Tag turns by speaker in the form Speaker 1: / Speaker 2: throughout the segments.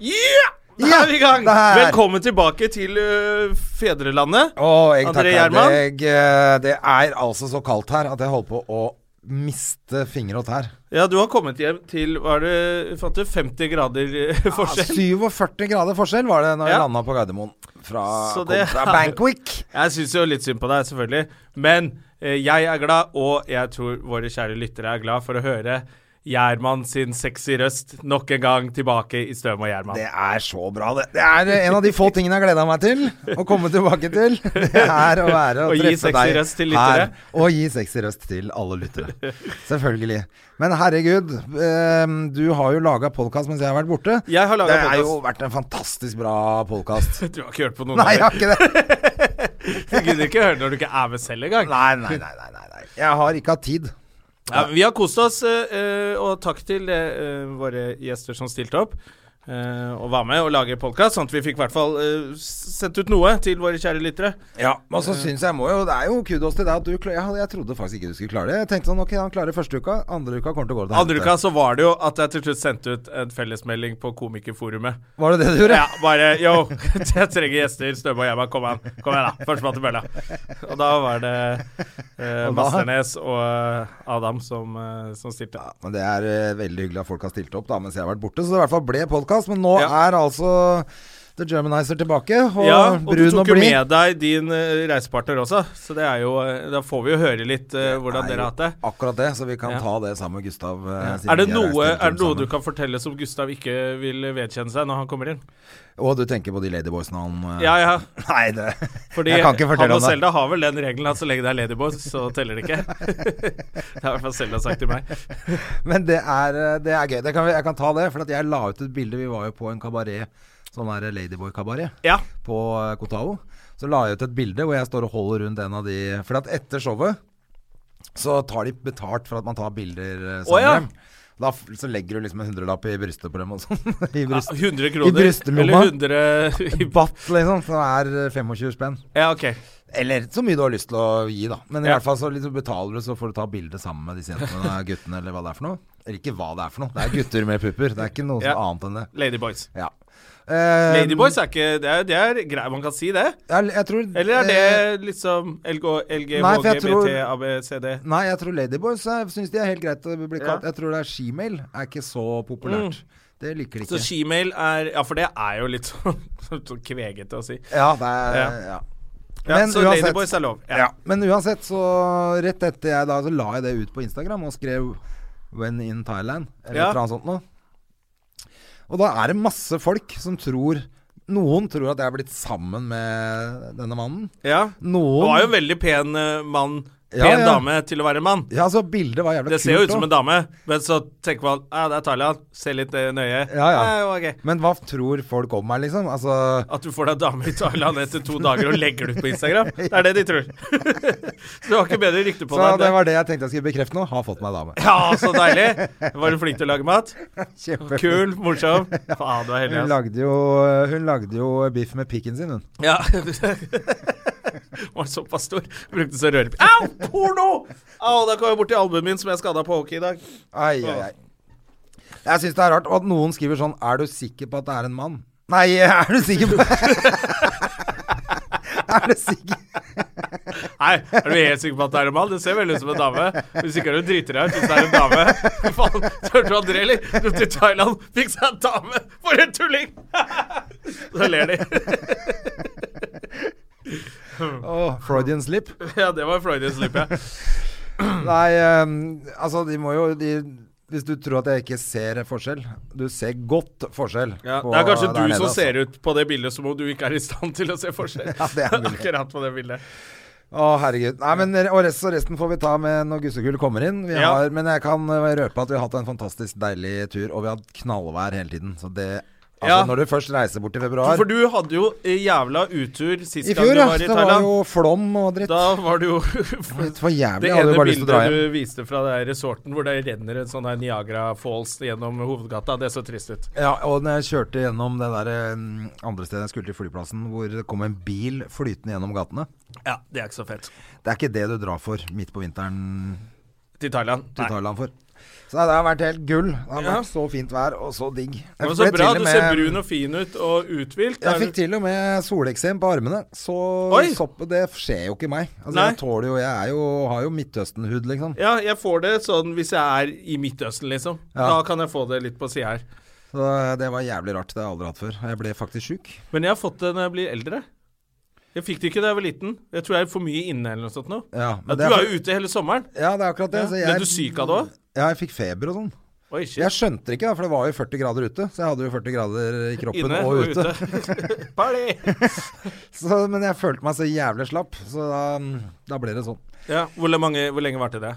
Speaker 1: Yeah! Da
Speaker 2: Ja,
Speaker 1: er vi i gang.
Speaker 2: der.
Speaker 1: Velkommen tilbake til ø, fedrelandet.
Speaker 2: Å, jeg
Speaker 1: André
Speaker 2: takker
Speaker 1: Gjerman?
Speaker 2: deg. Eh, Det er altså så kaldt her at jeg holder på å miste fingre og tær.
Speaker 1: Ja, du har kommet hjem til Hva er det Fatter? 50 grader ø,
Speaker 2: altså.
Speaker 1: forskjell?
Speaker 2: 47 grader forskjell var det når jeg
Speaker 1: Ja.
Speaker 2: landa på Gardermoen. Fra,
Speaker 1: Så
Speaker 2: kom
Speaker 1: det
Speaker 2: fra
Speaker 1: er-
Speaker 2: Bankwick.
Speaker 1: Jeg syns jo litt synd på deg, selvfølgelig. Men ø, jeg er glad, og jeg tror våre kjære lyttere er glad for å høre Gjerman sin sexy røst nok en gang tilbake i Støm og Gjerman.
Speaker 2: Det er så bra, det. Det er en av de få tingene jeg gleda meg til å komme tilbake til. Det er å være
Speaker 1: Og
Speaker 2: og
Speaker 1: gi
Speaker 2: treffe
Speaker 1: sexy
Speaker 2: deg
Speaker 1: røst til lyttere.
Speaker 2: Og gi sexy røst til alle lyttere. Selvfølgelig. Men herregud, ehm, du har jo laga podkast mens jeg har vært borte.
Speaker 1: Jeg har laget
Speaker 2: det har jo
Speaker 1: podcast.
Speaker 2: vært en fantastisk bra podkast.
Speaker 1: Du har ikke hørt på noen
Speaker 2: Nei, jeg
Speaker 1: av
Speaker 2: har ikke det.
Speaker 1: dem. Du gidder ikke høre når du ikke er med selv engang.
Speaker 2: Nei, nei, nei, nei, nei, nei. Jeg har ikke hatt tid.
Speaker 1: Ja, vi har kost oss, eh, eh, og takk til eh, våre gjester som stilte opp eh, og var med og lager podkast, sånn at vi fikk i hvert fall eh, s- sendt ut noe til våre kjære lyttere.
Speaker 2: Ja, men så syns jeg må jo Det er jo kudos til deg at du klarer jeg, jeg trodde faktisk ikke du skulle klare det. Jeg tenkte sånn Ok, han klarer første uka. Andre uka kommer til å gå til
Speaker 1: Andre
Speaker 2: helvete.
Speaker 1: uka så var det jo at jeg til slutt sendte ut en fellesmelding på Komikerforumet.
Speaker 2: Var det det du gjorde?
Speaker 1: Ja, bare Yo, jeg trenger gjester. Støme og Hjemma, kom an. Kom igjen, da. Førstemann til mølla. Og da var det eh,
Speaker 2: Og da?
Speaker 1: Masternes og eh, Adam som, eh, som stilte.
Speaker 2: Men det er eh, veldig hyggelig at folk har stilt opp da mens jeg har vært borte, så det i hvert fall ble podkast. Men nå
Speaker 1: Ja.
Speaker 2: er altså The Germanizer tilbake, og,
Speaker 1: ja, og du
Speaker 2: brun og
Speaker 1: tok jo
Speaker 2: blid.
Speaker 1: med deg din eh, reisepartner også, så det er jo eh, Da får vi jo høre litt eh, hvordan
Speaker 2: Det er
Speaker 1: dere
Speaker 2: jo
Speaker 1: har hatt det.
Speaker 2: Akkurat det, så vi kan
Speaker 1: Ja.
Speaker 2: ta det sammen med Gustav. eh, siden
Speaker 1: Er det
Speaker 2: vi
Speaker 1: noe, er
Speaker 2: reist en tur
Speaker 1: det noe
Speaker 2: sammen.
Speaker 1: du kan fortelle som Gustav ikke vil vedkjenne seg når han kommer inn?
Speaker 2: Og du tenker på de Ladyboysene han eh,
Speaker 1: Ja, ja.
Speaker 2: Nei, det
Speaker 1: Fordi
Speaker 2: Jeg kan ikke
Speaker 1: han og
Speaker 2: fortelle om det.
Speaker 1: Selda har vel den regelen at så lenge det er Ladyboy, så teller det ikke. det har i hvert fall Selda sagt til meg.
Speaker 2: Men det er, eh, det er gøy. Det kan, vi- jeg kan ta det, for at jeg la ut et bilde. Vi var jo på en kabaret, sånn der Ladyboy-kabaret.
Speaker 1: Ja.
Speaker 2: på eh, Kotao. Så la jeg ut et bilde hvor jeg står og holder rundt en av de For at etter showet så tar de betalt for at man tar bilder eh, sammen
Speaker 1: Å, ja.
Speaker 2: med dem. Da f så legger du liksom en hundrelapp i brystet på dem og sånn. I
Speaker 1: Ja,
Speaker 2: bryst.
Speaker 1: 100 kroner.
Speaker 2: brystlomma.
Speaker 1: Eller 100 i ba-
Speaker 2: Batt, liksom. Som er eh, 25 spenn.
Speaker 1: Ja, ok.
Speaker 2: Eller så mye du har lyst til å gi, da. Men i
Speaker 1: Ja.
Speaker 2: hvert fall så liksom betaler du, så får du ta bilde sammen med disse jentene og guttene, eller hva det er for noe. Eller ikke hva det er for noe. Det er gutter med pupper. Det er ikke noe
Speaker 1: Ja.
Speaker 2: som annet enn det.
Speaker 1: Ladyboys.
Speaker 2: Ja. Eh,
Speaker 1: Ladyboys er ikke Det er, det er greit, man kan si det.
Speaker 2: Jeg, jeg tror
Speaker 1: Eller er
Speaker 2: eh,
Speaker 1: det liksom LG, LG
Speaker 2: Nei, for jeg tror-
Speaker 1: LGBT, ABCD?
Speaker 2: Nei, jeg tror Ladyboys syns de er helt greit å bli
Speaker 1: Ja. Mm.
Speaker 2: kalt. Jeg tror det er shemale er ikke så populært. Det liker de
Speaker 1: Så
Speaker 2: ikke.
Speaker 1: shemale er Ja, for det er jo litt sånn, sånn kvegete å si.
Speaker 2: ja, det er, ja.
Speaker 1: Ja. Ja,
Speaker 2: Men
Speaker 1: så
Speaker 2: uansett-
Speaker 1: Ladyboys er lov.
Speaker 2: Ja. Men uansett, så rett etter jeg da Så la jeg det ut på Instagram og skrev 'When in Thailand' eller
Speaker 1: Ja.
Speaker 2: et eller annet sånt noe. Og da er det masse folk som tror Noen tror at jeg er blitt sammen med denne mannen.
Speaker 1: ja.
Speaker 2: Noen
Speaker 1: Hun var jo en veldig pen eh, mann Pen
Speaker 2: Ja, ja.
Speaker 1: dame til å være mann.
Speaker 2: Ja, så bildet var jævla
Speaker 1: Det ser jo ut som
Speaker 2: også.
Speaker 1: en dame, men så tenker man ja, det er Thailand. Se litt eh, nøye.
Speaker 2: Ja, ja.
Speaker 1: ok.
Speaker 2: Men hva tror folk om meg, liksom? Altså
Speaker 1: At du får deg dame i Thailand etter to dager og legger det ut på Instagram. Det er det de tror. så du har ikke bedre rykte på
Speaker 2: Så
Speaker 1: deg enn
Speaker 2: det
Speaker 1: det.
Speaker 2: var det jeg tenkte jeg skulle bekrefte nå. Har fått meg dame.
Speaker 1: Ja, så deilig! Var du flink til å lage mat?
Speaker 2: Kjempefint.
Speaker 1: Kul, morsom. Faen, du er heldig,
Speaker 2: Hun
Speaker 1: ass.
Speaker 2: lagde, jo, hun lagde jo biff med pikken sin, hun.
Speaker 1: Ja. Var såpass stor. Brukte så røre... Au! Porno! Au, da kom jeg borti albuen min som jeg skada på hockey i dag.
Speaker 2: Ai, ai, ai. Jeg syns det er rart og at noen skriver sånn Er du sikker på at det er en mann? Nei, er du sikker på Er du sikker?
Speaker 1: Nei, er du helt sikker på at det er en mann? Det ser veldig ut som en dame. Hvis ikke er du driter deg ut hvis det er en dame. Fy Faen, hørte du André, eller? Dro til Thailand, fikk seg en dame. For en tulling! Så ler de.
Speaker 2: Åh, Freudian slip.
Speaker 1: Ja, det var Freudian slip, ja.
Speaker 2: Nei, ehm, altså de må jo de, Hvis du tror at jeg ikke ser forskjell Du ser godt forskjell.
Speaker 1: ja.
Speaker 2: på
Speaker 1: Det er kanskje
Speaker 2: der
Speaker 1: du
Speaker 2: nede,
Speaker 1: som
Speaker 2: altså.
Speaker 1: ser ut på det bildet som om du ikke er i stand til å se forskjell.
Speaker 2: Ja, det er mulig.
Speaker 1: Akkurat på det bildet.
Speaker 2: Å, herregud. Nei, men og resten, og resten får vi ta med når gussekull kommer inn. Vi
Speaker 1: Ja.
Speaker 2: har, men jeg kan eh, røpe at vi har hatt en fantastisk deilig tur, og vi har hatt knallvær hele tiden. Så det Altså
Speaker 1: Ja.
Speaker 2: Når du først reiser bort i februar.
Speaker 1: For du hadde jo eh, jævla utur sist
Speaker 2: I fjor,
Speaker 1: gang
Speaker 2: ja.
Speaker 1: du var i
Speaker 2: Det var
Speaker 1: Thailand.
Speaker 2: jo flom og dritt.
Speaker 1: Da var det jo
Speaker 2: Det var jævlig.
Speaker 1: Det
Speaker 2: Jeg hadde
Speaker 1: ene
Speaker 2: jo bare lyst til å
Speaker 1: bildet
Speaker 2: dra hjem.
Speaker 1: du viste fra det her resorten hvor det renner en sånn her Niagara Falls gjennom hovedgata, det så trist ut.
Speaker 2: Ja, og når jeg kjørte gjennom det der eh, andre stedet jeg skulle til flyplassen, hvor det kom en bil flytende gjennom gatene.
Speaker 1: Ja, det er ikke så fett.
Speaker 2: Det er ikke det du drar for midt på vinteren
Speaker 1: Til Thailand.
Speaker 2: til
Speaker 1: Nei.
Speaker 2: Thailand for. Så nei, det har vært helt gull. Det har
Speaker 1: Ja.
Speaker 2: vært så fint vær, og så digg.
Speaker 1: Det var
Speaker 2: ble
Speaker 1: så bra.
Speaker 2: til og
Speaker 1: Du
Speaker 2: med-
Speaker 1: ser brun og fin ut og uthvilt.
Speaker 2: Jeg
Speaker 1: Er
Speaker 2: fikk
Speaker 1: du-
Speaker 2: til og med soleksem på armene, så
Speaker 1: Oi!
Speaker 2: sopp- det skjer jo ikke meg. Altså,
Speaker 1: Nei.
Speaker 2: jeg tåler jo Jeg er jo, har jo Midtøsten-hud, liksom.
Speaker 1: Ja, jeg får det sånn hvis jeg er i Midtøsten, liksom.
Speaker 2: Ja.
Speaker 1: Da kan jeg få det litt på sida her.
Speaker 2: Så eh, det var jævlig rart. Det har jeg aldri hatt før. Jeg ble faktisk sjuk.
Speaker 1: Men jeg har fått det når jeg blir eldre. Jeg fikk det ikke da jeg var liten. Jeg tror jeg er for mye inne eller noe sånt nå.
Speaker 2: Ja,
Speaker 1: Ja,
Speaker 2: men
Speaker 1: du
Speaker 2: det er
Speaker 1: er
Speaker 2: for-
Speaker 1: jo ute hele sommeren.
Speaker 2: Ja, det er akkurat det.
Speaker 1: Ja.
Speaker 2: så
Speaker 1: Ble du syk av det òg?
Speaker 2: Ja, jeg fikk feber og sånn.
Speaker 1: Oi, shit.
Speaker 2: Jeg skjønte ikke, da, for det var jo 40 grader ute. Så jeg hadde jo 40 grader i kroppen
Speaker 1: Inne
Speaker 2: og ute.
Speaker 1: Party!
Speaker 2: Så, men jeg følte meg så jævlig slapp, så da, da ble det sånn.
Speaker 1: Ja, hvor, mange, hvor lenge varte det?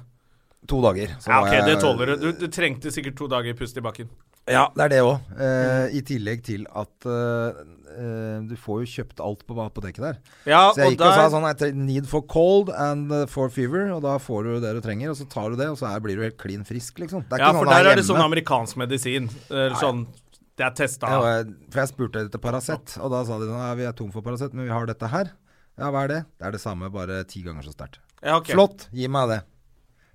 Speaker 2: To dager. så
Speaker 1: Ja,
Speaker 2: var
Speaker 1: ok, det
Speaker 2: jeg-
Speaker 1: tåler du. du. Du trengte sikkert to dager pust i bakken.
Speaker 2: Ja, det er det òg.
Speaker 1: Mm.
Speaker 2: Eh, I tillegg til at eh, eh, du får jo kjøpt alt på apoteket der.
Speaker 1: Ja,
Speaker 2: Så jeg
Speaker 1: og
Speaker 2: gikk og
Speaker 1: der
Speaker 2: sa sånn I tre- need for cold and eh, for fever, og da får du det du trenger, og så tar du det, og så er, blir du helt klin frisk, liksom. Det er
Speaker 1: Ja,
Speaker 2: ikke
Speaker 1: for
Speaker 2: sånn at
Speaker 1: der
Speaker 2: jeg
Speaker 1: er det sånn
Speaker 2: hjemme.
Speaker 1: amerikansk medisin. Eller sånn Det er testa.
Speaker 2: Ja, og jeg, for jeg spurte etter Paracet, og da sa de sånn Ja, vi er tom for Paracet, men vi har dette her. Ja, hva er det? Det er det samme, bare ti ganger så sterkt.
Speaker 1: Ja, ok.
Speaker 2: Flott, gi meg det.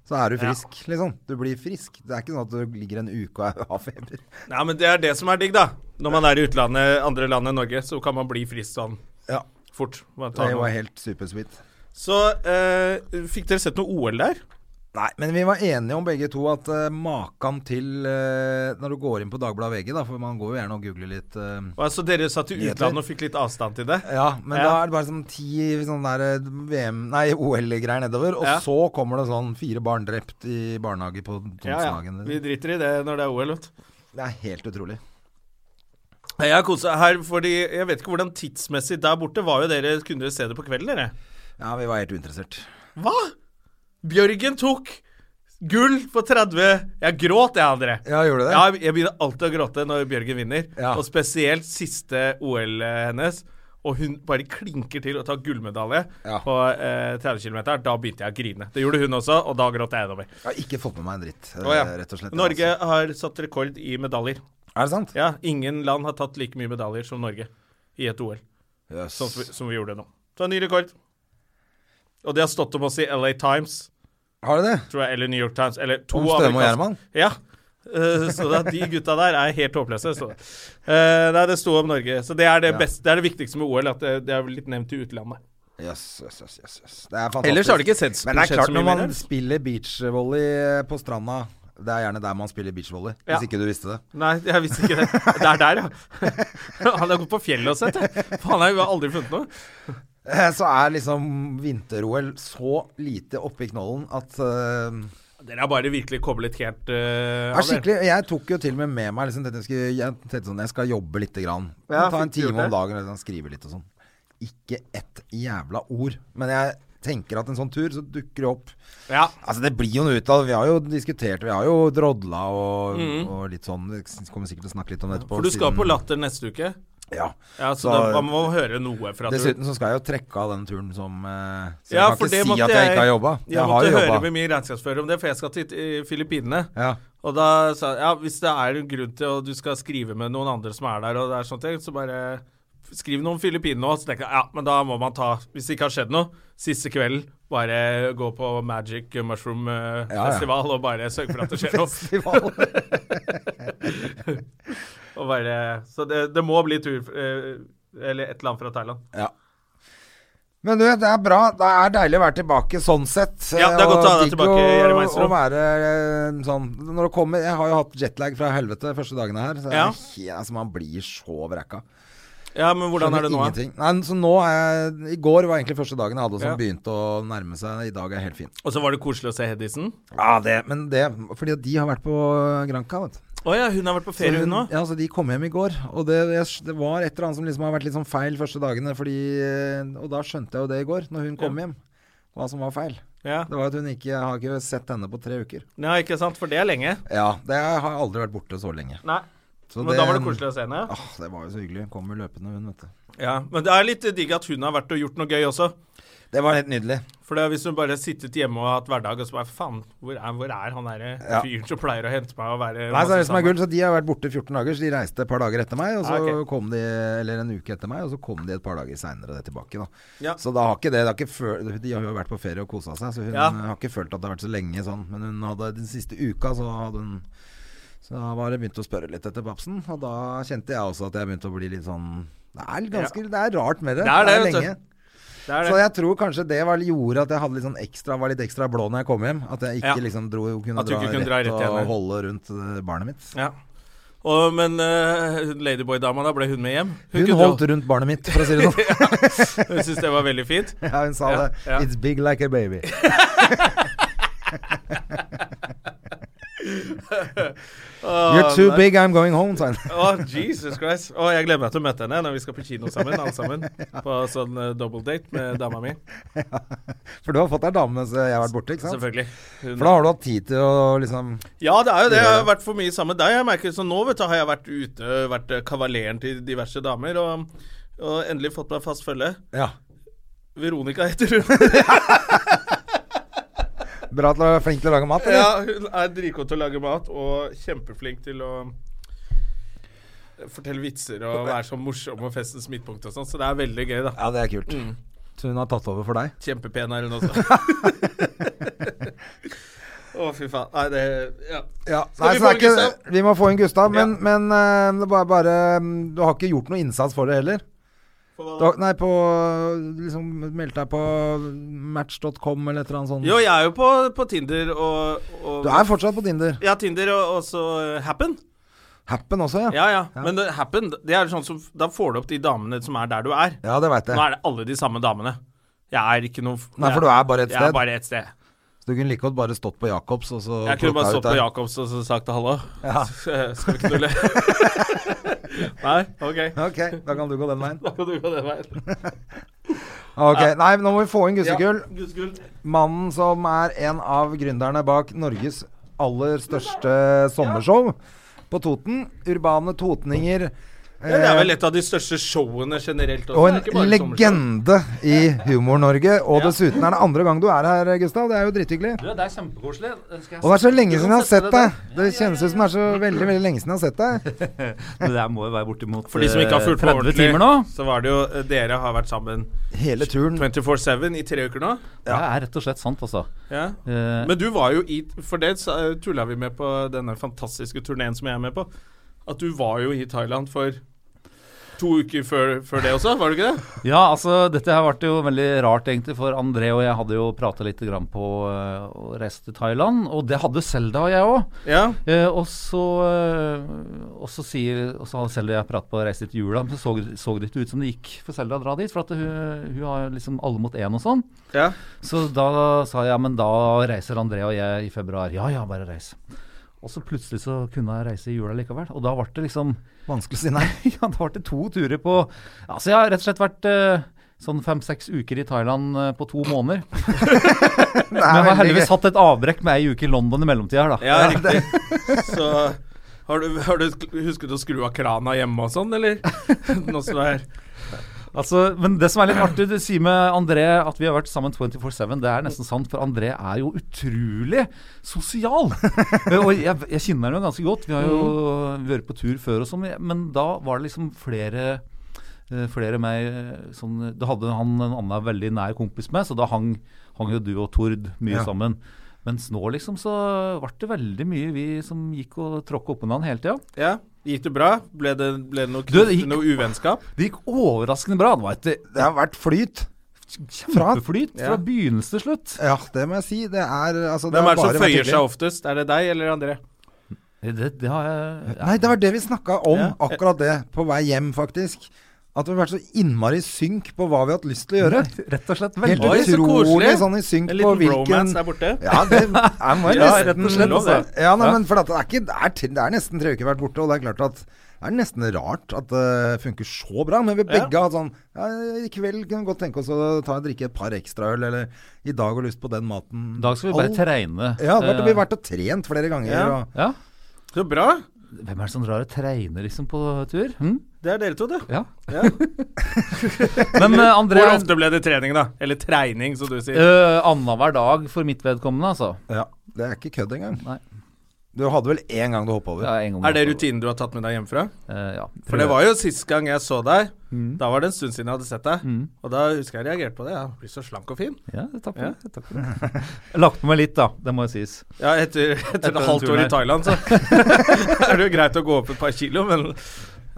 Speaker 2: Så er du frisk, liksom. Du blir frisk. Det er ikke sånn at du ligger en uke og har feber.
Speaker 1: Nei, men det er det som er digg, da. Når man er i utlandet, andre land enn Norge, så kan man bli frisk sånn
Speaker 2: Ja,
Speaker 1: fort. Man tar
Speaker 2: det var
Speaker 1: noe.
Speaker 2: helt supersweet.
Speaker 1: Så eh, fikk dere sett noe OL der?
Speaker 2: Nei, men vi var enige om begge to at eh, makan til eh, Når du går inn på Dagbladet VG, da, for man går jo gjerne og googler litt eh,
Speaker 1: Og altså, dere satt i
Speaker 2: Nyheter.
Speaker 1: utlandet og fikk litt avstand til det?
Speaker 2: Ja, men
Speaker 1: Ja.
Speaker 2: da er det bare sånn ti sånne der VM, nei, OL-greier nedover, og
Speaker 1: Ja.
Speaker 2: så kommer det sånn fire barn drept i barnehage på
Speaker 1: Ja, ja.
Speaker 2: Tomsenhagen.
Speaker 1: Vi driter i det når det er OL, vet du.
Speaker 2: Det er helt utrolig.
Speaker 1: Jeg har koset her fordi Jeg vet ikke hvordan tidsmessig der borte var jo dere Kunne dere se det på kvelden, dere?
Speaker 2: Ja, vi var helt uinteressert.
Speaker 1: Hva? Bjørgen tok gull på 30 Jeg gråt, jeg, André.
Speaker 2: Ja, gjorde du det?
Speaker 1: Ja, jeg begynner alltid å gråte når Bjørgen vinner.
Speaker 2: Ja.
Speaker 1: Og spesielt siste OL hennes. Og hun bare klinker til og tar gullmedalje
Speaker 2: Ja.
Speaker 1: på eh, 30 km. Da begynte jeg å grine. Det gjorde hun også, og da gråt jeg innover.
Speaker 2: Jeg har ikke fått med meg en dritt, eh,
Speaker 1: Å, ja.
Speaker 2: rett og slett.
Speaker 1: Norge
Speaker 2: altså.
Speaker 1: har satt rekord i medaljer.
Speaker 2: Er det sant?
Speaker 1: Ja, ingen land har tatt like mye medaljer som Norge i et OL.
Speaker 2: Yes.
Speaker 1: Sånn som vi, som vi gjorde nå. Så en ny rekord. Og det har stått om oss i LA Times,
Speaker 2: Har du det?
Speaker 1: tror jeg, eller New York Times, eller to
Speaker 2: Om Støme og
Speaker 1: amerikanske-
Speaker 2: Gjerman?
Speaker 1: Ja. Eh, så da, de gutta der er helt håpløse. Så. Eh, nei, det sto om Norge. Så det er det,
Speaker 2: Ja.
Speaker 1: beste, det er det viktigste med OL, at eh, det, det er litt nevnt i utlandet.
Speaker 2: Yes, yes, yes, yes, yes. Det er fantastisk.
Speaker 1: Ellers har det ikke sett-
Speaker 2: Men det
Speaker 1: skjedd
Speaker 2: er klart,
Speaker 1: så mye
Speaker 2: når
Speaker 1: mer,
Speaker 2: man
Speaker 1: eller?
Speaker 2: spiller beachvolley eh, på stranda Det er gjerne der man spiller beachvolley,
Speaker 1: Ja.
Speaker 2: hvis ikke du visste det.
Speaker 1: Nei, jeg visste ikke det. Det er der, ja. Han har gått på fjellet og sett det. Faen, jeg har aldri funnet noe.
Speaker 2: Eh, Så er liksom vinter-OL så lite oppe i knollen at eh,
Speaker 1: Dere er bare virkelig koblet helt eh,
Speaker 2: er
Speaker 1: av dere.
Speaker 2: skikkelig, Jeg tok jo til og med med meg liksom, tenkte jeg, skulle, jeg tenkte sånn Jeg skal jobbe lite grann.
Speaker 1: Ja,
Speaker 2: Ta en
Speaker 1: fikk du
Speaker 2: time
Speaker 1: gjort det?
Speaker 2: om dagen liksom, skrive litt og sånn. Ikke ett jævla ord. Men jeg tenker at en sånn tur, så dukker det opp
Speaker 1: Ja.
Speaker 2: Altså Det blir jo noe ut av det. Vi har jo diskutert, vi har jo drodla og, og litt sånn. Vi kommer sikkert til å snakke litt om det etterpå.
Speaker 1: Mm. For du skal
Speaker 2: siden-
Speaker 1: på Latter neste uke.
Speaker 2: Ja.
Speaker 1: Ja, så,
Speaker 2: Så-
Speaker 1: da, man må høre noe fra at du
Speaker 2: Dessuten så skal jeg jo trekke av den turen som eh, Så
Speaker 1: Ja,
Speaker 2: jeg
Speaker 1: for
Speaker 2: kan
Speaker 1: det
Speaker 2: ikke si
Speaker 1: måtte
Speaker 2: at jeg ikke har jobba.
Speaker 1: Jeg,
Speaker 2: Jeg har
Speaker 1: måtte
Speaker 2: jo
Speaker 1: høre
Speaker 2: jobba.
Speaker 1: med min regnskapsfører om det, for jeg skal til eh, Filippinene.
Speaker 2: Ja.
Speaker 1: Og da sa jeg ja, hvis det er en grunn til at du skal skrive med noen andre som er der, og det er sånne ting, så bare skriv noe om Filippinene òg. Så tenkte jeg ja, men da må man ta, hvis det ikke har skjedd noe, siste kvelden bare gå på Magic Mushroom eh,
Speaker 2: Ja, ja.
Speaker 1: Festival og bare sørge for at det skjer noe.
Speaker 2: Festival.
Speaker 1: Og bare, så det, det må bli tur, eh, eller et eller annet fra Thailand.
Speaker 2: ja. Men du, det er bra. Det er deilig å være tilbake sånn sett.
Speaker 1: Ja, det er
Speaker 2: Eh,
Speaker 1: godt å
Speaker 2: og
Speaker 1: ha deg
Speaker 2: digg
Speaker 1: tilbake, Jerry Meister.
Speaker 2: Å være eh, sånn Når det kommer Jeg har jo hatt jetlag fra helvete de første dagene her. Så det
Speaker 1: Ja.
Speaker 2: er helt, altså, man blir så vrekka.
Speaker 1: Ja, men hvordan er det nå? da?
Speaker 2: Ingenting. Nei, så nå er jeg, I går var egentlig første dagen jeg hadde
Speaker 1: Ja.
Speaker 2: som begynte å nærme seg. I dag er jeg helt fin.
Speaker 1: Og så var det koselig å se Hedisen.
Speaker 2: Ja, det, men det Fordi at de har vært på Granca, vet du.
Speaker 1: Å ja, hun har vært på ferie, hun òg.
Speaker 2: Ja, så de kom hjem i går. Og det, jeg, det var et eller annet som liksom har vært litt sånn feil første dagene, fordi eh, Og da skjønte jeg jo det i går, når hun kom hjem, hva som var feil.
Speaker 1: Ja.
Speaker 2: Det var at hun ikke Jeg har ikke sett henne på tre uker.
Speaker 1: ja, ikke sant? For det er lenge.
Speaker 2: Ja, det har aldri vært borte så lenge.
Speaker 1: Nei.
Speaker 2: Så
Speaker 1: Men da var det koselig altså. å se henne.
Speaker 2: Åh, det var jo så hyggelig. Kommer løpende, hun, vet du.
Speaker 1: Ja, Men det er litt digg at hun har vært og gjort noe gøy også.
Speaker 2: Det var helt nydelig.
Speaker 1: For det er hvis hun bare har sittet hjemme og hatt hverdag og så bare Faen, hvor er, hvor er han derre
Speaker 2: Ja.
Speaker 1: fyren som pleier å hente meg og være
Speaker 2: Nei, så
Speaker 1: masse
Speaker 2: er det som er
Speaker 1: sammen?»
Speaker 2: gull, så De har vært borte 14 dager, så de reiste et par dager etter meg. Og så
Speaker 1: Ah, ok.
Speaker 2: kom de, eller en uke etter meg, og så kom de et par dager seinere tilbake. Da.
Speaker 1: Ja.
Speaker 2: Så da har ikke det, det har ikke føl De har jo vært på ferie og kosa seg, så hun
Speaker 1: Ja.
Speaker 2: har ikke følt at det har vært så lenge sånn. Men hun hadde den siste uka så hadde hun Så da var det begynt å spørre litt etter babsen, og da kjente jeg også at jeg begynte å bli litt sånn Det er ganske Det er rart med det.
Speaker 1: Det er det, vet du.
Speaker 2: lenge.
Speaker 1: Det er det.
Speaker 2: Så jeg tror kanskje det var, gjorde at jeg hadde litt sånn ekstra, var litt ekstra blå når jeg kom hjem. At jeg ikke
Speaker 1: Ja.
Speaker 2: liksom dro, kunne,
Speaker 1: At du
Speaker 2: dra,
Speaker 1: ikke kunne
Speaker 2: rett
Speaker 1: dra rett igjen, ja.
Speaker 2: og holde rundt eh, barnet mitt.
Speaker 1: Ja. Og, men eh, Ladyboy-dama, da ble hun med hjem?
Speaker 2: Hun
Speaker 1: kunne
Speaker 2: holdt rundt barnet mitt, for å si det sånn.
Speaker 1: jo- Hun syntes det var veldig fint.
Speaker 2: Ja, hun sa
Speaker 1: Ja,
Speaker 2: det.
Speaker 1: ja.
Speaker 2: It's big like a baby. You're
Speaker 1: Ah,
Speaker 2: too big, I'm going home, sa hun.
Speaker 1: Å, Jesus Christ. Å, jeg gleder meg til å møte henne når vi skal på kino sammen, alle sammen. På sånn eh, double date med dama mi.
Speaker 2: For du har fått deg dame mens jeg har vært borte, ikke sant?
Speaker 1: Selvfølgelig. Hun,
Speaker 2: For da har du hatt tid til å liksom
Speaker 1: ja, det er jo det.
Speaker 2: Det
Speaker 1: Jeg
Speaker 2: gjør
Speaker 1: har vært for mye sammen med deg. Jeg merker Så nå vet du, har jeg vært ute, vært eh, kavaleren til diverse damer, og, og endelig fått meg fast følge.
Speaker 2: Ja.
Speaker 1: Veronica heter hun.
Speaker 2: Bra til å være flink til å lage mat, eller?
Speaker 1: Ja, hun er dritgod til å lage mat og kjempeflink til å eh, fortelle vitser og være så morsom og festens midtpunkt og sånn, så det er veldig gøy, da.
Speaker 2: Ja, det er kult.
Speaker 1: Mm.
Speaker 2: Så hun har tatt over for deg?
Speaker 1: Kjempepen er hun også. Å, fy faen. Nei, det Ja.
Speaker 2: Ja,
Speaker 1: Skal
Speaker 2: nei,
Speaker 1: vi
Speaker 2: så det
Speaker 1: få
Speaker 2: er ikke,
Speaker 1: en
Speaker 2: Vi må få inn Gustav, men,
Speaker 1: Ja.
Speaker 2: men eh, det er bare, bare mm, Du har ikke gjort noe innsats for det heller? Du har, nei, på liksom Meldt deg på match.com eller et eller annet sånt?
Speaker 1: Jo, jeg er jo på, på Tinder og, og
Speaker 2: Du er fortsatt på Tinder.
Speaker 1: Ja, Tinder og og så Happen.
Speaker 2: Happen også, ja. Ja,
Speaker 1: Ja, ja. Men eh, Happen, det er sånn som Da får du opp de damene som er der du er.
Speaker 2: det veit
Speaker 1: Nå
Speaker 2: jeg.
Speaker 1: er det alle de samme damene. Jeg er ikke noe
Speaker 2: Nei, for du er bare et
Speaker 1: Jeg
Speaker 2: sted.
Speaker 1: er bare et sted.
Speaker 2: Så du kunne like godt bare stått på Jacobs og så
Speaker 1: Jeg kunne bare
Speaker 2: plukket ut
Speaker 1: stått på
Speaker 2: der.
Speaker 1: Jacobs og så sagt hallo.
Speaker 2: Ja.
Speaker 1: Skal vi knulle? Nei? Ok.
Speaker 2: Ok, da kan du gå den veien.
Speaker 1: Da kan du gå den veien.
Speaker 2: Ok, Nei, nå må vi få inn Gussegull.
Speaker 1: Gudsgull.
Speaker 2: Mannen som er en av gründerne bak Norges aller største sommershow på Toten. Urbane totninger.
Speaker 1: Ja, det er
Speaker 2: eh,
Speaker 1: vel et av de største showene generelt. Også. Det
Speaker 2: Og
Speaker 1: er ikke bare
Speaker 2: en
Speaker 1: sommershow.
Speaker 2: legende i Humor-Norge. Og
Speaker 1: Ja.
Speaker 2: dessuten er det andre gang du er her, Gustav. Det er jo dritthyggelig.
Speaker 3: Du, det er kjempekoselig. Den skal jeg
Speaker 2: Og det er så lenge
Speaker 3: Du
Speaker 2: siden
Speaker 3: kan
Speaker 2: jeg har
Speaker 3: sette
Speaker 2: sett
Speaker 3: det
Speaker 2: deg. Det kjennes ut som det er så veldig veldig lenge siden jeg har sett deg.
Speaker 3: der. Men Det her må jo være bortimot
Speaker 1: For de som ikke har fulgt
Speaker 3: eh,
Speaker 1: med
Speaker 3: 30 timer nå.
Speaker 1: så var det jo eh, Dere har vært sammen
Speaker 2: Hele turen.
Speaker 1: 24-7 i tre uker nå.
Speaker 3: Det er rett og slett sant, altså.
Speaker 1: Ja.
Speaker 3: Eh,
Speaker 1: Men du var jo i For det tulla vi med på denne fantastiske turneen som jeg er med på. At du var jo i Thailand for to uker før, før det også, var du ikke det?
Speaker 3: ja, altså, dette her ble jo veldig rart, egentlig, for André og jeg hadde jo prata litt grann på eh, å reise til Thailand. Og det hadde Selda og jeg òg.
Speaker 1: Ja.
Speaker 3: Eh, og så eh, og så sier og så hadde Selda og jeg pratet på å reise til jula, men så så, så det ikke ut som det gikk for Selda å dra dit. For at hun, hun har jo liksom alle mot én og sånn.
Speaker 1: ja.
Speaker 3: Så da sa jeg, men da reiser André og jeg i februar. Ja, ja, bare reis. Og så plutselig så kunne jeg reise i jula likevel. Og da ble det liksom
Speaker 2: Vanskelig å si nei.
Speaker 3: Ja, da ble det to turer på Altså, jeg har rett og slett vært eh, sånn fem-seks uker i Thailand eh, på to måneder.
Speaker 2: Det er
Speaker 3: Men jeg har
Speaker 2: veldig
Speaker 3: heldigvis
Speaker 2: gøy.
Speaker 3: hatt et avbrekk med ei uke i London i mellomtida her, da.
Speaker 1: Ja, riktig. Så har du, har du husket å skru av krana hjemme og sånn, eller? Nå som du er
Speaker 3: Altså, men det som er litt artig, du sier med André at vi har vært sammen 24-7. Det er nesten sant, for André er jo utrolig sosial. og jeg, jeg kjenner han jo ganske godt. Vi har jo vært på tur før og sånn, men da var det liksom flere eh, Flere meg eh, sånn Da hadde han en annen veldig nær kompis med, så da hang, hang jo du og Tord mye
Speaker 2: Ja.
Speaker 3: sammen. Mens nå liksom så ble det veldig mye vi som gikk og tråkka oppå hverandre hele tida.
Speaker 1: Ja. Gikk det bra? Ble det, ble det noe,
Speaker 3: Du, det gikk-
Speaker 1: noe uvennskap?
Speaker 3: Det gikk overraskende bra. Det var et
Speaker 2: Det har vært flyt. Fra,
Speaker 3: kjempeflyt fra begynnelse til slutt.
Speaker 2: ja, det må jeg si. Det er altså
Speaker 1: Hvem er det som føyer seg
Speaker 2: opp?
Speaker 1: oftest? Er det deg eller André?
Speaker 3: Det, det har jeg
Speaker 2: Nei, det var det vi snakka om,
Speaker 1: Ja.
Speaker 2: akkurat det, på vei hjem, faktisk. At vi har vært så innmari i synk på hva vi har hatt lyst til å gjøre.
Speaker 3: Rett og slett
Speaker 2: Helt
Speaker 3: veldig
Speaker 1: Oi, så
Speaker 2: utrolig
Speaker 1: koselig.
Speaker 2: sånn i synk
Speaker 1: En
Speaker 2: på
Speaker 1: liten
Speaker 2: hvilken
Speaker 1: romance der borte?
Speaker 2: Ja, det er, må jeg
Speaker 1: Ja,
Speaker 2: nesten-
Speaker 1: rett og slett, altså.
Speaker 2: Ja, nei,
Speaker 3: Ja.
Speaker 2: men for at det, er ikke, det, er, til- det er nesten tre uker vært borte, og det er klart at det er nesten rart at det funker så bra. Men vi begge har hatt sånn ja, I kveld kunne vi godt tenke oss å ta og drikke et par ekstraøl, eller i dag har lyst på den maten.
Speaker 3: I dag skal vi bare
Speaker 2: Alt-
Speaker 3: trene.
Speaker 2: Ja, det har vært-
Speaker 3: Eh,
Speaker 2: vi har vært og trent flere ganger.
Speaker 1: Ja.
Speaker 2: Og,
Speaker 3: ja.
Speaker 1: Så bra.
Speaker 3: Hvem er det som drar og trener liksom på tur? Hm?
Speaker 1: Det er dere to, det.
Speaker 3: Ja.
Speaker 1: Ja.
Speaker 3: Men eh, André
Speaker 1: Hvor ofte ble det trening, da? Eller treining, som du sier.
Speaker 3: eh, Annenhver dag for mitt vedkommende, altså.
Speaker 2: Ja, Det er ikke kødd engang.
Speaker 3: Nei.
Speaker 2: Du hadde vel én gang du hoppa over.
Speaker 3: Ja, en gang
Speaker 1: Er det
Speaker 3: i året.
Speaker 1: rutinen du har tatt med deg hjemmefra?
Speaker 3: Eh, ja.
Speaker 1: For det var jo sist gang jeg så deg.
Speaker 3: Mm.
Speaker 1: Da var det en stund siden jeg hadde sett deg. Og da husker jeg jeg reagerte på det. Jeg blir så slank og fin.
Speaker 3: Ja, takk for det. Takk for det. Lagt på meg litt, da. Det må jo sies.
Speaker 1: Ja, etter, etter,
Speaker 3: den
Speaker 1: et halvt år
Speaker 3: turen
Speaker 1: i
Speaker 3: her.
Speaker 1: Thailand, så er det jo greit å gå opp et par kilo, men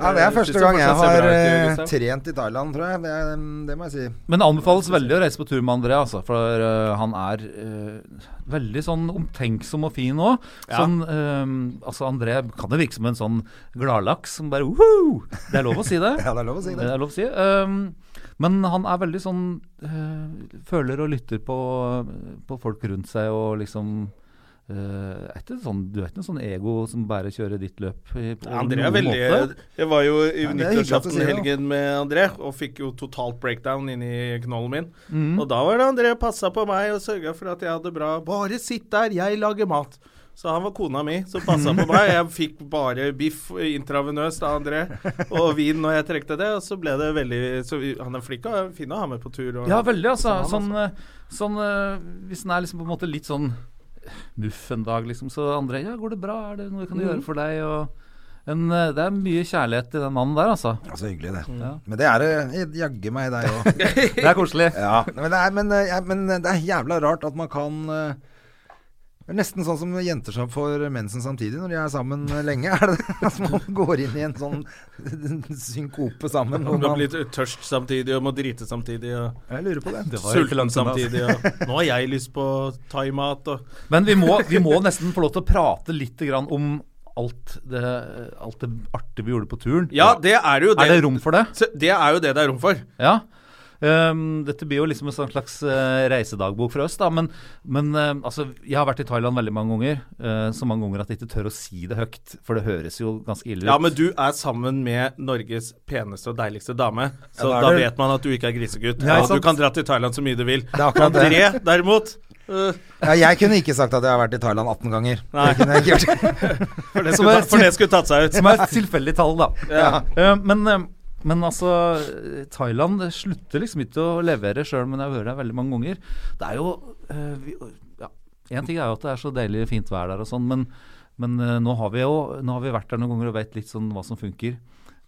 Speaker 2: Ja, det er
Speaker 1: Jeg synes
Speaker 2: første
Speaker 1: det
Speaker 2: gang
Speaker 1: fortsatt
Speaker 2: jeg
Speaker 1: ser
Speaker 2: har
Speaker 1: bra ut,
Speaker 2: eh,
Speaker 1: Gustav.
Speaker 2: trent i Thailand, tror jeg. Det, er, mm, det må jeg si.
Speaker 3: Men det anbefales veldig å reise på tur med André, altså. For øh, han er øh, veldig sånn omtenksom og fin òg.
Speaker 1: Ja.
Speaker 3: Sånn, øh, altså André kan jo virke som en sånn gladlaks som bare Woo! Det er lov å si det.
Speaker 2: Ja, det er lov å si
Speaker 3: det
Speaker 2: det.
Speaker 3: er lov å si. Ehm, men han er veldig sånn øh, Føler og lytter på, på folk rundt seg og liksom øh, er ikke sånn, du er ikke noe sånn ego som bare kjører ditt løp i, på
Speaker 1: André er
Speaker 3: noen
Speaker 1: veldig
Speaker 3: måte.
Speaker 1: Jeg var jo i
Speaker 2: Ja, det er hyggelig at du
Speaker 1: nyttårsaften
Speaker 2: sier det, da.
Speaker 1: helgen med André, og fikk jo totalt breakdown inni knollen min.
Speaker 2: Mhm.
Speaker 1: Og da var det André passa på meg og sørga for at jeg hadde bra Bare sitt der, jeg lager mat. Så han var kona mi som passa på meg. Jeg fikk bare biff intravenøst av André, og vin når jeg trengte det. Og så ble det veldig Så vi- han er flink og fin å ha med på tur. Og,
Speaker 3: Ja, veldig, altså.
Speaker 1: Som
Speaker 3: Sånn, eh, sånn, eh, hvis den er liksom på en måte litt sånn nuff en dag, liksom, så andre Ja, går det bra? Er det noe jeg kan gjøre for deg? Og en, eh, det er mye kjærlighet i den mannen der, altså.
Speaker 2: Ja, så hyggelig, det.
Speaker 3: Ja.
Speaker 2: Men det er det jaggu meg deg òg.
Speaker 3: Det er koselig.
Speaker 2: Ja, men, det er- men, eh, jeg- men det er jævla rart at man kan eh, det er Nesten sånn som jenter som får mensen samtidig når de er sammen eh, lenge. Er det det? At man går inn i en sånn synkope sammen. hvor
Speaker 1: Du
Speaker 2: Man,
Speaker 1: blir tørst samtidig og må drite samtidig. Og
Speaker 2: jeg lurer på det.
Speaker 3: var jo ikke
Speaker 1: Sulten
Speaker 3: langt unna, altså.
Speaker 1: samtidig. Og nå har jeg lyst på thaimat og
Speaker 3: Men vi må, vi må nesten få lov til å prate litt grann om alt det, alt det artige vi gjorde på turen.
Speaker 1: Ja, det er jo det.
Speaker 3: Er det rom for det?
Speaker 1: Så det er jo det det er rom for.
Speaker 3: Ja. Ehm, dette blir jo liksom en sånn slags eh, reisedagbok fra oss, da. Men, men eh, altså, jeg har vært i Thailand veldig mange ganger. eh, så mange ganger at jeg ikke tør å si det høyt. For det høres jo ganske ille ut.
Speaker 1: Ja, men du er sammen med Norges peneste og deiligste dame, så
Speaker 2: Ja, da er
Speaker 1: da
Speaker 2: det-
Speaker 1: vet man at du ikke er grisegutt.
Speaker 3: Ja,
Speaker 1: og
Speaker 3: ikke
Speaker 1: du
Speaker 3: sant?
Speaker 1: kan dra til Thailand så mye du vil.
Speaker 2: er akkurat det.
Speaker 1: André, derimot øh,
Speaker 2: Ja, jeg kunne ikke sagt at jeg har vært i Thailand 18 ganger.
Speaker 1: Nei.
Speaker 2: Det kunne jeg ikke gjort.
Speaker 1: For det
Speaker 3: Som
Speaker 1: skulle,
Speaker 3: er-
Speaker 1: ta, for det skulle tatt seg ut.
Speaker 3: Som er et tilfeldig tall, da.
Speaker 2: Ja.
Speaker 3: Eh, men, eh, men altså, eh, Thailand det slutter liksom ikke å levere sjøl, men jeg har hørt det veldig mange ganger. Det er jo eh, vi, ja, En ting er jo at det er så deilig fint vær der og sånn, men, men eh, nå har vi jo nå har vi vært der noen ganger og veit litt sånn hva som funker.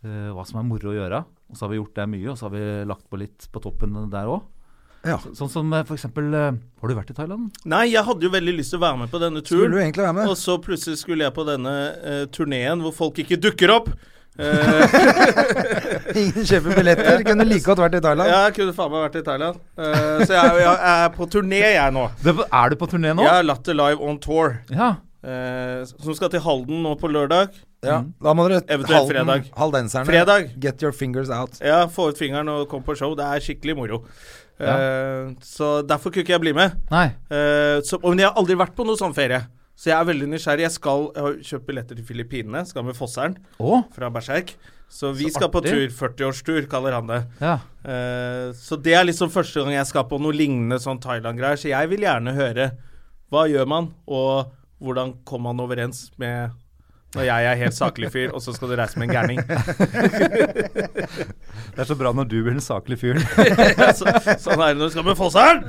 Speaker 3: eh, hva som er moro å gjøre. Og så har vi gjort det mye, og så har vi lagt på litt på toppen der òg.
Speaker 2: Ja.
Speaker 3: Sånn som eh, for eksempel eh, Har du vært i Thailand?
Speaker 1: Nei, jeg hadde jo veldig lyst til å være med på denne
Speaker 2: Skulle
Speaker 1: turen.
Speaker 2: du egentlig være med?
Speaker 1: Og så plutselig skulle jeg på denne eh, turneen hvor folk ikke dukker opp. Eh,
Speaker 2: Ingen kjøper billetter. Kunne like godt vært i Thailand.
Speaker 1: ja, jeg kunne faen meg vært i Thailand. Eh, så jeg, jeg er på turné, jeg nå.
Speaker 3: Det, er du på turné nå?
Speaker 1: Jeg er Latter Live on tour,
Speaker 3: Ja.
Speaker 1: eh, som skal til Halden nå på lørdag.
Speaker 2: Ja, Mm. da må dere
Speaker 1: Eventuelt fredag.
Speaker 2: Haldenserne.
Speaker 1: Fredag.
Speaker 2: Get your fingers out.
Speaker 1: Ja, få ut fingeren og kom på show. Det er skikkelig moro. Eh, så derfor kunne ikke jeg bli med.
Speaker 3: Nei.
Speaker 1: Eh, så, men jeg har aldri vært på noen sånn ferie. Så jeg er veldig nysgjerrig. Jeg skal jeg har kjøpt billetter til Filippinene. Skal med Fosseren
Speaker 3: Å?
Speaker 1: fra Berserk. Så vi
Speaker 3: Så
Speaker 1: skal på tur.
Speaker 3: artig.
Speaker 1: 40-årstur, kaller han det.
Speaker 3: Ja.
Speaker 1: Eh, så det er liksom første gang jeg skal på noe lignende sånn Thailand-greier. Så jeg vil gjerne høre hva gjør man, og hvordan kom man overens med når jeg er helt saklig fyr, og så skal du reise med en gærning.
Speaker 3: Det er så bra når du blir den saklige fyren.
Speaker 1: så, sånn er det når du skal med Fosseren!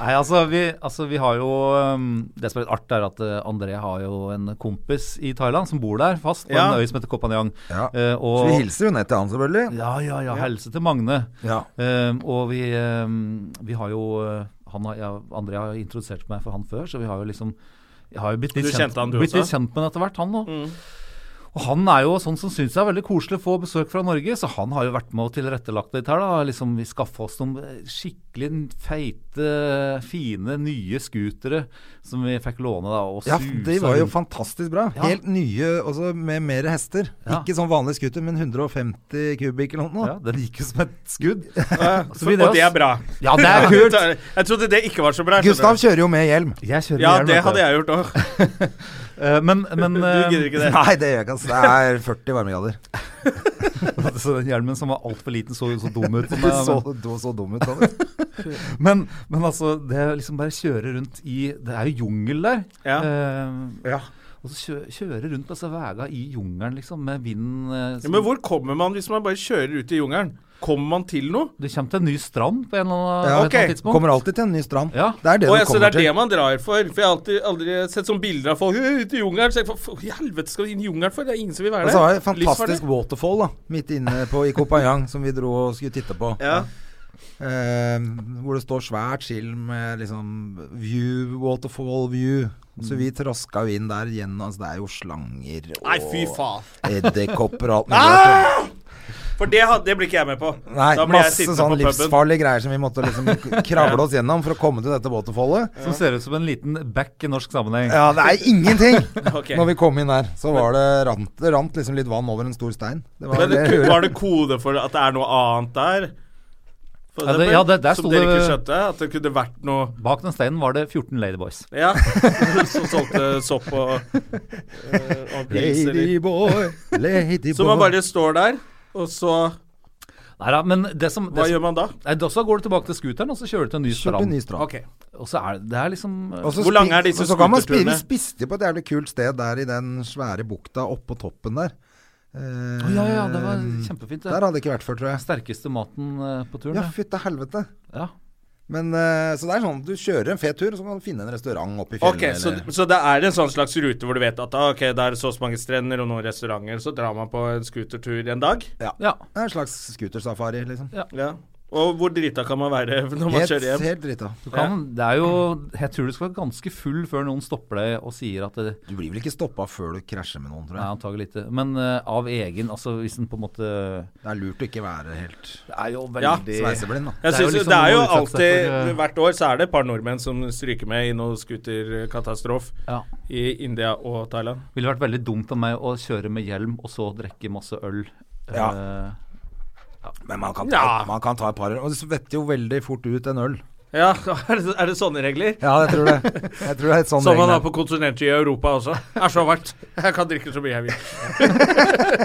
Speaker 3: Nei, altså vi, altså vi har jo um, Det som er litt artig, er at eh, André har jo en kompis i Thailand som bor der fast, på
Speaker 1: Ja.
Speaker 3: en øy som heter Koh Phangan.
Speaker 2: Ja.
Speaker 3: Eh,
Speaker 2: Så
Speaker 3: og,
Speaker 2: vi hilser jo ned til han, selvfølgelig.
Speaker 3: Ja, ja, ja. Helse til Magne.
Speaker 2: Ja.
Speaker 3: Eh, og vi, eh, vi har jo eh, han har, ja, André har jo introdusert meg for han før, så vi har jo liksom jeg har jo blitt litt,
Speaker 1: Du kjente
Speaker 3: kjent,
Speaker 1: han, du
Speaker 3: blitt
Speaker 1: også?
Speaker 3: litt kjent med han etter hvert, han òg. Og han er jo sånn som syns det er veldig koselig å få besøk fra Norge, så han har jo vært med og tilrettelagt litt her, da. Liksom, vi skaffa oss noen eh, skikkelig feite, fine, nye scootere som vi fikk låne, da. Og
Speaker 2: Ja,
Speaker 3: susa
Speaker 2: de var jo
Speaker 3: rundt.
Speaker 2: fantastisk bra.
Speaker 3: Ja.
Speaker 2: Helt nye, også med mer hester.
Speaker 3: Ja.
Speaker 2: Ikke sånn vanlig scooter, men 150 kubikk eller noe.
Speaker 3: Ja, den gikk jo som et skudd.
Speaker 1: Så,
Speaker 3: vi-
Speaker 1: og det er bra.
Speaker 3: Ja, det er kult!
Speaker 1: Jeg trodde det ikke var så bra. skjønner
Speaker 2: Gustav
Speaker 1: du.
Speaker 2: kjører jo med hjelm.
Speaker 3: Jeg kjører
Speaker 1: Ja,
Speaker 3: hjelm,
Speaker 1: det
Speaker 3: vet du.
Speaker 1: hadde jeg gjort òg.
Speaker 3: Eh, Men, men
Speaker 1: Du gidder ikke det.
Speaker 2: eh, Nei, det gjør jeg ikke. ass. Det er 40 varmegrader.
Speaker 3: eh, Så den hjelmen som var altfor liten, så jo så dum ut.
Speaker 2: Du så, du så dum ut av det.
Speaker 3: Men, men altså, det å liksom bare kjøre rundt i Det er jo jungel der.
Speaker 1: Ja.
Speaker 3: Eh,
Speaker 2: Ja.
Speaker 3: Og så kjø kjøre rundt på disse veiene i jungelen, liksom, med vinden eh,
Speaker 1: Ja,
Speaker 3: som-
Speaker 1: men hvor kommer man hvis man bare kjører ut i jungelen? Kommer man til noe?
Speaker 3: Du kommer til en ny strand på en eller annen,
Speaker 2: Ja,
Speaker 3: på et eller
Speaker 1: ok.
Speaker 3: annet tidspunkt.
Speaker 2: Kommer alltid til en ny strand.
Speaker 3: Ja.
Speaker 2: Det er det
Speaker 1: Å,
Speaker 2: du
Speaker 1: ja, så
Speaker 2: kommer
Speaker 1: det er
Speaker 2: til.
Speaker 1: det man drar for. For jeg har alltid, aldri sett sånne bilder av folk «Øh, ute i jungelen. Så jeg, for, for i helvete skal vi inn i jungelen for? Det er ingen som vil være
Speaker 2: Og
Speaker 1: der.
Speaker 2: så har jeg fantastisk
Speaker 1: Livsfarlig.
Speaker 2: waterfall da midt inne på i Kopayang som vi dro og skulle titte på.
Speaker 1: Ja.
Speaker 2: Eh, hvor det står svært skilt med liksom view, waterfall view. Så vi traska jo inn der gjennom altså Det er jo slanger og
Speaker 1: Nei, fy faen.
Speaker 2: edderkopper og alt mulig. rart.
Speaker 1: For det, had- det blir ikke jeg med på.
Speaker 2: Nei,
Speaker 1: da blir jeg
Speaker 2: masse
Speaker 1: sittende
Speaker 2: sånn
Speaker 1: på puben.
Speaker 2: livsfarlige greier som vi måtte liksom k- kravle oss gjennom for å komme til dette waterfallet.
Speaker 3: Som ser ut som en liten back i norsk sammenheng.
Speaker 2: Ja, det er ingenting!
Speaker 1: Ok.
Speaker 2: Når vi kom inn der, så var det rant, det rant liksom litt vann over en stor stein. Det var
Speaker 1: Men det,
Speaker 2: det-
Speaker 1: var det kode for at det er noe annet der? For
Speaker 3: Ja, det-
Speaker 1: eksempel,
Speaker 3: ja, det- der
Speaker 1: som
Speaker 3: sto
Speaker 1: dere
Speaker 3: det-
Speaker 1: ikke skjønte? At det kunne vært noe
Speaker 3: Bak den steinen var det 14 Ladyboys.
Speaker 1: Ja. Som solgte sopp og, øh, og pils, eller
Speaker 2: Ladyboy, ladyboy
Speaker 1: Så man bare står der, og så
Speaker 3: Nei da, men det som,
Speaker 1: Hva
Speaker 3: det
Speaker 1: gjør
Speaker 3: som
Speaker 1: man da?
Speaker 3: Nei, da så går du tilbake til scooteren, og så kjører du til en ny
Speaker 2: Kjørte en
Speaker 3: strand.
Speaker 2: ny strand.
Speaker 1: Ok.
Speaker 3: Og så er det, det er liksom eh,
Speaker 2: Og så
Speaker 1: Hvor lange
Speaker 2: spi-
Speaker 1: er disse
Speaker 2: og så kan man spi-
Speaker 1: scooterturene?
Speaker 2: Vi spiste på et jævlig kult sted der i den svære bukta oppå toppen der. Eh,
Speaker 3: Å, Ja, ja, det var kjempefint.
Speaker 2: Der
Speaker 3: Det.
Speaker 2: hadde det ikke vært før, tror jeg.
Speaker 3: Sterkeste maten eh, på turen.
Speaker 2: Ja,
Speaker 3: det.
Speaker 2: fytte helvete.
Speaker 3: Ja.
Speaker 2: Men, eh, så det er sånn, du kjører en fet tur, og så kan du finne en restaurant oppi fjellet.
Speaker 1: Ok, så,
Speaker 2: eller-
Speaker 1: så det er en sånn slags rute hvor du vet at ah, ok, da er det så og så mange strender og noen restauranter, så drar man på en scootertur en dag?
Speaker 3: ja.
Speaker 2: Det er en slags scootersafari, liksom.
Speaker 1: Ja. Og hvor drita kan man være når man
Speaker 2: Helt,
Speaker 1: kjører hjem?
Speaker 2: helt drita.
Speaker 3: Du kan, Det er jo Jeg tror du skal være ganske full før noen stopper deg og sier at det
Speaker 2: Du blir vel ikke stoppa før du krasjer med noen, tror
Speaker 3: Nei,
Speaker 2: jeg.
Speaker 3: antagelig ikke. Men eh, av egen Altså hvis en på en måte
Speaker 2: Det er lurt å ikke være helt
Speaker 3: Det er jo
Speaker 1: Ja.
Speaker 3: veldig
Speaker 2: sveiseblind, da.
Speaker 1: Jeg
Speaker 3: Det er jo
Speaker 1: synes, jo
Speaker 3: liksom
Speaker 1: det er jo
Speaker 3: noe å utsette seg
Speaker 1: alltid
Speaker 3: for, eh,
Speaker 1: Hvert år så er det et par nordmenn som stryker med i noe scooterkatastrofe
Speaker 3: Ja.
Speaker 1: i India og Thailand.
Speaker 3: Ville vært veldig dumt av meg å kjøre med hjelm og så drikke masse øl.
Speaker 2: Ja.
Speaker 3: Eh,
Speaker 2: Men man kan, ta,
Speaker 1: Ja.
Speaker 2: man kan ta et par øl. Og det svetter jo veldig fort ut en øl.
Speaker 1: Ja, er det, er det sånne regler?
Speaker 2: Ja, jeg tror det. Jeg tror det er et sånn
Speaker 1: Som man
Speaker 2: regel.
Speaker 1: har på kontinentet i Europa også. Det er så verdt. Jeg kan drikke så mye jeg vil.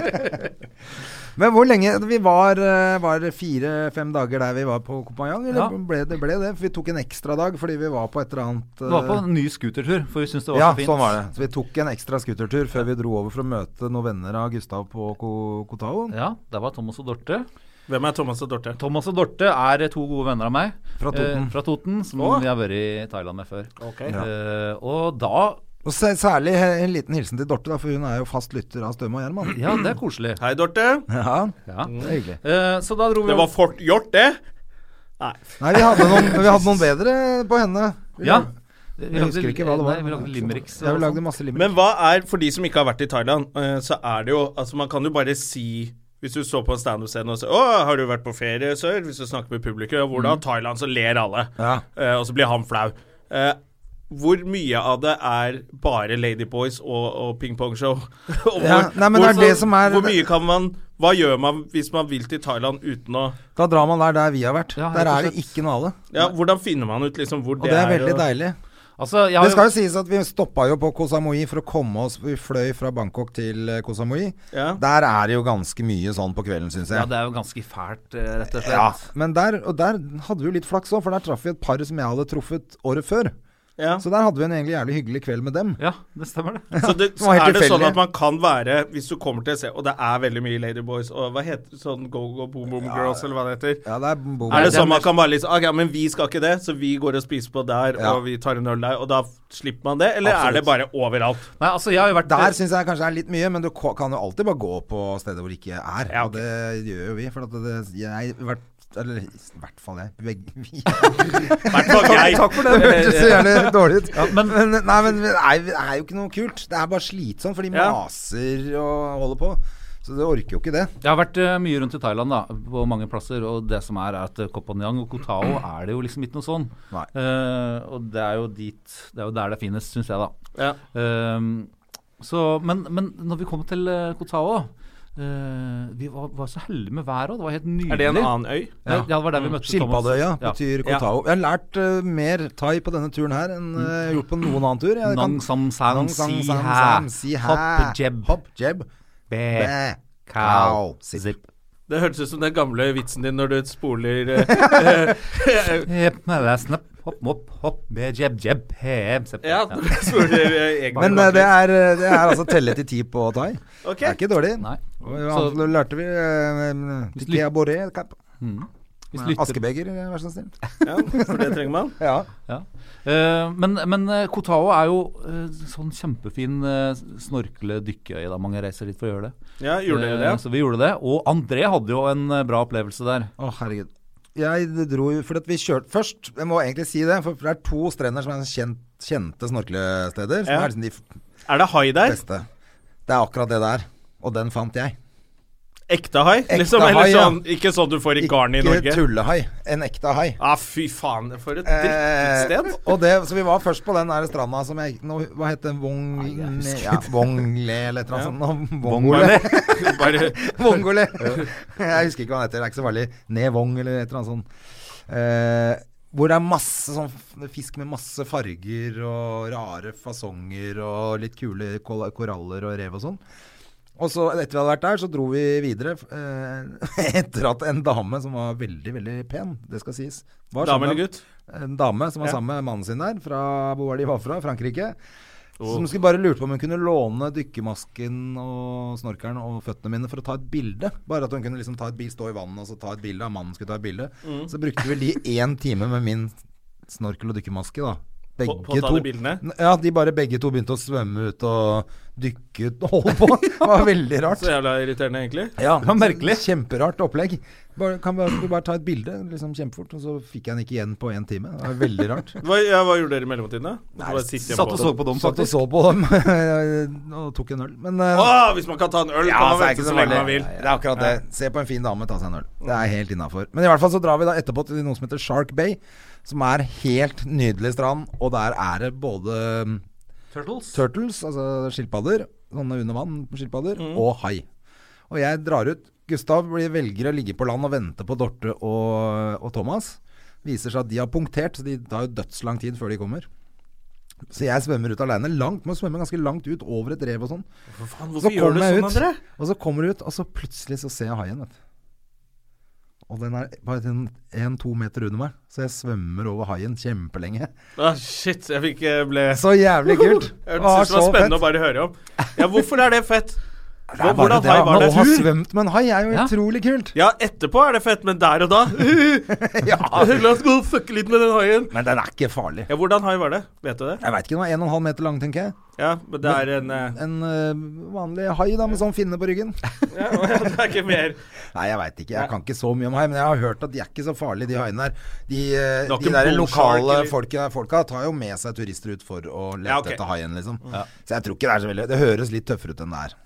Speaker 2: Men hvor lenge Vi var, eh, var fire-fem dager der vi var på Kopanjang, eller
Speaker 3: Ja.
Speaker 2: ble det ble det? For vi tok en ekstra dag fordi vi var på et eller annet
Speaker 3: Det var
Speaker 2: eh,
Speaker 3: på en ny scootertur, for vi syntes det var
Speaker 2: ja,
Speaker 3: så fint.
Speaker 2: sånn var det. Så vi tok en ekstra scootertur før vi dro over for å møte noen venner av Gustav på Ko Kotao.
Speaker 3: Ja, der var Thomas og Dorte.
Speaker 1: Hvem er Thomas og Dorte?
Speaker 3: Thomas og Dorte er eh, to gode venner av meg.
Speaker 2: Fra Toten.
Speaker 3: Eh, fra Toten, som
Speaker 1: Å.
Speaker 3: jeg har vært i Thailand med før.
Speaker 1: Ok.
Speaker 2: Ja.
Speaker 3: Eh, og da
Speaker 2: Og sær- særlig he- en liten hilsen til Dorte, da, for hun er jo fast lytter av Støme og Gjerman.
Speaker 3: Ja, det er koselig.
Speaker 1: Hei, Dorte.
Speaker 2: Ja,
Speaker 3: Ja.
Speaker 2: det er hyggelig.
Speaker 3: Eh, så da dro vi
Speaker 1: Det var fort gjort, det.
Speaker 2: Nei, vi hadde noen, vi hadde noen bedre på henne. Vi
Speaker 3: Ja.
Speaker 2: lag- Jeg husker ikke hva det var.
Speaker 3: Nei, vi lagde limericks.
Speaker 2: Ja,
Speaker 3: og sånn.
Speaker 2: vi lagde
Speaker 3: sånt.
Speaker 2: masse limericks.
Speaker 1: Men hva er For de som ikke har vært i Thailand, eh, så er det jo Altså, man kan jo bare si hvis du står på en standup-scene og sier 'Å, har du vært på ferie, sør?' Hvis du snakker med publikum, hvordan Thailand, så ler alle.
Speaker 2: Mm. Ja.
Speaker 1: Eh, og så blir han flau. Eh, hvor mye av det er bare Ladyboys og, og pingpongshow? Og
Speaker 2: Ja,
Speaker 1: hvor-
Speaker 2: nei, men det er
Speaker 1: hvorfor-
Speaker 2: det som er-
Speaker 1: Hvor mye kan man Hva gjør man hvis man vil til Thailand uten å
Speaker 2: Da drar man der der vi har vært.
Speaker 3: Ja, helt
Speaker 2: der
Speaker 3: og
Speaker 2: er det ikke noe alle.
Speaker 1: Ja, hvordan finner man ut liksom hvor
Speaker 2: Og det er veldig
Speaker 1: og-
Speaker 2: deilig.
Speaker 3: Altså, jeg har
Speaker 2: Det skal
Speaker 3: jo
Speaker 2: jo sies at vi stoppa jo på Koh Samui for å komme oss Vi fløy fra Bangkok til eh, Koh Samui.
Speaker 1: Ja.
Speaker 2: Der er det jo ganske mye sånn på kvelden, syns
Speaker 3: Ja,
Speaker 2: jeg.
Speaker 3: det er jo ganske fælt, eh, rett og slett.
Speaker 2: Ja, men der, og der hadde vi jo litt flaks òg, for der traff vi et par som jeg hadde truffet året før.
Speaker 1: Ja.
Speaker 2: Så der hadde vi en egentlig jævlig hyggelig kveld med dem.
Speaker 3: Ja, det stemmer, det.
Speaker 1: Så det,
Speaker 2: det var helt
Speaker 1: er det sånn
Speaker 2: tilfeldig.
Speaker 1: at man kan være, hvis du kommer til et sted, og det er veldig mye Ladyboys og hva heter sånn Go Go Boom Boom Girls, eller hva det heter
Speaker 2: Ja, det er, bo-
Speaker 1: Er det
Speaker 3: det er
Speaker 1: sånn man
Speaker 3: mer-
Speaker 1: kan bare liksom Ok, men vi skal ikke det, så vi går og spiser på der,
Speaker 2: Ja.
Speaker 1: og vi tar en øl der, og da slipper man det? Eller er det bare overalt?
Speaker 3: Nei, altså, jeg har jo vært
Speaker 2: Der syns jeg kanskje er litt mye, men du ko- kan jo alltid bare gå på steder hvor det ikke er.
Speaker 1: Ja,
Speaker 2: Og
Speaker 1: ok.
Speaker 2: det gjør jo vi. For at det, jeg, i hvert, eller i hvert fall jeg. Begge, vi.
Speaker 1: I hvert fall jeg.
Speaker 2: Takk for det. Det hørtes så jævlig dårlig ut.
Speaker 3: men-
Speaker 2: men, nei, men det er, det er jo ikke noe kult. Det er bare slitsomt, for de
Speaker 1: Ja.
Speaker 2: maser og holder på. Så du orker jo ikke det.
Speaker 3: Jeg har vært eh, mye rundt i Thailand, da, på mange plasser. Og det som er, er at eh, Koh Phangan og Koh Tao er det jo liksom ikke noe sånn.
Speaker 2: Nei.
Speaker 3: Eh, og det er jo dit Det er jo der det er finest, syns jeg, da.
Speaker 1: Ja.
Speaker 3: Ehm, så, men, men når vi kom til eh, Koh Tao eh, Vi var, var så heldige med været òg. Det var helt nydelig.
Speaker 1: Er det en annen øy?
Speaker 3: Ja, ja det var der
Speaker 2: Mm.
Speaker 3: vi møtte
Speaker 2: Skilpaddeøya
Speaker 3: Thomas. Ja.
Speaker 2: betyr Kotao. Jeg har lært eh, mer thai på denne turen her enn eh, jeg har gjort på noen annen tur. Jeg kan-
Speaker 3: Nang sam sang
Speaker 2: Nang sam
Speaker 3: si
Speaker 2: sam
Speaker 3: ha
Speaker 2: sam si ha.
Speaker 3: Hopp jeb Eh.
Speaker 2: Hopp jeb. Eh.
Speaker 3: be
Speaker 2: Bæ.
Speaker 3: kao
Speaker 2: Kao. Zip.
Speaker 3: zip
Speaker 1: Det hørtes ut som den gamle vitsen din når du spoler eh, eh,
Speaker 3: Jep, nei, det er snapp hopp, mopp, hopp, med jeb, jeb, hem, sepp.
Speaker 1: Ja, når du spurte
Speaker 2: Men eh, det er, det er altså telle til ti på thai.
Speaker 1: Ok.
Speaker 2: Det er ikke dårlig.
Speaker 3: Nei.
Speaker 2: Og
Speaker 3: Så-
Speaker 2: Da lærte vi eh,
Speaker 3: Hvis
Speaker 2: Tikea
Speaker 3: lyt-
Speaker 2: boré kap.
Speaker 3: Hvis lytter,
Speaker 2: Askebeger, eh, vær så snill.
Speaker 1: Ja, for det trenger man.
Speaker 2: Ja.
Speaker 3: ja. Eh, men, men eh, Kotao er jo eh, sånn kjempefin eh, snorkle-dykkeøye. da. Mange reiser dit for å gjøre det.
Speaker 1: Ja, gjorde dere
Speaker 3: Eh,
Speaker 1: det?
Speaker 3: Så vi gjorde det. Og André hadde jo en eh, bra opplevelse der.
Speaker 2: Å, herregud. Jeg dro jo Fordi at vi kjørte først Jeg må egentlig si det, for det er to strender som er kjent, kjente snorklesteder. Som
Speaker 1: Ja.
Speaker 2: er liksom de f-
Speaker 1: Er det hai der?
Speaker 2: beste. Det er akkurat det der. Og den fant jeg.
Speaker 1: Ekte hai?
Speaker 2: Ekte
Speaker 1: Liksom,
Speaker 2: hai,
Speaker 1: eller
Speaker 2: ja.
Speaker 1: sånn, ikke sånn du får i garn i
Speaker 2: Ikke
Speaker 1: Norge?
Speaker 2: tullehai. En ekte hai.
Speaker 1: Ah, fy faen, for et
Speaker 2: Eh,
Speaker 1: drittsted.
Speaker 2: og det, så vi var først på den der stranda som jeg nå, Hva het den? Vong... Ja, Vongle eller et eller annet sånt. Vongole.
Speaker 1: Bare
Speaker 2: Vongole. Jeg husker ikke hva den heter. Det er ikke så farlig. Nevong eller et eller annet sånt. Eh, hvor det er masse sånn f- fisk med masse farger og rare fasonger og litt kule kol- koraller og rev og sånn. Og så etter vi hadde vært der, så dro vi videre eh, etter at en dame som var veldig, veldig pen, det skal sies var
Speaker 1: dame
Speaker 2: sammen-
Speaker 1: eller gutt?
Speaker 2: en dame som var
Speaker 1: Ja.
Speaker 2: sammen med mannen sin der, fra hvor var de var fra, Frankrike.
Speaker 1: Oh.
Speaker 2: Som skulle bare lurte på om hun kunne låne dykkermasken og snorkelen og føttene mine for å ta et bilde. Bare at hun kunne liksom ta et bil, stå i vannet og så ta et bilde, og mannen skulle ta et bilde.
Speaker 1: Mm.
Speaker 2: Så brukte vel de én time med min snorkel og dykkermaske, da. Begge
Speaker 1: På- på å ta de bildene?
Speaker 2: N- Ja, de bare begge to begynte å svømme ut og dykke ut og holde på. Det var veldig rart.
Speaker 1: Så jævla irriterende, egentlig.
Speaker 2: Ja,
Speaker 3: Det var merkelig.
Speaker 2: så Kjemperart opplegg. Bare, kan bare, skulle bare ta et bilde liksom kjempefort, og så fikk jeg den ikke igjen på én time. Det var veldig rart.
Speaker 1: Hva, ja, hva gjorde dere i mellomtiden, da? Bare sitte hjemme
Speaker 3: Satt og
Speaker 1: på-
Speaker 3: så på dem,
Speaker 2: Satt og
Speaker 3: faktisk.
Speaker 2: så på dem og tok en øl. Men eh,
Speaker 1: Åh, hvis man kan ta en øl, kan man
Speaker 2: så er
Speaker 1: vente
Speaker 2: ikke
Speaker 1: så
Speaker 2: så
Speaker 1: lenge
Speaker 2: farlig.
Speaker 1: man vil. Mm.
Speaker 2: Det er akkurat det. Se på en fin dame, ta seg en øl. Det er helt innafor. Men i hvert fall så drar vi da etterpå til noe som heter Shark Bay, som er helt nydelig strand. Og der er det både mm,
Speaker 3: Turtles.
Speaker 2: turtles, altså skilpadder, sånne under vann skilpadder,
Speaker 1: Mm.
Speaker 2: og hai. Og jeg drar ut. Gustav blir, velger å ligge på land og vente på Dorte og, og Thomas. Viser seg at de har punktert, så de tar jo dødslang tid før de kommer. Så jeg svømmer ut aleine. Langt, må svømme ganske langt ut, over et rev og sånn.
Speaker 1: Faen,
Speaker 2: Så
Speaker 1: hvorfor gjør du
Speaker 2: kommer jeg
Speaker 1: sånn,
Speaker 2: ut,
Speaker 1: André?
Speaker 2: og så kommer jeg ut, og så plutselig så ser jeg haien, vet du. Og den er bare én-to meter under meg, så jeg svømmer over haien kjempelenge.
Speaker 1: Ah, shit, jeg fikk eh, ble
Speaker 2: Så jævlig kult!
Speaker 1: Jeg synes
Speaker 2: Å,
Speaker 1: det var
Speaker 2: så
Speaker 1: spennende å
Speaker 2: fett.
Speaker 1: bare høre om. Ja, hvorfor er det fett?
Speaker 2: Det er bare
Speaker 1: Hvordan
Speaker 2: det,
Speaker 1: hai var
Speaker 2: Å
Speaker 1: det?
Speaker 2: ha svømt med en hai er jo
Speaker 3: Ja.
Speaker 2: utrolig kult.
Speaker 1: Ja, etterpå er det fett, men der og da
Speaker 2: Ja.
Speaker 1: La oss gå og fucke litt med den haien.
Speaker 2: Men den er ikke farlig.
Speaker 1: Ja, hvordan hai var det? Vet du det?
Speaker 2: Jeg veit ikke, den var 1,5 meter lang, tenker jeg.
Speaker 1: Ja, men det er en eh,
Speaker 2: En eh, vanlig hai da, med sånn finne på ryggen.
Speaker 1: ja, ja, Det er ikke mer
Speaker 2: Nei, jeg veit ikke. Jeg kan ikke så mye om hai, men jeg har hørt at de er ikke så farlige, de haiene der. De,
Speaker 1: Det
Speaker 2: eh,
Speaker 1: er
Speaker 2: de
Speaker 1: ikke
Speaker 2: der
Speaker 1: bull shark,
Speaker 2: lokale
Speaker 1: eller-
Speaker 2: folka, folka tar jo med seg turister ut for å lete
Speaker 1: Ja, Mm. ok.
Speaker 2: etter haien, liksom. Så jeg tror ikke det er så veldig Det høres litt tøffere ut enn det er.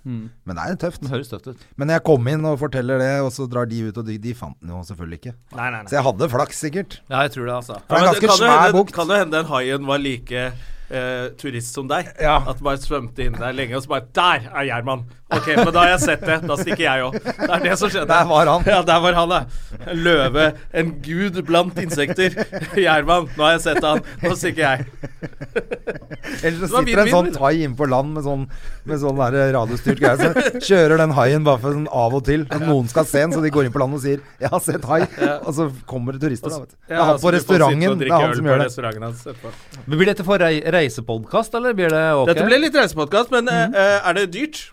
Speaker 2: Men det er jo tøft.
Speaker 3: Den høres tøft ut.
Speaker 2: Men jeg kom inn og forteller det, og så drar de ut, og de, de fant den jo selvfølgelig ikke.
Speaker 1: Nei, nei,
Speaker 2: Så jeg hadde flaks, sikkert.
Speaker 3: Ja, jeg tror det, altså.
Speaker 2: For det er en ganske svær bukt.
Speaker 1: Kan det hende den haien var like eh, turist som deg?
Speaker 2: Ja.
Speaker 1: At bare svømte inn der lenge, og så bare Der er Gjerman! Ok, men da har jeg sett det. Da stikker jeg òg. Det er det som skjedde.
Speaker 2: Der var han.
Speaker 1: Ja, der var han, da. En løve. En gud blant insekter. Gjerman, nå har jeg sett han. Nå stikker jeg.
Speaker 2: Eller
Speaker 1: Det var
Speaker 2: så sitter en sånn
Speaker 1: vinn-vinn.
Speaker 2: thai inne på land med sånn, med sånn der radiostyrt greie. Så kjører den haien bare for sånn av og til. At noen skal se den, så de går inn på land og sier 'Jeg har sett hai'. Og så kommer det turister, da. Vet. du. Det er
Speaker 1: Ja,
Speaker 2: han
Speaker 1: så
Speaker 2: på
Speaker 1: du får sitte og
Speaker 2: restauranten. Det
Speaker 1: drikke
Speaker 2: er
Speaker 1: øl
Speaker 2: han som
Speaker 1: på
Speaker 2: gjør det.
Speaker 1: restauranten hans etterpå.
Speaker 3: Men Blir dette for rei reisepodkast, eller blir det ok?
Speaker 1: Dette ble litt reisepodkast, men
Speaker 2: Mm.
Speaker 1: eh, eh, er det dyrt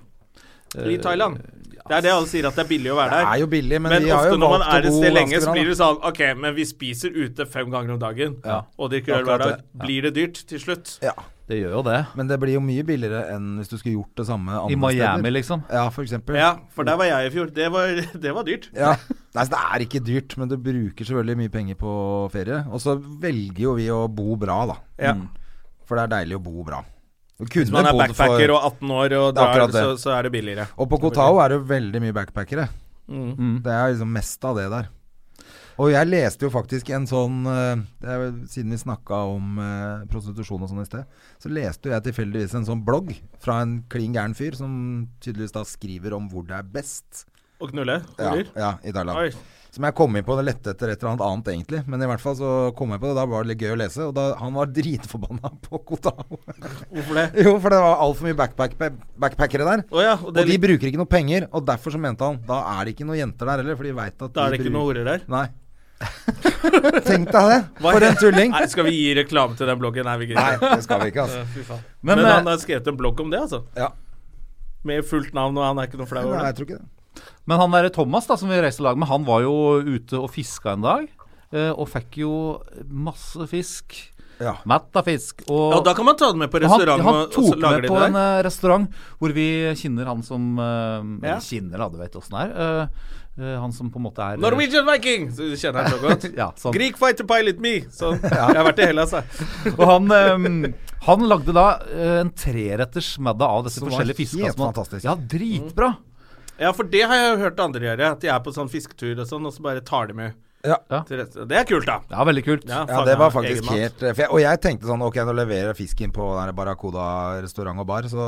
Speaker 1: i Thailand? Det er det alle sier, at det er billig å være
Speaker 2: Eh, Det
Speaker 1: der.
Speaker 2: er jo billig, men,
Speaker 1: Men
Speaker 2: de har
Speaker 1: ofte
Speaker 2: jo
Speaker 1: når man
Speaker 2: valgt
Speaker 1: er
Speaker 2: å
Speaker 1: et
Speaker 2: bo
Speaker 1: sted lenge, så
Speaker 2: bra,
Speaker 1: blir
Speaker 2: da.
Speaker 1: det sånn OK, men vi spiser ute fem ganger om dagen, og drikker øl hver
Speaker 2: Akkurat
Speaker 1: dag. Blir det dyrt til slutt?
Speaker 2: Ja,
Speaker 3: Det gjør jo det.
Speaker 2: men det blir jo mye billigere enn hvis du skulle gjort det samme andre
Speaker 3: I Miami,
Speaker 2: steder.
Speaker 3: liksom.
Speaker 2: Ja, for eksempel.
Speaker 1: Ja, for der var jeg i fjor. Det var, det var dyrt.
Speaker 2: Ja. Nei, så det er ikke dyrt, men du bruker selvfølgelig mye penger på ferie. Og så velger jo vi å bo bra, da.
Speaker 1: Ja.
Speaker 2: For det er deilig å bo bra. Du kunne
Speaker 1: Hvis Mm. man er
Speaker 2: bodd for-
Speaker 1: backpacker og 18 år, og
Speaker 2: Det er
Speaker 1: drar,
Speaker 2: akkurat det.
Speaker 1: så, så er det billigere.
Speaker 2: Og på Kotao er det jo veldig mye backpackere.
Speaker 1: Mm.
Speaker 2: Det er liksom mest av det der. Og jeg leste jo faktisk en sånn eh, det er, vel- Siden vi snakka om eh, prostitusjon og sånn i sted, så leste jo jeg tilfeldigvis en sånn blogg fra en klin gæren fyr som tydeligvis da skriver om hvor det er best
Speaker 1: Å knulle?
Speaker 2: ja,
Speaker 1: Horer?
Speaker 2: ja, i
Speaker 1: Oi.
Speaker 2: Thailand. Som jeg kom inn på og lette etter et eller annet annet, egentlig. Men i hvert fall så kom jeg på det, da var det litt gøy å lese. Og da, han var dritforbanna på Kotao.
Speaker 1: Hvorfor det?
Speaker 2: jo, for det var altfor mye backpack, backpackere der.
Speaker 1: Å ja, og det
Speaker 2: Og
Speaker 1: er
Speaker 2: de
Speaker 1: litt,
Speaker 2: bruker ikke noe penger, og derfor så mente han da er det ikke noen jenter der heller, for de veit at
Speaker 1: da er det
Speaker 2: de
Speaker 1: ikke noen horer der.
Speaker 2: Nei. Tenk deg det. For en tulling.
Speaker 1: Nei, skal vi gi reklame til den bloggen? Nei, vi
Speaker 2: Nei,
Speaker 1: gidder ikke.
Speaker 2: det skal vi ikke, altså.
Speaker 1: Fy faen.
Speaker 3: Men,
Speaker 1: Men,
Speaker 3: eh,
Speaker 1: han har skrevet en blogg om det, altså.
Speaker 2: Ja.
Speaker 1: Med fullt navn, og han er ikke noe flau
Speaker 2: Nei,
Speaker 1: over
Speaker 2: jeg
Speaker 1: det.
Speaker 2: tror ikke det.
Speaker 3: Men han derre Thomas da, som vi reiste lag med, han var jo ute og fiska en dag. eh, Og fikk jo masse fisk.
Speaker 2: Ja.
Speaker 3: Matta fisk. Og,
Speaker 1: Ja, da kan man ta den med på
Speaker 3: og han,
Speaker 1: restaurant,
Speaker 3: han
Speaker 1: og- og
Speaker 3: tok
Speaker 1: så
Speaker 3: med
Speaker 1: lager de
Speaker 3: på
Speaker 1: det
Speaker 3: en
Speaker 1: der.
Speaker 3: eh, restaurant hvor vi kjenner han som eh,
Speaker 1: Ja.
Speaker 3: Eller kjenner, da, du vet åssen det er. eh, eh, han som på en måte er
Speaker 1: Norwegian Viking! Så du kjenner han så godt.
Speaker 3: Ja, sånn.
Speaker 1: Greek fighter pilot me! Sånn. Jeg har vært i Hellas, jeg.
Speaker 3: Og han, ehm, han lagde da eh, en treretters madda av disse
Speaker 2: Som var
Speaker 3: forskjellige fiskene.
Speaker 2: helt
Speaker 3: som han-
Speaker 2: fantastisk.
Speaker 3: Ja, dritbra.
Speaker 1: Ja, for det har jeg jo hørt andre gjøre. At de er på sånn fisketur og sånn, og så bare tar de med.
Speaker 2: Ja.
Speaker 1: til rett- Det er kult, da.
Speaker 3: Ja, veldig kult.
Speaker 1: Ja,
Speaker 2: Ja, det var
Speaker 1: fanger
Speaker 2: faktisk
Speaker 1: egen mat.
Speaker 2: helt eh, for jeg, Og jeg tenkte sånn Ok, nå leverer jeg fisken på den der Barracuda restaurant og bar, så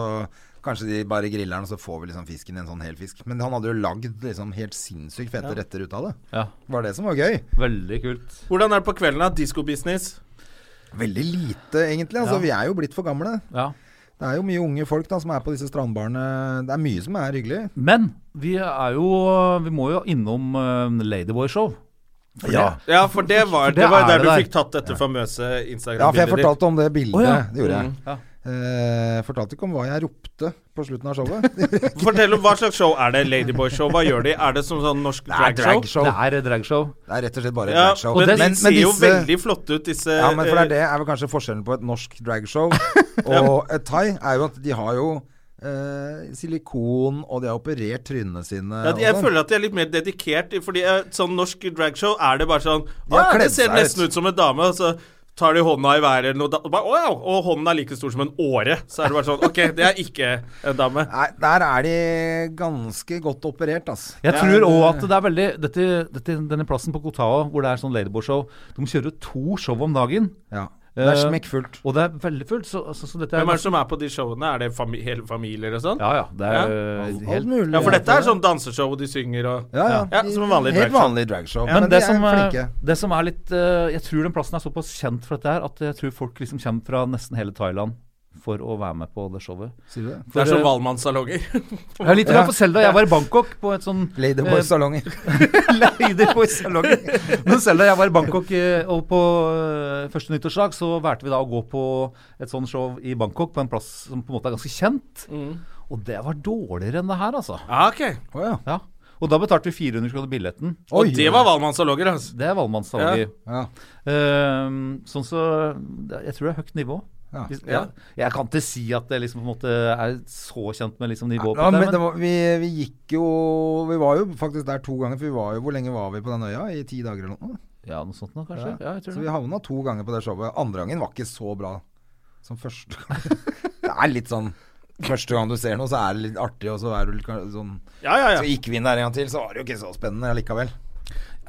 Speaker 2: kanskje de bare griller den, og så får vi liksom fisken i en sånn hel fisk. Men han hadde jo lagd liksom helt sinnssykt fete retter ut av det.
Speaker 3: Ja,
Speaker 2: Var det som var gøy.
Speaker 3: Veldig kult.
Speaker 1: Hvordan er det på kvelden, da? Disko-business?
Speaker 2: Veldig lite, egentlig. Altså,
Speaker 3: Ja.
Speaker 2: Vi er jo blitt for gamle.
Speaker 3: Ja.
Speaker 2: Det er jo mye unge folk da som er på disse strandbarene. Det er mye som er hyggelig.
Speaker 3: Men vi er jo Vi må jo innom eh, Ladyboy-show. For
Speaker 2: Ja.
Speaker 3: det-
Speaker 1: Ja, for det var,
Speaker 3: For det
Speaker 1: det var
Speaker 3: er
Speaker 1: der
Speaker 3: det
Speaker 1: du
Speaker 3: der.
Speaker 1: fikk tatt dette famøse
Speaker 2: Ja, for jeg
Speaker 1: Instagram-bildet ditt.
Speaker 2: fortalte om det bildet.
Speaker 3: Å, ja. Mm.
Speaker 2: Det gjorde jeg.
Speaker 3: Ja.
Speaker 2: Eh, fortalte ikke om hva jeg ropte på slutten av showet.
Speaker 1: Fortell om hva slags show er det? Ladyboy-show? Hva gjør de? Er det som sånn norsk
Speaker 2: er
Speaker 1: dragshow?
Speaker 2: dragshow.
Speaker 3: Det er et dragshow.
Speaker 2: Det er rett og slett bare
Speaker 1: Ja,
Speaker 2: dragshow.
Speaker 1: men, de ser jo
Speaker 2: disse-
Speaker 1: veldig flotte ut, disse
Speaker 2: Ja, men for det er,
Speaker 1: eh,
Speaker 2: det er vel kanskje forskjellen på et norsk dragshow og et thai, er jo at de har jo eh, silikon, og de har operert trynene sine.
Speaker 1: Ja, de- jeg
Speaker 2: og sånn.
Speaker 1: føler at de er litt mer dedikert, fordi eh, sånn norsk dragshow er det bare sånn
Speaker 2: De har
Speaker 1: «Å, Det
Speaker 2: kledd
Speaker 1: ser
Speaker 2: seg
Speaker 1: nesten
Speaker 2: ut.»
Speaker 1: ut som en dame, og så tar de hånda i været eller noe da, og bare, «Å, ja, Og hånden er like stor som en åre. Så er det bare sånn OK, det er ikke en dame.
Speaker 2: Nei, der er de ganske godt operert, altså.
Speaker 3: Jeg tror òg at det er veldig dette, dette, Denne plassen på Kotao hvor det er sånn Ladyboy-show, de kjører jo to show om dagen.
Speaker 2: Ja. Det er
Speaker 3: Eh,
Speaker 2: smekkfullt.
Speaker 3: Og det er veldig fullt. Så, så, så dette er
Speaker 1: Hvem er det som er på de showene? Er det fami hele familier og sånn?
Speaker 3: Ja ja. Det er eh,
Speaker 2: Alt
Speaker 3: helt
Speaker 2: mulig.
Speaker 1: Ja, for dette er sånn danseshow, og de synger og
Speaker 2: ja, ja.
Speaker 1: Ja, som en vanlig
Speaker 2: Helt
Speaker 1: dragshow.
Speaker 2: vanlig dragshow.
Speaker 3: men,
Speaker 2: men
Speaker 3: det,
Speaker 2: de er
Speaker 3: som, eh,
Speaker 2: flinke.
Speaker 3: det som er litt eh, Jeg tror den plassen er såpass kjent for dette her at jeg tror folk liksom kommer fra nesten hele Thailand for å være med på det showet.
Speaker 2: Sier du det?
Speaker 1: Det
Speaker 3: For,
Speaker 1: er sånn som
Speaker 3: eh,
Speaker 1: Valmannsalonger.
Speaker 3: Ja, litt grann for Selda. Jeg var i Bangkok på et sånn
Speaker 1: eh,
Speaker 2: Ladyboy-salonger.
Speaker 3: Ladyboy-salong. Men Selda, jeg var i Bangkok, eh, og på eh, første nyttårsdag så valgte vi da å gå på et sånn show i Bangkok, på en plass som på en måte er ganske kjent.
Speaker 2: Mm.
Speaker 3: Og det var dårligere enn det her, altså.
Speaker 1: Ja, ok.
Speaker 2: Å ja.
Speaker 3: Ja. Og da betalte vi 400 kroner billetten.
Speaker 2: Oi.
Speaker 1: Og det var Valmannsalonger, altså.
Speaker 3: Det er valgmannssalget.
Speaker 2: Ja.
Speaker 3: Ehm, sånn så det- Jeg tror det er høyt nivå.
Speaker 2: Ja.
Speaker 3: Hvis- ja. Jeg kan ikke si at det liksom på en måte er så kjent med liksom nivået
Speaker 2: Ja,
Speaker 3: på det,
Speaker 2: men
Speaker 3: men,
Speaker 2: det var, vi, vi gikk jo Vi var jo faktisk der to ganger, for vi var jo Hvor lenge var vi på den øya? I ti dager eller noe?
Speaker 3: Ja, noe sånt nå, kanskje. Ja, jeg tror
Speaker 2: Så vi
Speaker 3: det.
Speaker 2: havna to ganger på det showet. Andre gangen var ikke så bra som første gang. det er litt sånn Første gang du ser noe, så er det litt artig, og så er du litt kan- sånn
Speaker 1: Ja, ja,
Speaker 2: Så
Speaker 1: ja.
Speaker 2: gikk vi inn der en gang til, så var det jo ikke så spennende likevel.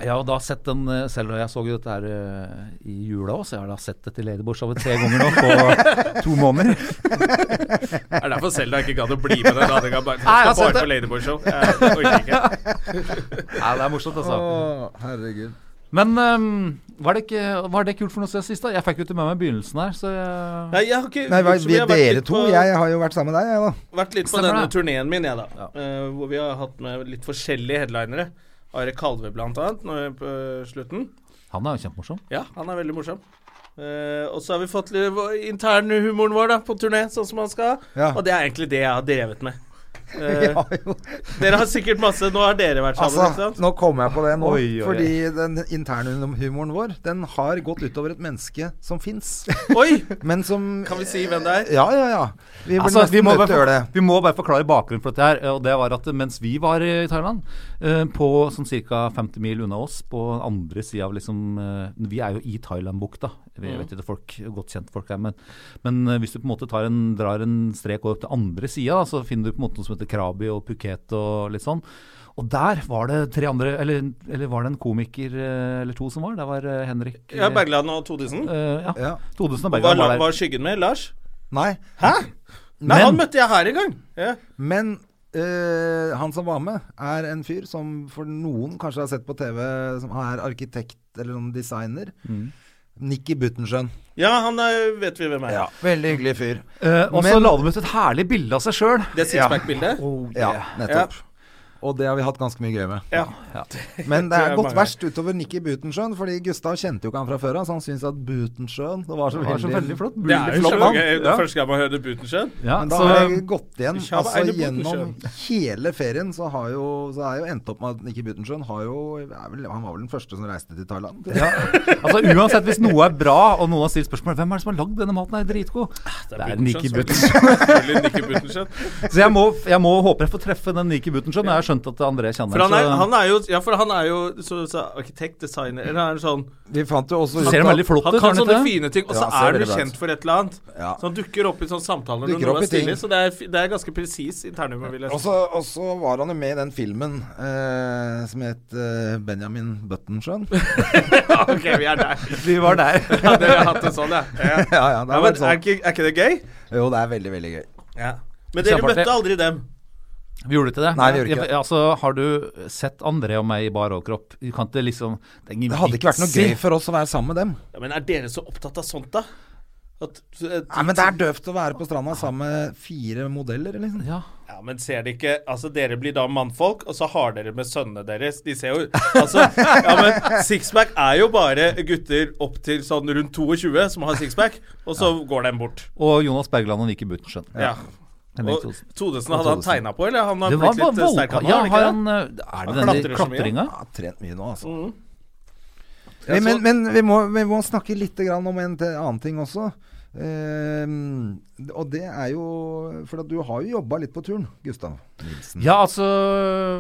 Speaker 3: Jeg har da sett den eh, selv, og jeg så jo dette her eh, i jula òg, så jeg har da sett dette Ladyboy-showet tre ganger nå på to måneder.
Speaker 1: Det er derfor Selda ikke gadd å bli med den andre gangen. Bare,
Speaker 3: Nei, jeg har
Speaker 1: skal
Speaker 2: altså,
Speaker 3: sett
Speaker 1: bare
Speaker 3: det.
Speaker 1: på Ladyboy-show. Jeg orker ikke.
Speaker 3: Ja, det er morsomt, altså.
Speaker 2: Å, herregud.
Speaker 3: Men ehm, var, det ikke, var det kult for noe siden sist, da? Jeg fikk jo ikke med meg begynnelsen her, så jeg
Speaker 1: Nei, jeg har ikke
Speaker 2: Nei, hva-
Speaker 1: så vi har
Speaker 2: vi,
Speaker 1: vært
Speaker 2: dere
Speaker 1: litt
Speaker 2: to.
Speaker 1: på-
Speaker 2: Jeg har jo vært sammen med deg, jeg, da.
Speaker 1: vært litt på
Speaker 3: Stemmer
Speaker 1: denne
Speaker 3: det.
Speaker 1: turneen min, jeg, da. Eh, hvor vi har hatt med litt forskjellige headlinere. Are Kalve, blant annet, nå på slutten.
Speaker 3: Han er jo kjempemorsom.
Speaker 1: Ja, han er veldig morsom. Eh, og så har vi fått litt internhumoren vår da, på turné, sånn som man skal.
Speaker 2: Ja.
Speaker 1: Og det er egentlig det jeg har drevet med. Eh,
Speaker 2: Vi har jo
Speaker 1: Dere har sikkert masse Nå har dere vært sammen, ikke
Speaker 2: Altså,
Speaker 1: sant?
Speaker 2: nå kommer jeg på det nå.
Speaker 3: Oi, oi, oi.
Speaker 2: Fordi den interne humoren vår, den har gått utover et menneske som fins.
Speaker 1: Oi!
Speaker 2: Men som
Speaker 1: Kan vi si hvem det er?
Speaker 2: Ja, ja, ja. Vi burde
Speaker 3: Altså,
Speaker 2: nesten
Speaker 3: vi, må
Speaker 2: nødt til å gjøre
Speaker 3: bare,
Speaker 2: det.
Speaker 3: vi må bare forklare bakgrunnen for dette her. Og det var at mens vi var i Thailand, eh, på sånn ca. 50 mil unna oss, på den andre sida av liksom eh, Vi er jo i Thailandbukta.
Speaker 2: Mm.
Speaker 3: Vi vet ikke folk, godt kjent folk her, men, men eh, hvis du på en måte tar en, drar en strek over til andre sida, så finner du på en måte noe som heter Krabi og Phuket og litt sånn. Og der var det tre andre Eller, eller var det en komiker eh, eller to som var? Der var eh, Henrik
Speaker 1: Ja,
Speaker 3: eh,
Speaker 1: Bergland og Todesen.
Speaker 3: eh, ja.
Speaker 2: Ja.
Speaker 3: Todesen og
Speaker 1: Hva
Speaker 3: Bergland var der.
Speaker 1: var skyggen med? Lars?
Speaker 2: Nei.
Speaker 1: Hæ? Nei,
Speaker 3: Men-
Speaker 1: han møtte jeg her en gang. Ja.
Speaker 2: Men eh, han som var med, er en fyr som for noen kanskje har sett på TV, som er arkitekt eller sånn designer.
Speaker 3: Mm.
Speaker 2: Nikki Buttensjøen.
Speaker 1: Ja, han er, vet vi hvem er.
Speaker 2: Veldig hyggelig fyr.
Speaker 3: Eh, og så
Speaker 2: Men-
Speaker 3: la de ut et herlig bilde av seg sjøl.
Speaker 1: Det sixpack-bildet.
Speaker 2: Ja, nettopp. Og det har vi hatt ganske mye gøy med.
Speaker 1: Ja.
Speaker 2: Men
Speaker 1: tror
Speaker 2: det er
Speaker 1: jeg
Speaker 2: gått
Speaker 1: mange-
Speaker 2: verst utover Nikki Butenschøn, fordi Gustav kjente jo ikke han fra før av, så han syntes at Butenschøn Det var så
Speaker 3: Det var så veldig
Speaker 2: veldig
Speaker 3: flott.
Speaker 1: Det er
Speaker 3: Veldig
Speaker 1: jo
Speaker 3: flott
Speaker 1: kjempegøy.
Speaker 3: navn.
Speaker 1: Det er første gang man hører Butenschøn.
Speaker 3: Ja,
Speaker 2: Men da
Speaker 3: så,
Speaker 2: har jeg gått igjen
Speaker 1: Kjava
Speaker 2: altså
Speaker 1: Eine
Speaker 2: gjennom hele ferien, så har jo Så er jo endt opp med at Nikki Butenschøn har jo er vel, Han var vel den første som reiste til Thailand?
Speaker 3: ja. Altså Uansett, hvis noe er bra, og noen har stilt spørsmål Hvem er det som har lagd denne maten? er dritgod.
Speaker 2: Ah,
Speaker 3: Det er Nikki Butenschøn.
Speaker 1: Selvfølgelig Nikki Butenschøn.
Speaker 3: Så jeg må, jeg må håpe jeg får treffe den Niki Butenschøn. Jeg har skjønt at André kjenner
Speaker 1: For han er,
Speaker 2: Altså-
Speaker 3: så-
Speaker 1: han er jo, ja, for han er jo så, så arkitekt, designer Eller han er sånn
Speaker 2: Vi fant jo også
Speaker 3: Han ser veldig flott ut.
Speaker 1: Han
Speaker 3: har
Speaker 1: kan
Speaker 3: han
Speaker 1: sånne
Speaker 3: ikke det?
Speaker 1: fine ting, og så
Speaker 2: Ja, han ser
Speaker 1: er du
Speaker 2: veldig bra ut.
Speaker 1: kjent for et eller annet.
Speaker 2: Ja.
Speaker 1: Så han dukker opp i sånne samtaler når
Speaker 2: Dukker
Speaker 1: noe
Speaker 2: opp
Speaker 1: er
Speaker 2: i ting.
Speaker 1: stille. Så det er, det er ganske presis internum, vil jeg
Speaker 2: Og
Speaker 1: si.
Speaker 2: så, og så var han jo med i den filmen eh, som het eh, Benjamin Buttonsjøen.
Speaker 1: Ja, ok, vi er der.
Speaker 3: Vi var der.
Speaker 1: Ja, dere har hatt det sånn, ja. ja.
Speaker 2: ja, ja, det
Speaker 1: Ja,
Speaker 2: har
Speaker 1: men er
Speaker 2: vært sånn.
Speaker 1: ikke, er ikke det gøy?
Speaker 2: Jo, det er veldig, veldig gøy.
Speaker 1: Ja. Men dere
Speaker 3: Kjempeartig.
Speaker 1: møtte aldri dem.
Speaker 3: Vi gjorde ikke det.
Speaker 2: Nei, vi gjorde ikke det.
Speaker 3: Jeg- Altså, har du sett André og meg i bar overkropp? Du kan ikke liksom Det, er ingen
Speaker 2: Det hadde ikke vært noe
Speaker 3: vits i.
Speaker 2: gøy for oss å være sammen med dem.
Speaker 1: Ja, men er dere så opptatt av sånt, da? At,
Speaker 2: Nei, Men det er døvt å være på stranda sammen med fire modeller, liksom.
Speaker 3: Ja.
Speaker 1: Ja, men ser de ikke Altså, dere blir da mannfolk, og så har dere med sønnene deres. De ser jo Altså, ja, men sixpack er jo bare gutter opp til sånn rundt 22 som har sixpack, og så går den bort.
Speaker 3: Og Jonas Bergland og Niki Butenschøn.
Speaker 1: Ja.
Speaker 3: Henrik
Speaker 1: Og
Speaker 3: Thodesen.
Speaker 1: Todesen hadde han tegna på, eller? Han har
Speaker 3: Det var
Speaker 1: blitt
Speaker 3: bare
Speaker 1: litt eh,
Speaker 3: vold...
Speaker 1: sterk, han,
Speaker 3: Ja,
Speaker 1: har han
Speaker 3: har
Speaker 1: ikke det?
Speaker 3: han eh, Er det
Speaker 1: Han
Speaker 3: denne
Speaker 1: klatrer så mye.
Speaker 3: klatringa?
Speaker 2: Jeg har trent mye nå, altså.
Speaker 1: Ja,
Speaker 2: Men,
Speaker 1: så-
Speaker 2: men, men vi, må, vi må snakke litt grann om en til, annen ting også. Ehm, og det er jo For at du har jo jobba litt på turen, Gustav
Speaker 1: Mm.
Speaker 2: Nilsen.
Speaker 3: Ja, altså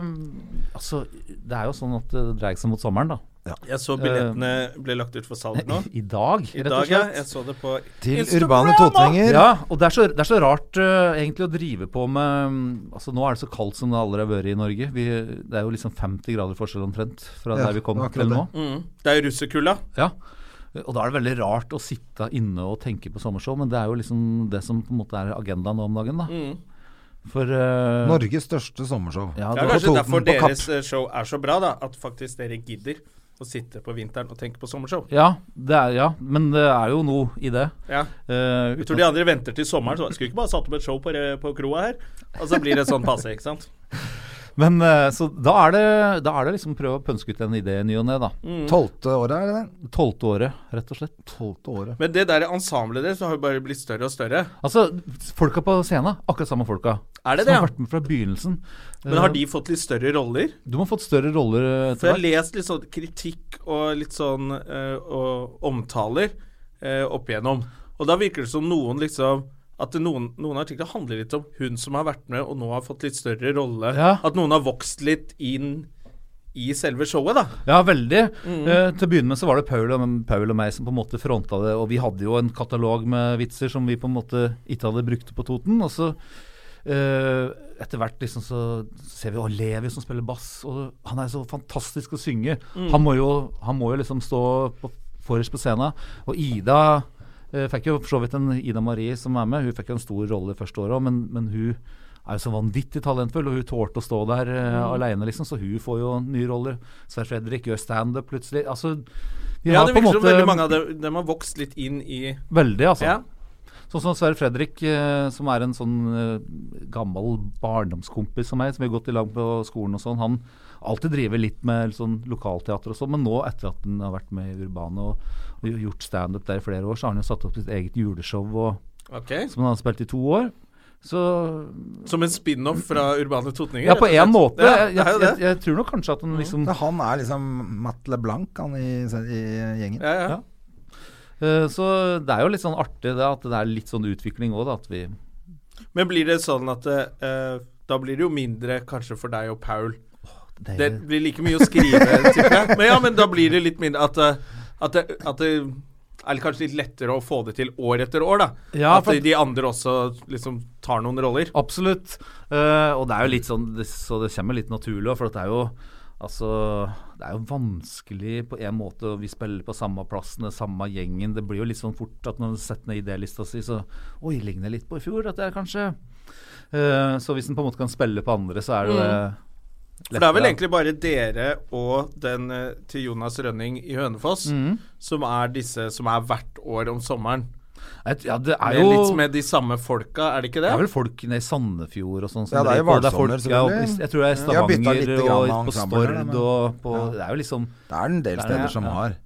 Speaker 3: Altså, det er jo sånn at det dreier seg mot sommeren, da.
Speaker 1: Jeg så billettene ble lagt ut for salg nå.
Speaker 3: I dag,
Speaker 1: I
Speaker 3: rett og
Speaker 1: dag, ja. Jeg
Speaker 3: slett.
Speaker 1: så det på
Speaker 2: Til
Speaker 1: Instagram.
Speaker 2: urbane totninger.
Speaker 3: Ja, og det er så, det er så rart eh, egentlig å drive på med mm, Altså Nå er det så kaldt som det aldri har vært i Norge. Vi, det er jo liksom 50 grader forskjell omtrent fra
Speaker 2: Ja,
Speaker 3: der vi kom
Speaker 2: det var
Speaker 3: til nå.
Speaker 2: akkurat
Speaker 1: Mm. Det er jo russekulda.
Speaker 3: Ja. Og da er det veldig rart å sitte inne og tenke på sommershow, men det er jo liksom det som på en måte er agendaen nå om dagen, da.
Speaker 1: Mm.
Speaker 3: For eh,
Speaker 2: Norges største sommershow.
Speaker 3: Ja,
Speaker 1: Det er
Speaker 3: da-
Speaker 1: kanskje
Speaker 2: Toten,
Speaker 1: derfor
Speaker 2: på Kapp.
Speaker 1: deres eh, show er så bra, da. At faktisk dere gidder å sitte på vinteren og tenke på sommershow.
Speaker 3: ja, det er, ja, men det er jo noe i det.
Speaker 1: Ja.
Speaker 3: Eh,
Speaker 1: Jeg tror de andre venter til sommeren. Så skulle vi ikke bare satt opp et show på, eh, på kroa her? Og så blir det sånn passe, ikke sant?
Speaker 3: men eh, så da er, det, da er det liksom prøve å pønske ut en idé i ny og ne, da.
Speaker 2: Tolvte året, er det det?
Speaker 3: Tolvte året, rett og slett.
Speaker 2: Tolvte året.
Speaker 1: Men det der ensemblet deres har jo bare blitt større og større.
Speaker 3: Altså, folka på scenen, akkurat samme folka.
Speaker 1: Er det
Speaker 3: som
Speaker 1: det,
Speaker 3: har
Speaker 1: ja?
Speaker 3: vært med fra begynnelsen. Eh,
Speaker 1: Men har de fått litt større roller?
Speaker 3: Du må ha fått større roller
Speaker 1: For
Speaker 3: etter
Speaker 1: jeg har
Speaker 3: hvert.
Speaker 1: lest litt sånn kritikk og litt sånn eh, og omtaler eh, opp igjennom. Og da virker det som noen liksom at det noen, noen artikler handler litt om hun som har vært med og nå har fått litt større rolle.
Speaker 3: Ja.
Speaker 1: At noen har vokst litt inn i selve showet, da.
Speaker 3: Ja, veldig.
Speaker 1: Mm.
Speaker 3: Eh, til å begynne med så var det Paul og, Paul og meg som på en måte fronta det, og vi hadde jo en katalog med vitser som vi på en måte ikke hadde brukt på Toten. Og så eh, etter hvert liksom så ser vi å Levi som spiller bass, og han er så fantastisk å synge.
Speaker 1: Mm.
Speaker 3: Han, må jo, han må jo liksom stå på, forrest på scenen. Og Ida eh, fikk jo for så vidt en Ida Marie som er med, hun fikk jo en stor rolle det første året òg, men, men hun er jo så vanvittig talentfull, og hun tålte å stå der eh,
Speaker 1: Mm.
Speaker 3: alene, liksom, så hun får jo nye roller. Sverre Fredrik gjør standup plutselig. Altså, vi
Speaker 1: Ja,
Speaker 3: har
Speaker 1: det
Speaker 3: på en
Speaker 1: virker som
Speaker 3: måte
Speaker 1: veldig mange av dem, dem har vokst litt inn i
Speaker 3: Veldig, altså.
Speaker 1: Ja.
Speaker 3: Sånn som Sverre Fredrik, eh, som er en sånn eh, gammel barndomskompis som meg, som vi har gått i lag på skolen og sånn, han alltid driver litt med litt sånn lokalteater og sånn, men nå etter at han har vært med i Urbane og, og gjort standup der i flere år, så har han jo satt opp sitt eget juleshow og,
Speaker 1: Ok.
Speaker 3: som han har spilt i to år. Så
Speaker 1: Som en spin-off fra Urbane Totninger?
Speaker 3: Ja, på
Speaker 1: rett og
Speaker 3: én
Speaker 1: slett.
Speaker 3: måte.
Speaker 1: Ja,
Speaker 3: Jeg,
Speaker 1: det er
Speaker 3: jeg,
Speaker 1: jo
Speaker 3: jeg,
Speaker 1: det.
Speaker 3: tror nok kanskje at han liksom
Speaker 2: Men han er liksom Matt LeBlanc, han i, i gjengen.
Speaker 1: Ja, ja.
Speaker 3: Ja. eh, Så det er jo litt sånn artig det at det er litt sånn utvikling òg, da. At vi
Speaker 1: Men blir det sånn at eh, da blir det jo mindre kanskje for deg og Paul.
Speaker 3: det,
Speaker 1: Det blir like mye å skrive, tipper jeg. Men ja, men da blir det litt mindre at, eh, at, det, at det er kanskje litt lettere å få det til år etter år, da.
Speaker 3: Ja,
Speaker 1: at
Speaker 3: for-
Speaker 1: de andre også liksom tar noen roller.
Speaker 3: Absolutt. Eh, og det er jo litt sånn det, Så det kommer litt naturlig òg, for at det er jo Altså, det er jo vanskelig på en måte, og vi spiller på samme plassen, det samme gjengen. Det blir jo litt sånn fort at når man setter ned idélista si, så Oi, ligner litt på i fjor, dette her, kanskje. Eh, så hvis en på en måte kan spille på andre, så er det jo det
Speaker 1: For det er vel
Speaker 3: lettere.
Speaker 1: egentlig bare dere og den
Speaker 3: Mhm.
Speaker 1: eh, til Jonas Rønning i Hønefoss som er disse som er hvert år om sommeren.
Speaker 3: Et- Ja, det
Speaker 1: Er
Speaker 3: er
Speaker 1: det
Speaker 3: jo
Speaker 1: litt med de samme folka, er det ikke det?
Speaker 3: det er vel folk nede i Sandefjord og sånn. som
Speaker 2: Ja, det er jo
Speaker 3: driver på.
Speaker 2: Valshammer,
Speaker 3: folk- ja, og
Speaker 2: selvfølgelig.
Speaker 3: i- Jeg tror det er i
Speaker 2: De har byttet
Speaker 3: Stavanger
Speaker 2: lite grann av
Speaker 3: og på
Speaker 2: ensembler,
Speaker 3: Stord
Speaker 2: men-
Speaker 3: og på Det er jo liksom
Speaker 2: Det er en del
Speaker 3: er-
Speaker 2: steder som
Speaker 3: ja.
Speaker 2: har.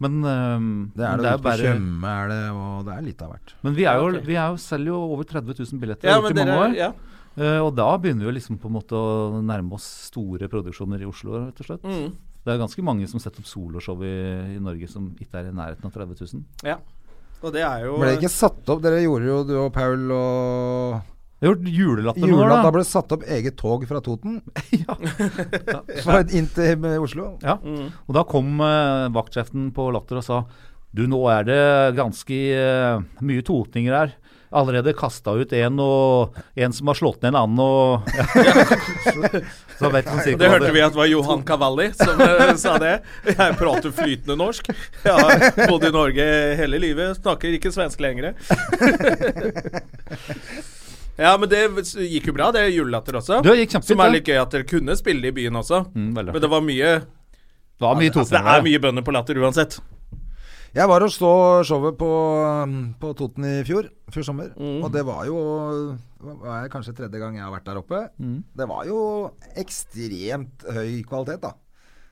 Speaker 3: Men øhm,
Speaker 2: Det er
Speaker 3: det
Speaker 2: det,
Speaker 3: er jo
Speaker 2: ute på
Speaker 3: bare
Speaker 2: Tjøme er det, og det er litt av hvert.
Speaker 3: Men vi, er jo,
Speaker 1: Ja, ok.
Speaker 3: vi er jo, selger jo over 30 000 billetter
Speaker 1: Ja,
Speaker 3: har gjort
Speaker 1: men
Speaker 3: i mange
Speaker 1: dere
Speaker 3: år.
Speaker 1: ja.
Speaker 3: Eh, og da begynner vi liksom på en måte å nærme oss store produksjoner i Oslo, rett og slett.
Speaker 1: Mm.
Speaker 3: Det er ganske mange som setter opp soloshow i, i Norge som ikke er i nærheten av 30 000.
Speaker 1: ja. Og det er jo
Speaker 2: Ble det ikke satt opp Dere gjorde jo, du og Paul og
Speaker 3: Jeg har gjort julelatter nå,
Speaker 2: Gjorde at
Speaker 3: da.
Speaker 2: det ble satt opp eget tog fra Toten
Speaker 3: ja.
Speaker 2: for- inn til eh, Oslo?
Speaker 3: ja.
Speaker 1: Mm.
Speaker 3: Og da kom eh, vaktsjefen på Latter og sa du, nå er det ganske eh, mye totninger her. Allerede kasta ut en, og en som har slått ned en annen, og Så vet man
Speaker 1: Det
Speaker 3: sikkert hva
Speaker 1: hørte vi at det var Johan Cavalli som eh, sa det. Jeg prater flytende norsk. Jeg har bodd i Norge hele livet, snakker ikke svensk lenger. Ja, men det gikk jo bra, det julelatter også.
Speaker 3: Det gikk kjempefint,
Speaker 1: som er
Speaker 3: ja.
Speaker 1: litt gøy at dere kunne spille det i byen også.
Speaker 3: Mm, veldig.
Speaker 1: men det var mye
Speaker 3: Det var mye
Speaker 1: altså, Det
Speaker 3: totninger.
Speaker 1: er mye bønder på latter uansett.
Speaker 2: Jeg var og så showet på, um, på Toten i fjor, fjor sommer. Og det var jo det er kanskje tredje gang jeg har vært der oppe. Det var jo ekstremt høy kvalitet, da.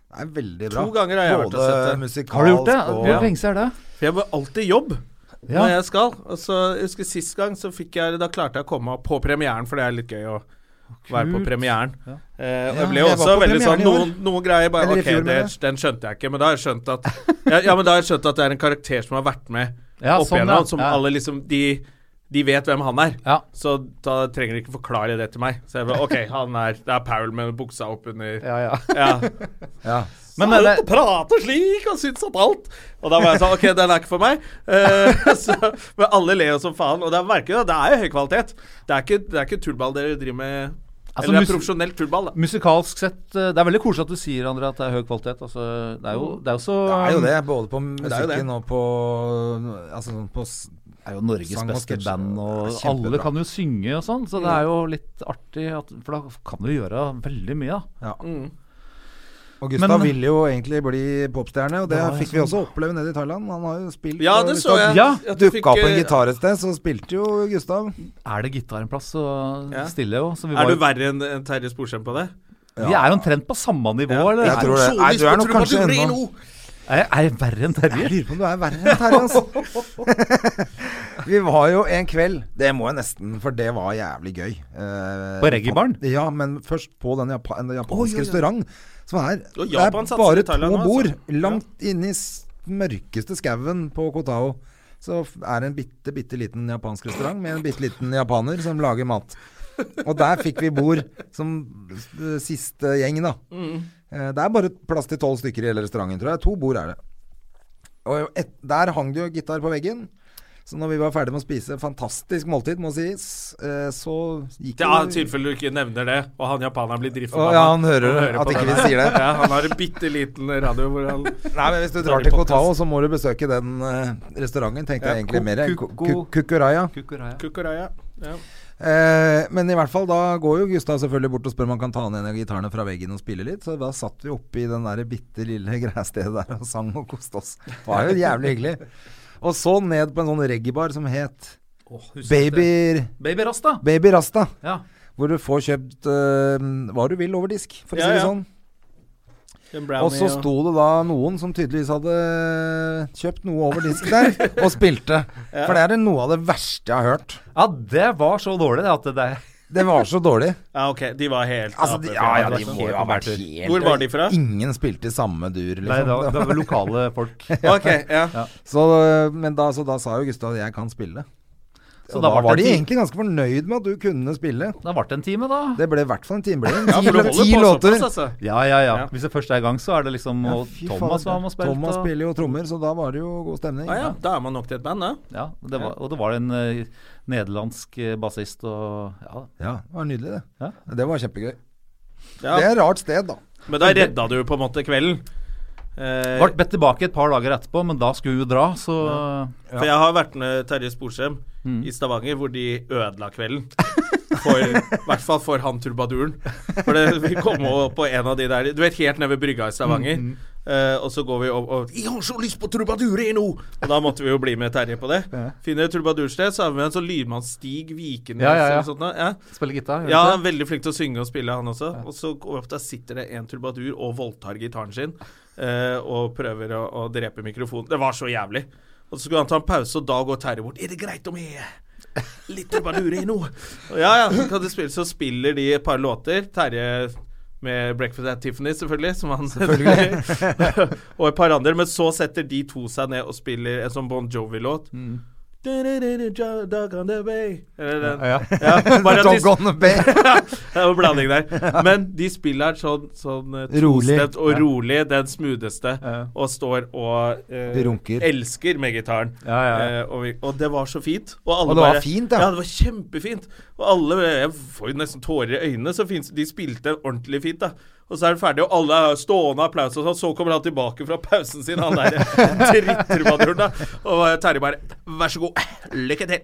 Speaker 2: Det er veldig bra.
Speaker 1: To ganger har jeg vært og
Speaker 2: Både
Speaker 1: sett det.
Speaker 2: musikalsk
Speaker 3: Har du gjort det?
Speaker 2: og
Speaker 3: Hvor lenge siden er det?
Speaker 1: For jeg var alltid i jobb
Speaker 3: Ja.
Speaker 1: når jeg skal. Og så jeg husker Sist gang så fikk jeg Da klarte jeg å komme på premieren, for det er litt gøy å være på
Speaker 3: Kult.
Speaker 1: premieren. Eh, og
Speaker 2: Ja,
Speaker 1: jeg ble
Speaker 2: jeg
Speaker 1: også
Speaker 2: var på
Speaker 1: veldig sånn
Speaker 2: premieren i år.
Speaker 1: Noen, noen greier bare
Speaker 2: Eller i
Speaker 1: Ok,
Speaker 2: fjor,
Speaker 1: det,
Speaker 2: mener jeg.
Speaker 1: den skjønte jeg ikke, men da har jeg skjønt at ja, ja, men da har jeg skjønt at det er en karakter som har vært med
Speaker 3: Ja,
Speaker 1: opp
Speaker 3: sånn,
Speaker 1: igjennom.
Speaker 3: ja.
Speaker 1: Som
Speaker 3: Ja.
Speaker 1: alle liksom de, de vet hvem han er.
Speaker 3: Ja.
Speaker 1: Så da trenger de ikke forklare det til meg. Så jeg bare OK, han er Det er Paul med buksa oppunder
Speaker 3: Ja, ja.
Speaker 1: ja.
Speaker 2: Ja.
Speaker 3: Men
Speaker 1: Men
Speaker 3: er
Speaker 1: han
Speaker 3: det-
Speaker 1: prater slik og syns at alt Og da var jeg sånn OK, den er ikke for meg. Eh, så, men alle ler jo som faen. Og det er merkelig, da. Det er jo høy kvalitet. Det er ikke, det er ikke tullball dere driver med.
Speaker 3: Altså,
Speaker 1: Eller det
Speaker 3: mus-
Speaker 1: er profesjonell tullball, da.
Speaker 3: Musikalsk sett eh, Det er veldig koselig at du sier, André, at det er høy kvalitet. Altså, det, er jo, det er jo så
Speaker 2: Det er jo
Speaker 3: um,
Speaker 2: det, både på
Speaker 1: er jo det.
Speaker 2: musikken og på Altså sånn på s-
Speaker 3: det er jo Norges
Speaker 2: Sang og
Speaker 3: beste
Speaker 2: sketsj,
Speaker 3: band, og
Speaker 2: det er kjempebra. Mm.
Speaker 3: alle kan jo synge og sånn. Så det er jo litt artig, at, for da kan du gjøre veldig mye, da.
Speaker 2: Ja.
Speaker 1: Mm.
Speaker 2: Og Gustav
Speaker 3: Men-
Speaker 2: ville jo egentlig bli popstjerne, og det
Speaker 3: Ja, jeg
Speaker 2: fikk vi også oppleve nede i Thailand. Han har jo spilt
Speaker 1: Ja,
Speaker 2: og
Speaker 1: det
Speaker 2: hvis
Speaker 1: så jeg.
Speaker 2: han
Speaker 3: Ja,
Speaker 1: At du
Speaker 2: Dukka opp
Speaker 1: fikk,
Speaker 2: en
Speaker 1: eh,
Speaker 2: gitar et sted, så spilte jo Gustav.
Speaker 3: Er det gitar en plass, så
Speaker 1: Ja.
Speaker 3: stiller jeg jo. Så vi,
Speaker 1: Er
Speaker 3: var,
Speaker 1: du verre enn enn Terje Sporsem på det?
Speaker 3: vi er jo omtrent på samme nivå, eller?
Speaker 2: Jeg tror det. Nei, du er nok kanskje ennå
Speaker 3: Er, er jeg verre enn
Speaker 2: Jeg lurer
Speaker 3: Terje?
Speaker 2: på om du er verre enn Terje, altså. Vi var jo en kveld Det må jeg nesten, for det var jævlig gøy. Eh,
Speaker 3: På reggaebaren?
Speaker 2: Ja, men først på den japa en japansk restaurant. Som er
Speaker 1: Og
Speaker 2: Det er
Speaker 1: Japan satser i
Speaker 2: bare to
Speaker 1: Thailand nå, altså.
Speaker 2: bord langt inne i s- mørkeste skauen på Kotao. Så f- er det en bitte, bitte liten japansk restaurant med en bitte liten japaner som lager mat. Og der fikk vi bord som eh, siste gjeng, da. Eh, Det er bare plass til tolv stykker i hele restauranten, tror jeg. To bord er det. Og et, der hang det jo gitar på veggen. Så når vi var ferdig med å spise, fantastisk måltid, må sies, eh, så gikk
Speaker 1: Ja, I
Speaker 2: jo
Speaker 1: tilfelle du ikke nevner det, og han japaneren blir
Speaker 2: Å,
Speaker 1: drittforbanna.
Speaker 2: ja, han hører at
Speaker 1: på den
Speaker 2: ikke vi
Speaker 1: her.
Speaker 2: sier det.
Speaker 1: Ja, han har en bitte liten radio hvor han
Speaker 2: Nei, men Hvis du drar
Speaker 1: Dårlig
Speaker 2: til
Speaker 1: podcast.
Speaker 2: Kotao, så må du besøke den eh, restauranten, tenkte
Speaker 1: Ja,
Speaker 2: jeg egentlig
Speaker 3: Ku-
Speaker 2: mer.
Speaker 3: Ku-
Speaker 2: Ku- Ku- Kukuraya.
Speaker 3: Kukuraya.
Speaker 1: Kukuraya. Ja.
Speaker 2: Eh, men i hvert fall, da går jo Gustav selvfølgelig bort og spør om han kan ta ned en av gitarene fra veggen og spille litt. Så da satt vi oppe i den der bitte lille greistedet der og sang og koste oss. Det var jo jævlig hyggelig. Og så ned på en sånn reggaebar som het Baby,
Speaker 3: Baby Rasta.
Speaker 2: Baby Rasta.
Speaker 3: Ja.
Speaker 2: Hvor du får kjøpt eh, hva du vil over disk, for å
Speaker 1: Ja,
Speaker 2: si det
Speaker 1: ja.
Speaker 2: sånn.
Speaker 1: En
Speaker 2: Og
Speaker 1: brownie
Speaker 2: så sto det da noen som tydeligvis hadde kjøpt noe over disk der, og spilte. For det er det noe av det verste jeg har hørt.
Speaker 3: ja, det var så dårlig, det, at det
Speaker 2: Det var så dårlig.
Speaker 1: Ja, ok, de var helt
Speaker 2: Altså, de,
Speaker 1: ape-
Speaker 2: ja, ja, de
Speaker 1: liksom.
Speaker 2: må jo ha vært helt
Speaker 1: Hvor var de fra?
Speaker 2: Ingen spilte i samme dur,
Speaker 3: Nei, det
Speaker 2: liksom.
Speaker 3: var, det var lokale folk.
Speaker 1: Ok, ja.
Speaker 2: Så, men da, så da sa jo Gustav at jeg kan spille.
Speaker 3: Så
Speaker 2: og
Speaker 3: da
Speaker 2: da
Speaker 3: ble
Speaker 2: var
Speaker 3: det
Speaker 2: de
Speaker 3: en ti-
Speaker 2: egentlig ganske fornøyd med at du kunne spille.
Speaker 3: Da ble det en time, da.
Speaker 2: Det ble i hvert fall en timebling.
Speaker 1: Ja, for
Speaker 2: Ti
Speaker 1: du holder
Speaker 2: ti
Speaker 1: på
Speaker 2: låter.
Speaker 1: såpass, altså.
Speaker 3: Ja, ja, ja.
Speaker 1: Ja.
Speaker 3: Hvis det først er i gang, så er det liksom
Speaker 2: Ja,
Speaker 3: Og
Speaker 2: fy
Speaker 3: Thomas
Speaker 2: faen,
Speaker 3: var med og spilte.
Speaker 2: Thomas
Speaker 3: og-
Speaker 2: spiller jo trommer, så da var det jo god stemning.
Speaker 1: Ah, ja. Da er man nok til et band, da.
Speaker 3: Ja, og det var, og det var en eh, nederlandsk eh, bassist og ja.
Speaker 2: Ja, det var nydelig, det.
Speaker 3: Ja.
Speaker 2: Det var kjempegøy. Det er
Speaker 1: Ja.
Speaker 2: et rart sted, da.
Speaker 1: Men da redda du på en måte kvelden. Eh,
Speaker 3: Ble bedt tilbake et par dager etterpå, men da skulle vi jo dra, så
Speaker 1: For jeg har vært med Terje Sporsem
Speaker 3: Mm.
Speaker 1: i Stavanger, hvor de ødela kvelden. For, I hvert fall
Speaker 3: Mm,
Speaker 1: for han trubaduren. For det, vi kom over på en av de der Du vet helt nede ved brygga i Stavanger. Eh, og så går vi opp og 'Jeg har så lyst på trubadurino!' Og da måtte vi jo bli med Terje på det. Finner et trubadursted, så er vi med en sånn lydmann Stig Vikenes
Speaker 3: Ja, ja, ja.
Speaker 1: eller sånt noe. Ja.
Speaker 3: Spille gitar? gjør
Speaker 1: Ja,
Speaker 3: du
Speaker 1: han er veldig flink til å synge og spille, han også. Og så går vi opp der sitter det en trubadur og voldtar gitaren sin eh, og prøver å, å drepe mikrofonen. Det var så jævlig. Og så skulle han ta en pause, og da går Terje bort. Er det greit om jeg litt trubadur i nå? Og ja, ja, kan du spille? Så spiller de et par låter. Terje med 'Breakfast at Tiffany', selvfølgelig, som han og et par andre. Men så setter de to seg ned og spiller en sånn Bon Jovi-låt. Dog on the way Eller den.
Speaker 3: Ja, ja.
Speaker 1: Ja, bare at de-
Speaker 2: Dog on the bay.
Speaker 1: det er jo blanding der. Men de spiller sånn, sånn eh,
Speaker 3: Rolig.
Speaker 1: tostemt og
Speaker 3: Ja.
Speaker 1: rolig, den smootheste,
Speaker 3: Ja.
Speaker 1: og står og eh,
Speaker 2: Runker.
Speaker 1: elsker med gitaren.
Speaker 3: Ja, ja, ja.
Speaker 1: Eh, og, vi, og det var så fint. Og, alle
Speaker 2: Og det var
Speaker 1: bare-
Speaker 2: fint, ja.
Speaker 1: Ja, det var kjempefint. Og alle Jeg får jo nesten tårer i øynene, så fint, de spilte ordentlig fint, da. Og så er det ferdig, og alle er stående applaus, og sånn. Så kommer han tilbake fra pausen sin, han der drittrubaduren, da. Og eh, Terje bare Vær så god, lykke til.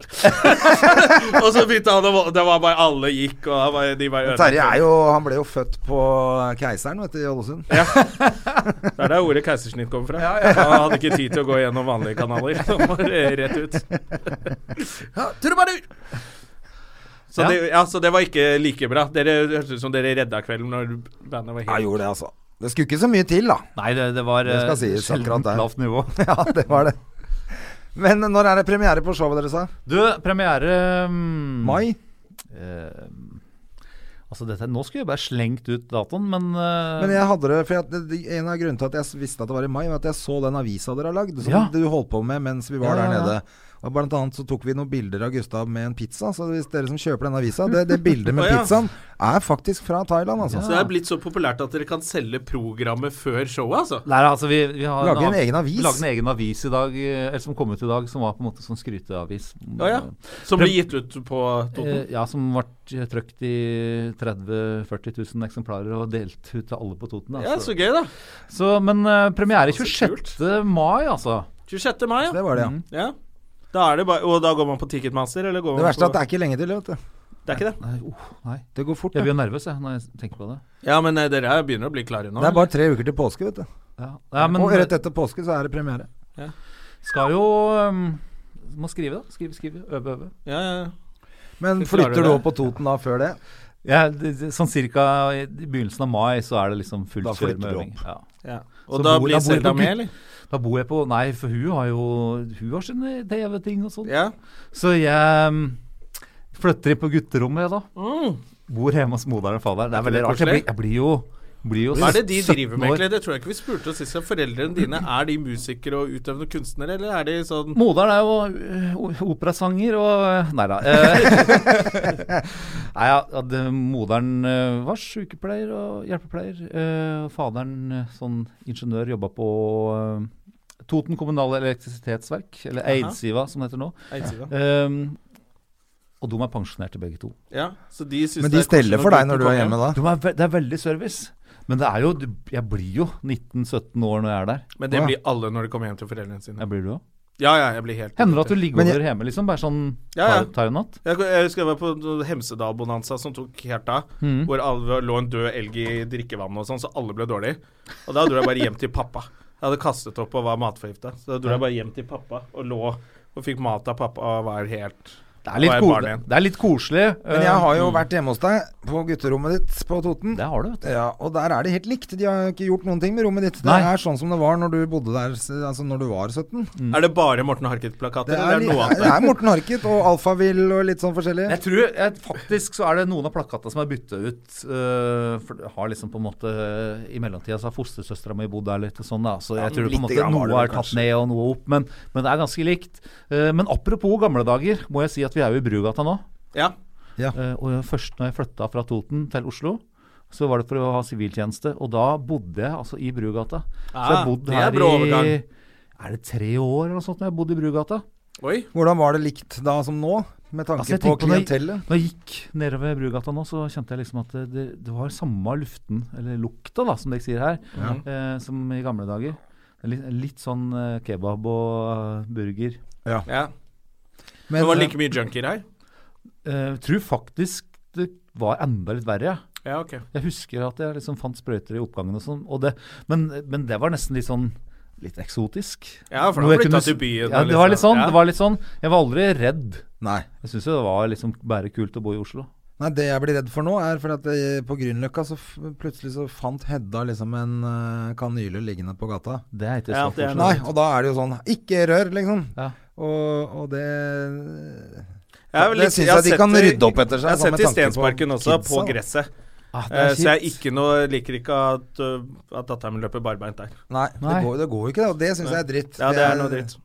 Speaker 1: og så begynte han å Det var bare alle gikk, og han bare, de bare
Speaker 2: Terje er jo Han ble jo født på Keiseren, vet du, i Ålesund.
Speaker 1: Det er der ordet keisersnitt kommer fra. Han hadde ikke tid til å gå gjennom vanlige kanaler. Han var eh, rett ut. Ja, trubadur! Så,
Speaker 3: Ja.
Speaker 1: Det, ja, så det var ikke like bra. Dere hørtes ut som dere redda kvelden når bandet var
Speaker 2: Ja,
Speaker 1: helt
Speaker 2: gjorde det, altså. Det skulle ikke så mye til, da.
Speaker 3: Nei, det, det var
Speaker 2: Det skal
Speaker 3: eh,
Speaker 2: sies akkurat
Speaker 3: sjeldent
Speaker 2: der.
Speaker 3: lavt nivå.
Speaker 2: Ja, det var det. Men når er det premiere på showet deres, da?
Speaker 3: Du, premiere mm,
Speaker 2: Mai?
Speaker 3: eh, altså dette, Nå skulle jeg bare slengt ut datoen, men, eh,
Speaker 2: Men jeg hadde det, for jeg, det- det- en av grunnene til at jeg s- visste at det var i mai, var at jeg så den avisa dere har lagd, som
Speaker 3: Ja.
Speaker 2: du holdt på med mens vi var
Speaker 3: Ja,
Speaker 2: der
Speaker 3: ja, ja.
Speaker 2: nede. Og blant annet så tok vi noen bilder av Gustav med en pizza, så hvis dere som kjøper den avisa, det, det bildet med
Speaker 1: Å, ja.
Speaker 2: pizzaen er faktisk fra Thailand, altså.
Speaker 1: Så det er blitt så populært at dere kan selge programmet før showet, altså.
Speaker 3: Nei, altså vi, vi har
Speaker 2: Lage en egen avis?
Speaker 3: Lage en egen avis i dag, eh, eller som kom ut i dag, som var på en måte sånn skryteavis.
Speaker 1: Ja, ja. Som ble gitt ut på Toten.
Speaker 3: Eh, ja, som ble trykt i 30 000-40 000 eksemplarer og delt ut til alle på
Speaker 2: Eh,
Speaker 3: Toten.
Speaker 1: Ja,
Speaker 3: Altså.
Speaker 1: så gøy, da.
Speaker 3: så, men eh, premiere
Speaker 1: Så
Speaker 3: 26. mai, altså.
Speaker 1: 26. mai,
Speaker 2: Det
Speaker 1: ja.
Speaker 2: var det, ja.
Speaker 3: Mm.
Speaker 1: ja. Da er det bare, og da går man på Ticketmaster, eller går
Speaker 2: Det
Speaker 1: man
Speaker 2: verste er
Speaker 1: på
Speaker 2: at det er ikke lenge til, vet du.
Speaker 1: Det er ikke det.
Speaker 3: Nei, oh, nei.
Speaker 2: Det går fort.
Speaker 3: Jeg
Speaker 2: det.
Speaker 3: blir jo nervøs jeg, når jeg tenker på det.
Speaker 1: Ja, men eh, dere er- begynner å bli klare nå.
Speaker 2: Det er bare tre uker til påske, vet du.
Speaker 3: Ja. Ja, men
Speaker 2: Og rett etter påske så er det premiere.
Speaker 3: skal jo um, Må skrive, da. Skrive, skrive. Øve, øve.
Speaker 1: ja, ja, ja.
Speaker 2: Men
Speaker 1: Så klarer
Speaker 2: flytter
Speaker 1: du
Speaker 2: du
Speaker 1: det.
Speaker 2: opp på Toten da før det?
Speaker 3: Ja, det, det, sånn cirka i i begynnelsen av mai så er det liksom fullt
Speaker 2: Da
Speaker 3: kjør
Speaker 2: flytter
Speaker 3: med
Speaker 2: du
Speaker 3: øving. Ja.
Speaker 1: Ja. Og da
Speaker 3: Så bor- da
Speaker 1: blir
Speaker 3: bor jeg
Speaker 1: Selda
Speaker 3: på
Speaker 1: med,
Speaker 3: Gud-
Speaker 1: eller?
Speaker 3: Da bor jeg på Nei, for hun har jo Hun har sine TV-ting og sånn.
Speaker 1: Ja.
Speaker 3: Så jeg um, flytter inn på gutterommet, jeg, da. Bor hjemme hos moderen og faderen. Det er
Speaker 1: Mm. ikke
Speaker 3: veldig
Speaker 1: det
Speaker 3: rart. Jeg
Speaker 1: koselig?
Speaker 3: blir, jeg blir jo, blir jo
Speaker 1: Hva er det de
Speaker 3: 17
Speaker 1: driver med,
Speaker 3: år.
Speaker 1: egentlig? Det tror jeg ikke vi spurte oss sist. om Foreldrene dine, er de musikere og utøvende kunstnere, eller er de sånn
Speaker 3: Moderen er jo øh, operasanger og Nei da. eh, Nei, ja, at, eh, moderen eh, var sykepleier og hjelpepleier. eh, Faderen eh, sånn ingeniør jobba på eh, Toten kommunale elektrisitetsverk, eller
Speaker 1: Aha.
Speaker 3: Eidsiva som det heter nå.
Speaker 1: Eidsida?
Speaker 3: Ehm, og de er pensjonerte begge to.
Speaker 1: Ja, så de synes
Speaker 2: Men
Speaker 1: det
Speaker 2: de
Speaker 1: er koselig
Speaker 2: steller for deg når du er
Speaker 1: kommer
Speaker 2: hjemme
Speaker 1: hjem.
Speaker 2: da?
Speaker 3: De er, ve det er veldig service. Men det er jo du- Jeg blir jo 19-17 år når jeg er der.
Speaker 1: Men det
Speaker 2: Å, ja.
Speaker 1: blir alle når de kommer hjem til foreldrene sine.
Speaker 3: Jeg blir du òg?
Speaker 1: Ja, ja, jeg blir helt
Speaker 3: Hender det at du ligger
Speaker 2: Men jeg-
Speaker 3: over hjemme, liksom? Bare sånn
Speaker 1: Ja, ja.
Speaker 3: tar, tar en natt?
Speaker 1: jeg, jeg husker jeg var på noe Hemsedal-bonanza som tok helt av.
Speaker 3: Mm.
Speaker 1: Hvor alle lå en død elg i drikkevannet og sånn, så alle ble dårlige. Og da dro jeg bare hjem til pappa. Jeg hadde kastet opp og var matforgifta. Så da dro jeg bare hjem til pappa og lå og fikk mat av pappa og var helt
Speaker 3: Det er litt,
Speaker 1: var jeg
Speaker 3: ko
Speaker 1: barn igjen.
Speaker 3: det er litt koselig.
Speaker 2: Men jeg
Speaker 3: eh,
Speaker 2: har jo vært hjemme hos deg, på gutterommet ditt på Toten.
Speaker 3: Det har du, vet du.
Speaker 2: Ja, og der er det helt likt. De har ikke gjort noen ting med rommet ditt. Det
Speaker 3: Nei.
Speaker 2: er sånn som det var når du bodde der, s- altså når du var 17.
Speaker 3: Mm.
Speaker 1: Er det bare Morten
Speaker 2: Det
Speaker 1: Harket-plakater,
Speaker 2: er,
Speaker 1: eller er
Speaker 2: li-
Speaker 1: Mm. det noe annet?
Speaker 2: det er Morten Harket og Alfavill og litt sånn forskjellig.
Speaker 3: Jeg tror jeg, faktisk så er det noen av plakatene som er bytta ut. eh, for det har liksom på en måte I mellomtida så har fostersøstera mi bodd der litt og sånn, da. Så jeg tror på en
Speaker 2: lite
Speaker 3: måte
Speaker 2: grann var det
Speaker 3: noe
Speaker 2: vel
Speaker 3: er tatt
Speaker 2: kanskje.
Speaker 3: ned og noe opp. Men, men det er ganske likt. Eh, men apropos gamle dager, må jeg si at vi er jo i Brugata nå.
Speaker 1: Ja.
Speaker 3: Eh, og først når jeg flytta fra Toten til Oslo, så var det for å ha siviltjeneste. Og da bodde jeg altså i Brugata. så jeg
Speaker 1: Ah,
Speaker 3: har bodd
Speaker 1: det er
Speaker 3: her
Speaker 1: brå overgang.
Speaker 3: i Er det tre år eller noe sånt når jeg bodde i Brugata?
Speaker 1: Oi.
Speaker 2: Hvordan var det likt da som nå, med tanke
Speaker 3: Altså, jeg
Speaker 2: på
Speaker 3: tenker på når-
Speaker 2: klientellet?
Speaker 3: Når jeg gikk nedover Brugata nå, så kjente jeg liksom at det- det, det var samme luften, eller lukta, da, som dere sier her, eh, som i gamle dager. Det er Litt, litt sånn eh, kebab og eh, burger.
Speaker 1: Ja.
Speaker 2: Men,
Speaker 1: Det var like mye junkier her.
Speaker 3: Eh, tror faktisk det var enda litt verre. ja.
Speaker 1: Ja, ok.
Speaker 3: Jeg husker at jeg liksom fant sprøyter i oppgangen og sånn. Og det, men, men det var nesten litt sånn Litt eksotisk.
Speaker 1: Ja, for da
Speaker 3: Noe jeg
Speaker 1: flytta
Speaker 3: kunne s-
Speaker 1: til byen,
Speaker 3: Ja,
Speaker 1: og
Speaker 3: det var litt
Speaker 1: liksom-
Speaker 3: sånn,
Speaker 1: ja.
Speaker 3: det var litt sånn. Jeg var aldri redd.
Speaker 2: eh, Nei.
Speaker 3: Jeg syns jo det var liksom bare kult å bo i Oslo.
Speaker 2: Nei, det jeg blir redd for nå, er fordi at eh, på Grünerløkka så f plutselig så fant Hedda liksom en eh, kanyle liggende på gata.
Speaker 3: Det er ikke
Speaker 1: Ja,
Speaker 3: så
Speaker 1: det er
Speaker 3: forskjellig.
Speaker 2: Nei, og da er det jo sånn Ikke rør, liksom.
Speaker 3: Ja.
Speaker 2: Og, og det
Speaker 1: Jeg er vel
Speaker 2: Det
Speaker 1: litt-
Speaker 2: synes jeg
Speaker 1: har
Speaker 2: de
Speaker 1: sett
Speaker 2: kan
Speaker 1: det-
Speaker 2: rydde opp etter seg,
Speaker 1: Jeg har
Speaker 2: sånn
Speaker 1: sett
Speaker 2: med
Speaker 1: det i
Speaker 2: tanke på
Speaker 1: Stensparken også,
Speaker 2: kidsa,
Speaker 1: på
Speaker 2: da.
Speaker 1: gresset.
Speaker 3: Ah, det
Speaker 1: Eh,
Speaker 3: er
Speaker 1: så jeg er
Speaker 3: kjipt.
Speaker 1: ikke noe, liker ikke at, uh, at datteren min løper barbeint der.
Speaker 2: Nei, Det,
Speaker 3: Nei.
Speaker 2: går, det går jo ikke, det. Og det syns jeg er dritt.
Speaker 1: Ja, det er noe dritt.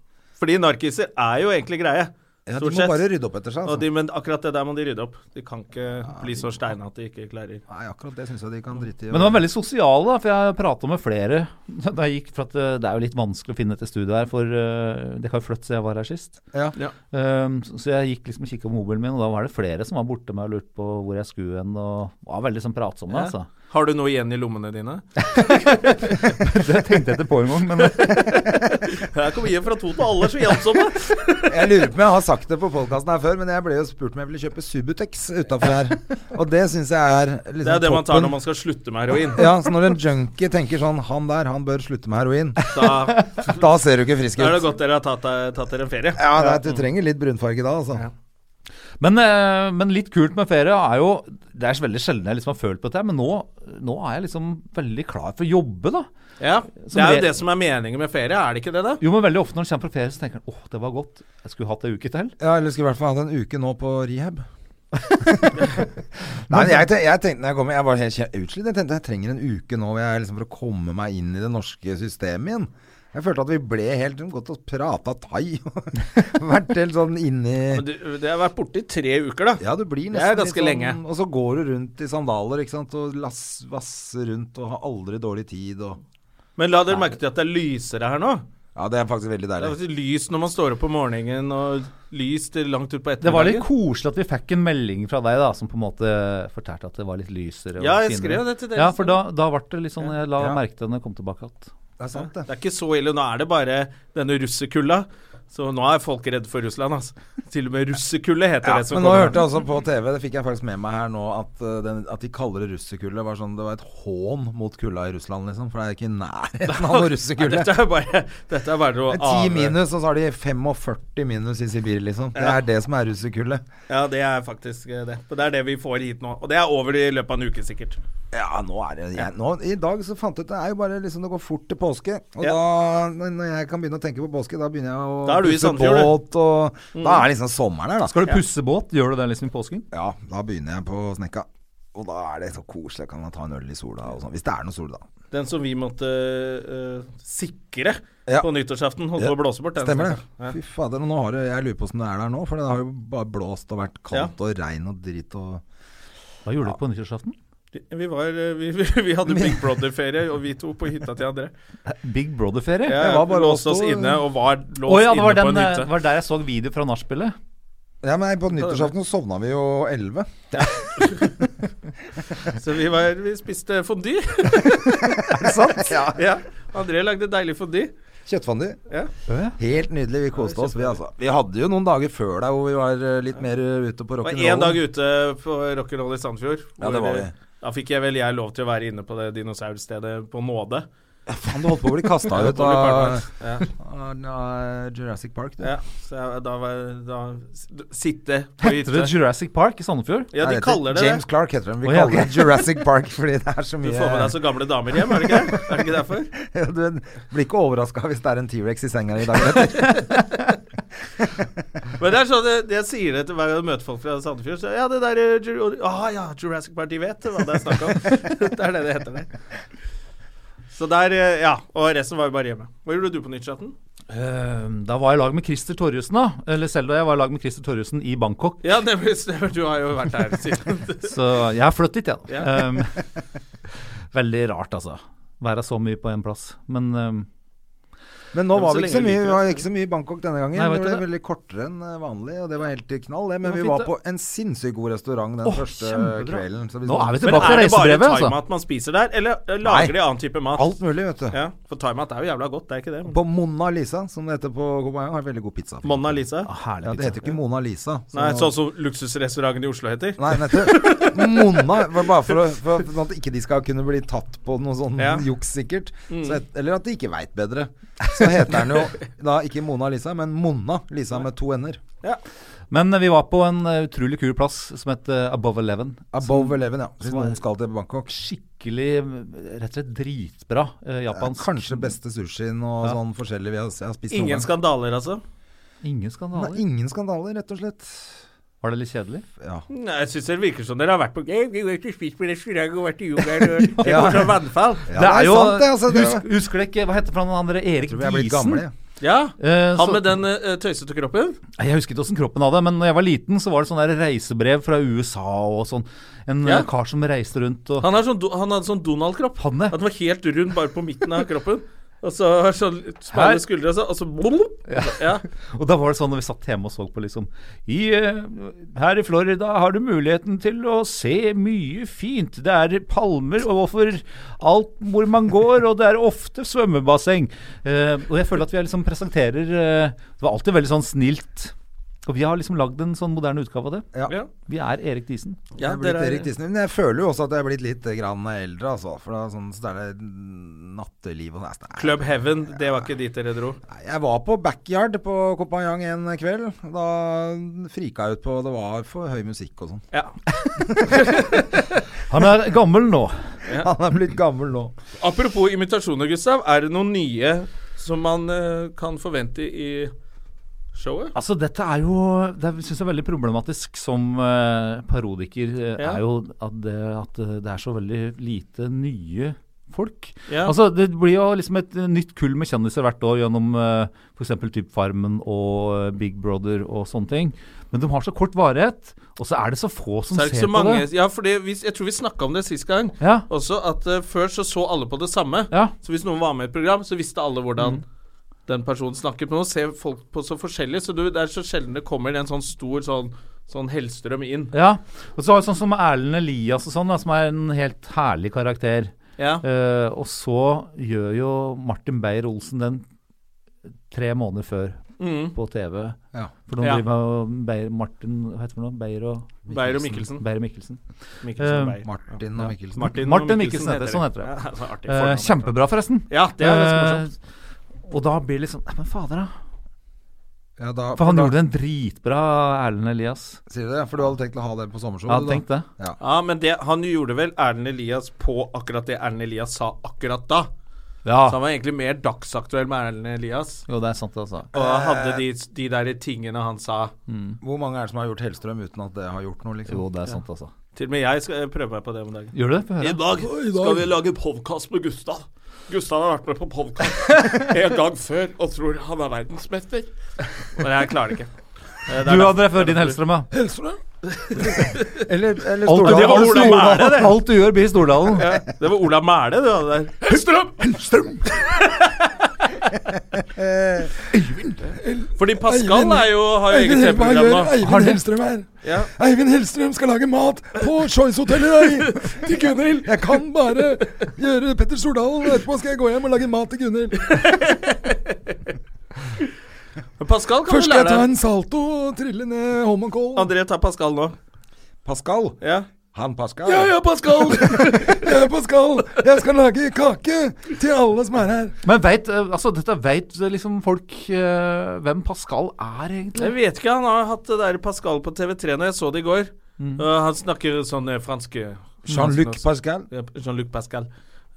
Speaker 1: Fordi narkiser er jo egentlig greie.
Speaker 2: Ja, de
Speaker 1: Stort
Speaker 2: må
Speaker 1: sett.
Speaker 2: bare rydde opp etter seg.
Speaker 1: Og
Speaker 2: Altså.
Speaker 1: de, men akkurat det der må de rydde opp. De kan ikke bli så steine at de ikke klarer
Speaker 2: altså. Nei, akkurat det syns jeg de kan drite i.
Speaker 3: Men de var veldig sosiale, da, for jeg prata med flere da jeg gikk. For at eh, det er jo litt vanskelig å finne etter studiet her, for eh, det har jo fløtt siden jeg var her sist.
Speaker 2: Ja.
Speaker 1: Ja.
Speaker 3: Um, så så jeg gikk liksom og kikka på mobilen min, og da var det flere som var borte med og lurte på hvor jeg skulle hen, og var veldig sånn pratsomme,
Speaker 1: Ja.
Speaker 3: altså.
Speaker 1: Har du noe igjen i lommene dine?
Speaker 3: Det tenkte jeg ikke på engang, men
Speaker 1: Her kommer hjem fra to til alle, så hjelpsomme!
Speaker 2: Jeg lurer på om jeg har sagt det på podkasten her før, men jeg ble jo spurt om jeg ville kjøpe Subutex utafor her. Og det syns jeg er liksom
Speaker 1: Det er det man tar når
Speaker 2: toppen.
Speaker 1: man skal slutte med heroin.
Speaker 2: Ja, så når en junkie tenker sånn Han der, han bør slutte med heroin.
Speaker 1: Da,
Speaker 2: Da ser du ikke frisk
Speaker 1: da er det
Speaker 2: ut.
Speaker 1: godt dere har tatt, deg- tatt dere en ferie.
Speaker 2: Ja, det er, Du trenger litt brunfarge da, altså.
Speaker 3: Men, eh, men litt kult med ferie er jo Det er veldig sjelden jeg liksom har følt på dette, men nå, nå er jeg liksom veldig klar for å jobbe, da.
Speaker 1: Ja, Det
Speaker 3: Som
Speaker 1: er jo
Speaker 3: re-
Speaker 1: det som er meningen med ferie, er det ikke det, da?
Speaker 3: Jo, men veldig ofte når en kommer på ferie, så tenker en åh, det var godt, jeg skulle hatt ei uke til.
Speaker 2: Ja, eller skulle i hvert fall hatt en uke nå på rehab. Nei, men jeg, ten- jeg tenkte når jeg kom Jeg var helt kje- utslitt. Jeg tenkte jeg trenger en uke nå hvor jeg liksom for å komme meg inn i det norske systemet igjen. Jeg følte at vi ble helt godt og prata thai. og Vært helt sånn inni
Speaker 1: Men du, det har vært borte i tre uker, da.
Speaker 2: Ja, du blir nesten
Speaker 1: Det er ganske
Speaker 2: litt sånn,
Speaker 1: lenge.
Speaker 2: Og så går du rundt i sandaler ikke sant? og lass, vasser rundt og har aldri dårlig tid. Og...
Speaker 1: Men la dere merke til at det er lysere her nå.
Speaker 2: Ja, det er faktisk veldig
Speaker 1: Det er
Speaker 2: deilig.
Speaker 1: faktisk lys når man står opp om morgenen, og lys til langt ut på
Speaker 3: Det var litt
Speaker 1: ettermiddagen.
Speaker 3: koselig at vi fikk en melding fra deg da, som på en måte fortalte at det var litt lysere. og
Speaker 1: Ja, jeg
Speaker 3: finere.
Speaker 1: skrev det til dere.
Speaker 3: Ja, for da, da ble det litt sånn Jeg la
Speaker 2: Ja.
Speaker 3: merke til når jeg kom tilbake at
Speaker 2: Det er sant,
Speaker 1: Det
Speaker 2: det.
Speaker 1: er ikke så ille. Nå er det bare denne russekulla. Så nå er folk redde for Russland, altså. Til og med russekulle heter
Speaker 2: Ja,
Speaker 1: det som
Speaker 2: men nå
Speaker 1: kommer.
Speaker 2: hørte jeg også på TV, det fikk jeg faktisk med meg her nå, at, eh, den, at de kaller det russekulde. Var sånn, det var et hån mot kulda i Russland, liksom. For det er ikke i nærheten av noe russekulde.
Speaker 1: Dette er bare, dette er bare å
Speaker 2: Det er 10
Speaker 1: ane.
Speaker 2: minus, og så har de 45 minus i Sibir, liksom. Det er det som er russekulde.
Speaker 1: Ja, det er faktisk eh, det. Men det er det vi får hit nå. Og det er over i løpet av en uke, sikkert.
Speaker 2: Ja, nå er det jeg, nå, I dag så fant jeg ut Det er jo bare liksom Det går fort til påske. Og
Speaker 1: Ja.
Speaker 2: da, når- når jeg kan begynne å tenke på påske, da begynner jeg å
Speaker 1: Da er du Mm. i
Speaker 2: pusse
Speaker 1: Sandefjord,
Speaker 2: båt, og Da er liksom sommeren her, da.
Speaker 3: Skal du pusse båt? Gjør du det liksom i påsken?
Speaker 2: Ja, da begynner jeg på snekka. Og da er det så koselig. Kan man ta en øl i sola og sånn. Hvis det er noe sol, da.
Speaker 1: Den som vi måtte eh, sikre
Speaker 2: Ja.
Speaker 1: på nyttårsaften, holdt
Speaker 2: Ja.
Speaker 1: på å blåse bort. Den
Speaker 2: Stemmer det.
Speaker 1: stakkaren. Ja.
Speaker 2: Fy fader, og nå har det, jeg lurer på åssen det er der nå. For det har jo bare blåst og vært kaldt og regn og drit og
Speaker 3: Hva gjorde du på nyttårsaften?
Speaker 1: Vi, var, eh, vi, vi, vi hadde Big Brother-ferie, og vi to på hytta til André.
Speaker 3: Big Brother-ferie? Å
Speaker 1: Jeg
Speaker 2: var bare
Speaker 1: låste
Speaker 2: oss
Speaker 1: oss
Speaker 2: to.
Speaker 1: inne og var låst
Speaker 3: ja, det var,
Speaker 1: inne
Speaker 3: den,
Speaker 1: på en
Speaker 3: eh,
Speaker 1: hytte.
Speaker 3: var der jeg så video fra nachspielet.
Speaker 2: Ja, men på nyttårsaften så sovna vi jo 11.
Speaker 1: Så vi, var, vi spiste fondy.
Speaker 2: Er det sant? ja.
Speaker 1: ja. André lagde deilig fondy.
Speaker 2: Kjøttfondy.
Speaker 1: Ja.
Speaker 2: Helt nydelig. Vi koste oss, vi altså. Vi hadde jo noen dager før deg hvor vi var eh, litt mer eh, ute på
Speaker 1: Det var én dag
Speaker 2: rock'n'roll.
Speaker 1: ute på rock'n'roll i Sandfjord.
Speaker 2: Ja, det
Speaker 1: hvor,
Speaker 2: var vi.
Speaker 1: eh, Da fikk jeg vel jeg lov til å være inne på det dinosaurstedet på nåde.
Speaker 2: Faen, du holdt på å bli kasta
Speaker 1: Jeg holdt
Speaker 2: ut
Speaker 1: på å bli
Speaker 2: av
Speaker 1: partnert.
Speaker 2: av Jurassic Park, du.
Speaker 1: Ja, ja. Så jeg, da var da, s- d- Sitte på
Speaker 3: Heter det
Speaker 1: hytte.
Speaker 3: Jurassic Park i Sandefjord?
Speaker 1: Ja, de
Speaker 2: Nei, det heter
Speaker 1: kaller det
Speaker 2: James
Speaker 1: det.
Speaker 2: Clark heter den. Vi
Speaker 3: Å, ja,
Speaker 2: kaller det Jurassic Park fordi det er så
Speaker 1: Du
Speaker 2: mye
Speaker 1: får med deg så gamle damer hjem, er det ikke? det? Er det ikke derfor?
Speaker 2: Ja, Du blir ikke overraska hvis det er en T-rex i senga i dag. vet du.
Speaker 1: Men det er sånn, det- jeg sier det til hver gang jeg møter folk fra Sandefjord. Så, ja, det der eh, Jur- ah, ja, Jurassic Park, de vet hva det er snakk om. det er det det heter der. Så der, eh, ja. Og resten var jo bare hjemme. Hva gjorde du på nyttårsaften?
Speaker 3: Ehm, da var jeg i lag med Christer Torjussen, da. Eller Selda og jeg var i lag med Christer Torjussen i Bangkok.
Speaker 1: Ja, nemlig, stemmer, du har jo vært her siden.
Speaker 3: Så jeg har flyttet dit, jeg. da.
Speaker 1: Ja.
Speaker 3: Ehm, veldig rart, altså. Være så mye på én plass. Men ehm,
Speaker 2: Men nå
Speaker 1: Men
Speaker 2: var
Speaker 1: så
Speaker 2: vi ikke så
Speaker 1: lenge
Speaker 2: mye,
Speaker 1: jeg liker
Speaker 2: vi var ikke så mye i Bangkok denne gangen.
Speaker 3: Nei,
Speaker 2: det
Speaker 3: vet du
Speaker 2: ble
Speaker 3: det?
Speaker 2: veldig kortere enn eh, vanlig, og det var helt i knall, det. Men
Speaker 3: Det var
Speaker 2: vi
Speaker 3: fint,
Speaker 2: var
Speaker 3: det.
Speaker 2: på en sinnssykt god restaurant den
Speaker 3: Åh,
Speaker 2: første
Speaker 3: kjempebra.
Speaker 2: kvelden. Så vi
Speaker 3: Nå
Speaker 2: sånn-
Speaker 3: er vi
Speaker 1: Men
Speaker 3: tilbake til
Speaker 1: er det bare
Speaker 3: reisebrevet, altså.
Speaker 1: thaimat man spiser der, eller eh, lager
Speaker 2: Nei.
Speaker 1: de annen type mat?
Speaker 2: Alt mulig, vet du.
Speaker 1: Ja, For thaimat er jo jævla godt, det er ikke det?
Speaker 2: På Mona Lisa, som det heter på Kobayang, har veldig god pizza.
Speaker 1: Mona Lisa?
Speaker 2: ja, det heter jo ikke Mona Lisa. så-
Speaker 1: Nei, sånn som luksusrestauranten i Oslo heter?
Speaker 2: Nei, nettopp. Monna, var bare for, å, for sånn at ikke de skal kunne bli tatt på noe sånn
Speaker 1: Ja.
Speaker 2: juks, sikkert.
Speaker 3: Mm.
Speaker 2: Så et, eller at de ikke veit bedre. Så heter den jo da ikke Mona Lisa, men Monna Lisa med to n-er.
Speaker 3: Men eh, vi var på en eh, utrolig kul plass som het eh, Above Eleven.
Speaker 2: Above Eleven, ja. Hvis noen skal til Bangkok.
Speaker 3: Skikkelig, eh, rett og slett dritbra eh, japansk.
Speaker 2: Kanskje beste sushien og
Speaker 3: Ja.
Speaker 2: sånn forskjellig vi har, jeg har spist noen
Speaker 1: Ingen
Speaker 2: gang.
Speaker 1: skandaler, altså?
Speaker 3: Ingen skandaler.
Speaker 2: Nei, ingen skandaler, rett og slett.
Speaker 3: Var det litt kjedelig?
Speaker 2: Ja.
Speaker 1: Nei, jeg syns det virker som dere har vært på Jeg har ikke spist på restaurant og vært i jungelen og det
Speaker 2: Ja.
Speaker 1: går som vannfall.
Speaker 2: Ja, det er sant, det, altså, det-
Speaker 3: husk, husker dere ikke Hva heter han andre? Erik
Speaker 2: Tror vi er blitt
Speaker 3: Diesen?
Speaker 2: gamle. ja.
Speaker 1: Ja.
Speaker 3: Eh,
Speaker 1: Han
Speaker 3: så-
Speaker 1: med den eh, tøysete kroppen?
Speaker 3: Nei, Jeg husker ikke åssen kroppen hadde, men når jeg var liten, så var det sånn der reisebrev fra USA og sånn. En
Speaker 1: Ja.
Speaker 3: eh, kar som reiste rundt og
Speaker 1: Han, har sånn, do- han hadde sånn Donald-kropp.
Speaker 3: Han, ja.
Speaker 1: At den var helt rund bare på midten av kroppen. Og så har sånn
Speaker 3: Her.
Speaker 1: smale skuldre og så, og så ja. Ja.
Speaker 3: Og da var det sånn når vi satt hjemme og så på liksom I, eh, Her i Florida har du muligheten til å se mye fint. Det er palmer overfor alt hvor man går, og det er ofte svømmebasseng. Eh, og jeg føler at vi er liksom presenterer eh, Det var alltid veldig sånn snilt. Og vi har liksom lagd en sånn moderne utgave av det.
Speaker 2: Ja.
Speaker 1: Ja.
Speaker 3: Vi er Erik Diesen.
Speaker 1: Ja,
Speaker 2: jeg er blitt
Speaker 1: dere er-
Speaker 2: Erik Disney, men jeg føler jo også at jeg er blitt litt grann eldre, altså. For da, sånn, så er det natteliv og sånn. Nei,
Speaker 1: Club Heaven, det var ikke dit dere dro.
Speaker 2: Nei, Jeg var på backyard på Kopanjang en kveld. Da frika jeg ut på Det var for høy musikk og sånn.
Speaker 1: Ja.
Speaker 3: Han er gammel nå.
Speaker 2: Han er blitt gammel nå.
Speaker 1: Apropos imitasjoner, Gustav. Er det noen nye som man eh, kan forvente i showet?
Speaker 3: Altså, dette er jo Det syns jeg er veldig problematisk som eh, parodiker. eh,
Speaker 1: Ja.
Speaker 3: Er jo at det, at eh, det er så veldig lite nye folk.
Speaker 1: Ja.
Speaker 3: Altså, det blir jo liksom et eh, nytt kull med kjendiser hvert år gjennom eh, for eksempel typ Farmen og eh, Big Brother og sånne ting. Men de har så kort varighet, og så er det så få som
Speaker 1: Så er det ikke
Speaker 3: ser
Speaker 1: så mange
Speaker 3: på det.
Speaker 1: Ja, fordi vi, jeg tror vi snakka om det sist gang
Speaker 3: Ja.
Speaker 1: også, at eh, før så så alle på det samme.
Speaker 3: Ja. Mm.
Speaker 1: Så hvis noen var med i et program, så visste alle hvordan den personen snakket. Men nå ser folk på så forskjellig, så du, det er så sjelden det kommer en sånn stor sånn, sånn hellstrøm inn.
Speaker 3: Ja, og så har vi sånn som Erlend Elias og sånn, da, som er en helt herlig karakter.
Speaker 1: Ja.
Speaker 3: Eh, og så gjør jo Martin Beyer-Olsen den tre måneder før
Speaker 1: Mm.
Speaker 3: på TV.
Speaker 2: Ja.
Speaker 3: For nå
Speaker 1: Ja.
Speaker 3: driver jo Beyer, Martin Hva heter det for noe? Beyer og
Speaker 1: Beyer og Mikkelsen.
Speaker 3: Beyer og Mikkelsen.
Speaker 1: Mikkelsen
Speaker 3: Eh,
Speaker 1: Beyer.
Speaker 2: Martin
Speaker 3: Ja.
Speaker 2: og Mikkelsen.
Speaker 1: Martin,
Speaker 3: Martin
Speaker 1: og
Speaker 3: Mikkelsen heter det, sånn heter det.
Speaker 1: Ja, så artig
Speaker 3: Eh,
Speaker 1: fornavn.
Speaker 3: kjempebra, forresten.
Speaker 1: Ja, det er ganske morsomt.
Speaker 3: Eh, og da blir det liksom Nei, men fader, da.
Speaker 2: Ja, da,
Speaker 3: For han
Speaker 2: da,
Speaker 3: gjorde en dritbra Erlend Elias.
Speaker 2: Sier du det? For du hadde tenkt å ha det på sommershowet? du
Speaker 3: Jeg
Speaker 2: da?
Speaker 3: hadde tenkt det.
Speaker 1: Ja, men det, han gjorde vel Erlend Elias på akkurat det Erlend Elias sa akkurat da. Så
Speaker 3: Ja.
Speaker 1: han var egentlig mer dagsaktuell med Erlend Elias.
Speaker 3: Jo, det er sant, altså.
Speaker 1: Og hadde de, de der tingene han sa.
Speaker 2: Hvor mange er det som har gjort Hellstrøm uten at det har gjort noe, liksom?
Speaker 3: Jo, det er sant, altså.
Speaker 1: Til og med jeg skal prøve meg på det om dagen.
Speaker 3: Gjør du det? Få høre.
Speaker 1: dag skal vi lage podkast med Gustav. Gustav har vært med på podkast en gang før og tror han er verdensmester. Men jeg klarer det ikke. Eh, Det
Speaker 3: Du, André, før din Hellstrøm, ja.
Speaker 2: Eller, eller
Speaker 3: Alt,
Speaker 2: Stordalen.
Speaker 3: det var
Speaker 1: Ola
Speaker 3: Stordalen.
Speaker 1: Mæle, det.
Speaker 3: Alt du gjør, blir Stordalen.
Speaker 1: Ja, det var Ola Mæle du hadde der. Hellstrøm! Fordi Pascal er jo, har jo eget TV-program nå.
Speaker 3: Har det-
Speaker 2: Hellstrøm her.
Speaker 1: Ja.
Speaker 2: Eivind Hellstrøm skal lage mat på Choice-hotellet i dag! Til Gunhild! Jeg kan bare gjøre Petter Stordalen, og etterpå skal jeg gå hjem og lage mat til Gunhild.
Speaker 1: Men Pascal kan du lære deg.
Speaker 2: en salto og trille ned Holmenkollen.
Speaker 1: André tar Pascal nå.
Speaker 2: Pascal?
Speaker 1: Ja.
Speaker 2: Han Pascal?
Speaker 1: ja, ja, Pascal!
Speaker 2: Jeg er Pascal! Jeg skal lage kake til alle som er her.
Speaker 3: Men vet, eh, altså, dette vet eh, liksom folk eh, hvem Pascal er,
Speaker 1: Jeg
Speaker 3: egentlig.
Speaker 1: vet ikke, han har hatt det der Pascal på TV3 når jeg så det i går. Og han snakker sånn eh, franske
Speaker 2: Jean-Luc Pascal.
Speaker 1: Ja, Jean-Luc Pascal.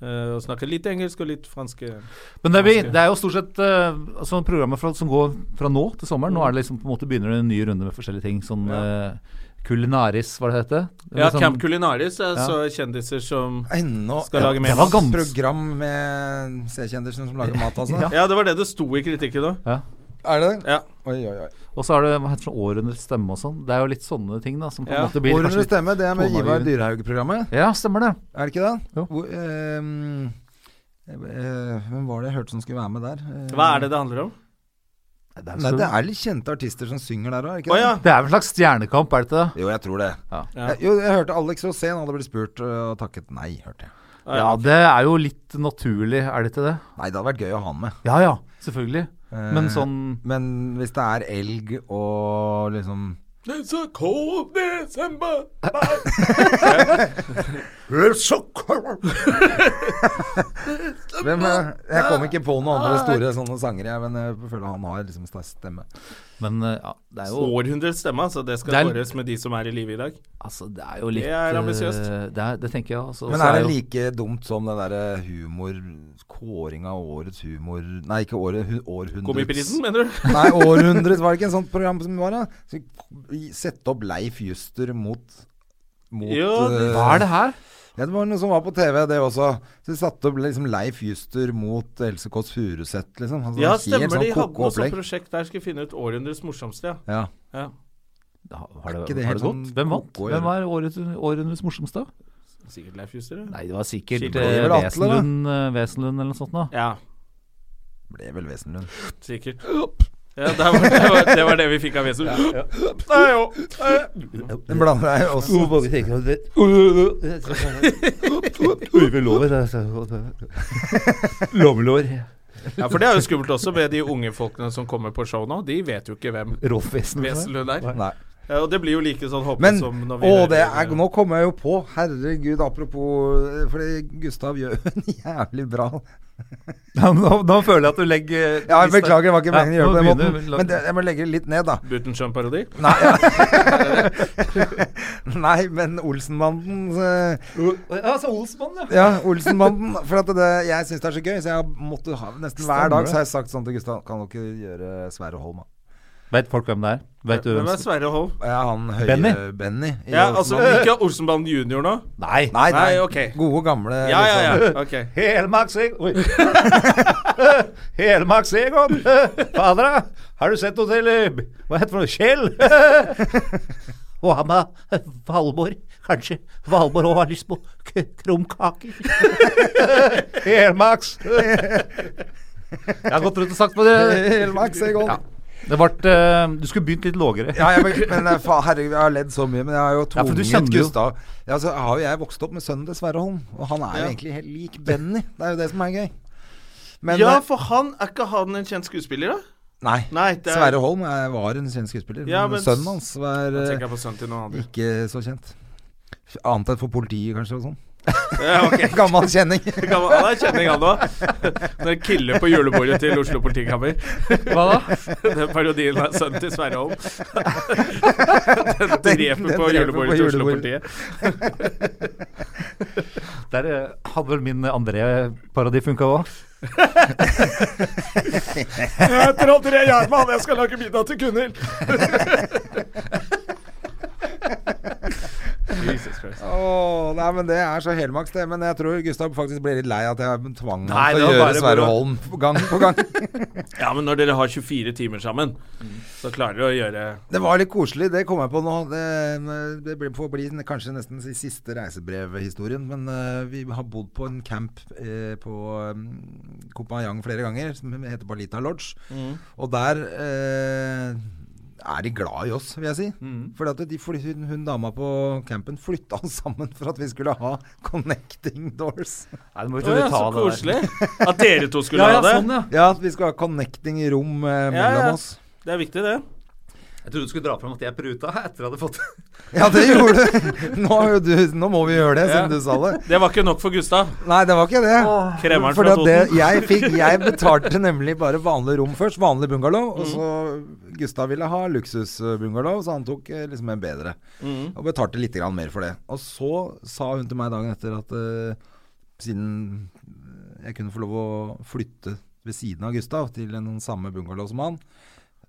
Speaker 1: Eh, og snakker litt engelsk og litt fransk. eh.
Speaker 3: Men det er, vi- det er jo stort sett eh, altså, programmet fra, som går fra nå til sommeren. Nå er det liksom på en måte begynner det en ny runde med forskjellige ting. Sånn eh, kulinaris, hva det heter. Det
Speaker 1: Ja,
Speaker 3: er sånn-
Speaker 1: Camp Culinaris er
Speaker 3: Ja.
Speaker 1: så kjendiser som
Speaker 2: Ennå
Speaker 1: Skal lage mer
Speaker 2: et
Speaker 3: mat. Gans.
Speaker 2: program med C-kjendiser som lager mat, altså.
Speaker 3: Ja.
Speaker 1: Ja, det var det det sto i kritikken òg.
Speaker 3: ja.
Speaker 2: Er det det?
Speaker 1: Ja.
Speaker 2: Oi, oi, oi.
Speaker 3: Og så er det hva heter det, sånn århundrets stemme og sånn. Det er jo litt sånne ting da som på en
Speaker 1: Ja.
Speaker 3: måte blir
Speaker 2: Århundrets
Speaker 3: kanskje litt-
Speaker 2: stemme, det er med
Speaker 3: Tone
Speaker 2: Ivar
Speaker 3: Jun.
Speaker 2: Dyrhaug-programmet.
Speaker 3: Ja, stemmer det.
Speaker 2: Er det ikke det?
Speaker 3: Jo.
Speaker 2: Hvor, ehm, eh, eh, Hvem var det jeg hørte som skulle være med der? Eh,
Speaker 1: Hva er det det handler om?
Speaker 3: Det
Speaker 2: Nei, det er litt kjente artister som synger der òg,
Speaker 1: Å ja.
Speaker 3: Det er vel en slags stjernekamp, er det ikke det?
Speaker 2: Jo, jeg tror det.
Speaker 3: Ja.
Speaker 2: Jeg, jo, jeg hørte Alex Rosén hadde blitt spurt eh, og takket nei, hørte jeg.
Speaker 1: Ja,
Speaker 3: Ja, det er jo litt naturlig, er det ikke det?
Speaker 2: Nei, det hadde vært gøy å ha han med.
Speaker 3: Ja ja, selvfølgelig.
Speaker 2: Eh,
Speaker 3: Men sånn
Speaker 2: Men hvis det er elg og liksom
Speaker 1: It's a cold December
Speaker 2: Hvem, eh, Jeg kom ikke på noen andre store sånne sanger, jeg, men jeg føler han har liksom sterk stemme.
Speaker 3: Men eh, ja, det er jo
Speaker 1: Århundrets stemme, altså. Det skal
Speaker 3: Det er-
Speaker 1: kåres med de som er i live i dag.
Speaker 3: Altså, det er jo litt
Speaker 1: Det er
Speaker 3: eh,
Speaker 1: ambisiøst.
Speaker 3: Det, er- det tenker jeg. Altså,
Speaker 2: Men
Speaker 3: Så
Speaker 2: er det
Speaker 3: jo-
Speaker 2: like dumt som den derre humor Kåring av årets humor Nei, ikke året, hu- århundrets
Speaker 1: Komiprisen, mener du?
Speaker 2: Nei, århundret var det ikke en sånt program som var, da? Så vi Sette opp Leif Juster mot mot,
Speaker 1: Jo, det-
Speaker 2: eh,
Speaker 3: Hva er det her?
Speaker 2: Ja, det var noe som var på TV, det også. Så de satte opp liksom Leif Juster mot Else Kåss Furuseth, liksom. Altså,
Speaker 1: Ja,
Speaker 2: helt
Speaker 1: stemmer det. De
Speaker 2: sånn
Speaker 1: hadde
Speaker 2: ko-ko
Speaker 1: noe sånt
Speaker 2: opplegg.
Speaker 1: prosjekt der skulle finne ut århundrets morsomste. ja.
Speaker 2: Ja.
Speaker 1: Ja.
Speaker 3: Da Har
Speaker 2: Er
Speaker 3: det,
Speaker 2: ikke det
Speaker 3: har
Speaker 2: helt
Speaker 3: det gått?
Speaker 2: sånn
Speaker 3: Hvem vant?
Speaker 2: koko å
Speaker 3: Hvem
Speaker 2: gjøre?
Speaker 3: var årets, århundrets morsomste?
Speaker 1: Sikkert Leif Juster, det.
Speaker 3: Nei, det var sikkert
Speaker 1: Skikkelig.
Speaker 3: eh,
Speaker 2: Det var vel Atle, da.
Speaker 3: Wesenlund, eh, Wesenlund eller noe sånt. Da.
Speaker 1: Ja,
Speaker 2: Ble vel Wesenlund.
Speaker 1: sikkert. Ja, det, var, det, var, det var det vi fikk av Vesu. Nei, jo. Eh,
Speaker 2: Den blander jeg også.
Speaker 3: Lommelår.
Speaker 1: Ja, for det er jo skummelt også med de unge folkene som kommer på show nå. De vet jo ikke hvem
Speaker 3: Rolf Wesenlund.
Speaker 1: Wesenlund er.
Speaker 2: Nei.
Speaker 1: Ja, og det blir jo like sånn håpløst
Speaker 2: Men
Speaker 1: som når vi
Speaker 2: å,
Speaker 1: hører-
Speaker 2: det er, nå kommer jeg jo på Herregud, apropos eh, Fordi Gustav gjør en jævlig bra
Speaker 3: Ja, men nå, nå føler jeg at du legger
Speaker 2: Ja, jeg beklager, det var ikke
Speaker 3: Ja,
Speaker 2: meningen å gjøre
Speaker 3: nå
Speaker 2: det på den
Speaker 3: begynner
Speaker 2: måten.
Speaker 3: vi-
Speaker 2: Men det, jeg må legge det litt ned, da.
Speaker 1: Butenschøn-parodi.
Speaker 2: Nei, Nei men Olsenbanden eh,
Speaker 3: Ja, så Olsmann, ja.
Speaker 2: Ja, Olsenbanden. For at det, jeg syns det er så gøy, så jeg har måttet ha Nesten
Speaker 3: Stemmer
Speaker 2: hver dag
Speaker 3: det.
Speaker 2: så har jeg sagt sånn til Gustav Kan dere gjøre Sverre Holm, da?
Speaker 3: Vet folk hvem det er? Vet du
Speaker 1: Hvem
Speaker 3: hvem
Speaker 1: er
Speaker 3: som
Speaker 1: Sverre Holm?
Speaker 2: Ja, han høye Benny,
Speaker 3: Benny?
Speaker 2: i
Speaker 1: Ja, altså
Speaker 2: Olsenbanden.
Speaker 1: ikke Olsenbanden junior nå?
Speaker 3: Nei!
Speaker 2: Nei, nei.
Speaker 1: Nei, ok.
Speaker 2: Gode, gamle
Speaker 1: Ja, ja, ja.
Speaker 2: liksom.
Speaker 1: Ok.
Speaker 3: Helmarksegg... Oi. Helmarksegon! Fader, har du sett noe til eh, Hva heter det for noe? Kjell? Og han med Valborg, kanskje. Valborg òg har lyst på k- krumkaker. Helmaks! Jeg har gått rundt og sagt på det.
Speaker 2: Helmark, så godt.
Speaker 3: Ja. Det ble eh, Du skulle begynt litt lågere.
Speaker 2: Ja, jeg, beg- men eh, fa, herregud, jeg har ledd så mye, men jeg har jo
Speaker 3: Ja, for du
Speaker 2: tvunget
Speaker 3: kjenner jo-
Speaker 2: Gustav ja, så har jo jeg vokst opp med sønnen til Sverre Holm, og han er jo egentlig helt lik Benny. Det er jo det som er gøy. Men
Speaker 1: Ja,
Speaker 2: eh,
Speaker 1: for han er ikke han en kjent skuespiller, da?
Speaker 2: nei,
Speaker 1: Nei, det er-
Speaker 2: Sverre Holm eh, var en kjent skuespiller,
Speaker 1: Ja,
Speaker 2: men
Speaker 1: men
Speaker 2: sønnen hans var
Speaker 1: Da
Speaker 2: eh,
Speaker 1: tenker jeg på sønnen til noen andre.
Speaker 2: ikke så kjent. Annet enn for politiet, kanskje, og sånn.
Speaker 1: Ja, ok.
Speaker 2: Gammel kjenning.
Speaker 1: Det kan være- Han er kjenning, han òg. Når jeg killer på julebordet til Oslo politikammer.
Speaker 3: Hva da?
Speaker 1: Den parodien er sønnen til Sverre Holm. Den
Speaker 2: den
Speaker 1: dreper på
Speaker 2: dreper på
Speaker 1: julebordet til Oslo politiet.
Speaker 2: julebordet.
Speaker 3: Der eh, hadde vel min André-parodi funka òg.
Speaker 1: Jeg heter André Gjerman, jeg skal lage middag til Gunhild. Jesus Christ.
Speaker 2: Åh, nei, men Det er så helmaks, det. Men jeg tror Gustav faktisk ble litt lei at jeg tvang
Speaker 1: Nei,
Speaker 2: ham til
Speaker 1: det
Speaker 2: å
Speaker 1: var
Speaker 2: gjøre
Speaker 1: bare
Speaker 2: Sverre
Speaker 1: moro.
Speaker 2: Holm gang på gang.
Speaker 1: Ja, men når dere har 24 timer sammen, så klarer dere å gjøre
Speaker 2: Det var litt koselig, det kom jeg på nå. Det, det blir- får bli kanskje nesten si- siste reisebrevhistorien. Men eh, vi har bodd på en camp eh, på um, Kopanjang flere ganger, som heter Balita Lodge.
Speaker 1: Mm.
Speaker 2: Og der eh, er de glad i oss, vil jeg si.
Speaker 1: Mm.
Speaker 2: Fordi at de, fly- hun, hun dama på campen flytta oss sammen for at vi skulle ha connecting doors.
Speaker 3: Nei, må
Speaker 1: Å ja, så koselig. At dere to skulle
Speaker 3: Ja, ja,
Speaker 1: ha det.
Speaker 3: sånn, ja.
Speaker 2: Ja, at vi skulle ha connecting rom eh, mellom
Speaker 1: Ja, ja.
Speaker 2: oss.
Speaker 1: Det er viktig, det.
Speaker 3: Jeg trodde du skulle dra fram at jeg pruta etter at jeg hadde fått
Speaker 2: Ja, det gjorde du. Nå, er jo du. nå må vi gjøre det, siden
Speaker 1: Ja.
Speaker 2: du sa det.
Speaker 1: Det var ikke nok for Gustav.
Speaker 2: Nei, det var ikke det.
Speaker 1: Kremeren
Speaker 2: Fordi
Speaker 1: fra
Speaker 2: at det,
Speaker 1: Toten.
Speaker 2: jeg, fikk, jeg betalte nemlig bare vanlig rom først, vanlig bungalow. Og så
Speaker 1: Mm.
Speaker 2: Gustav ville ha luksusbungalow, så han tok eh, liksom en bedre.
Speaker 1: Mm.
Speaker 2: Og betalte litt grann mer for det. Og så sa hun til meg dagen etter at eh, siden jeg kunne få lov å flytte ved siden av Gustav til en samme bungalow som han,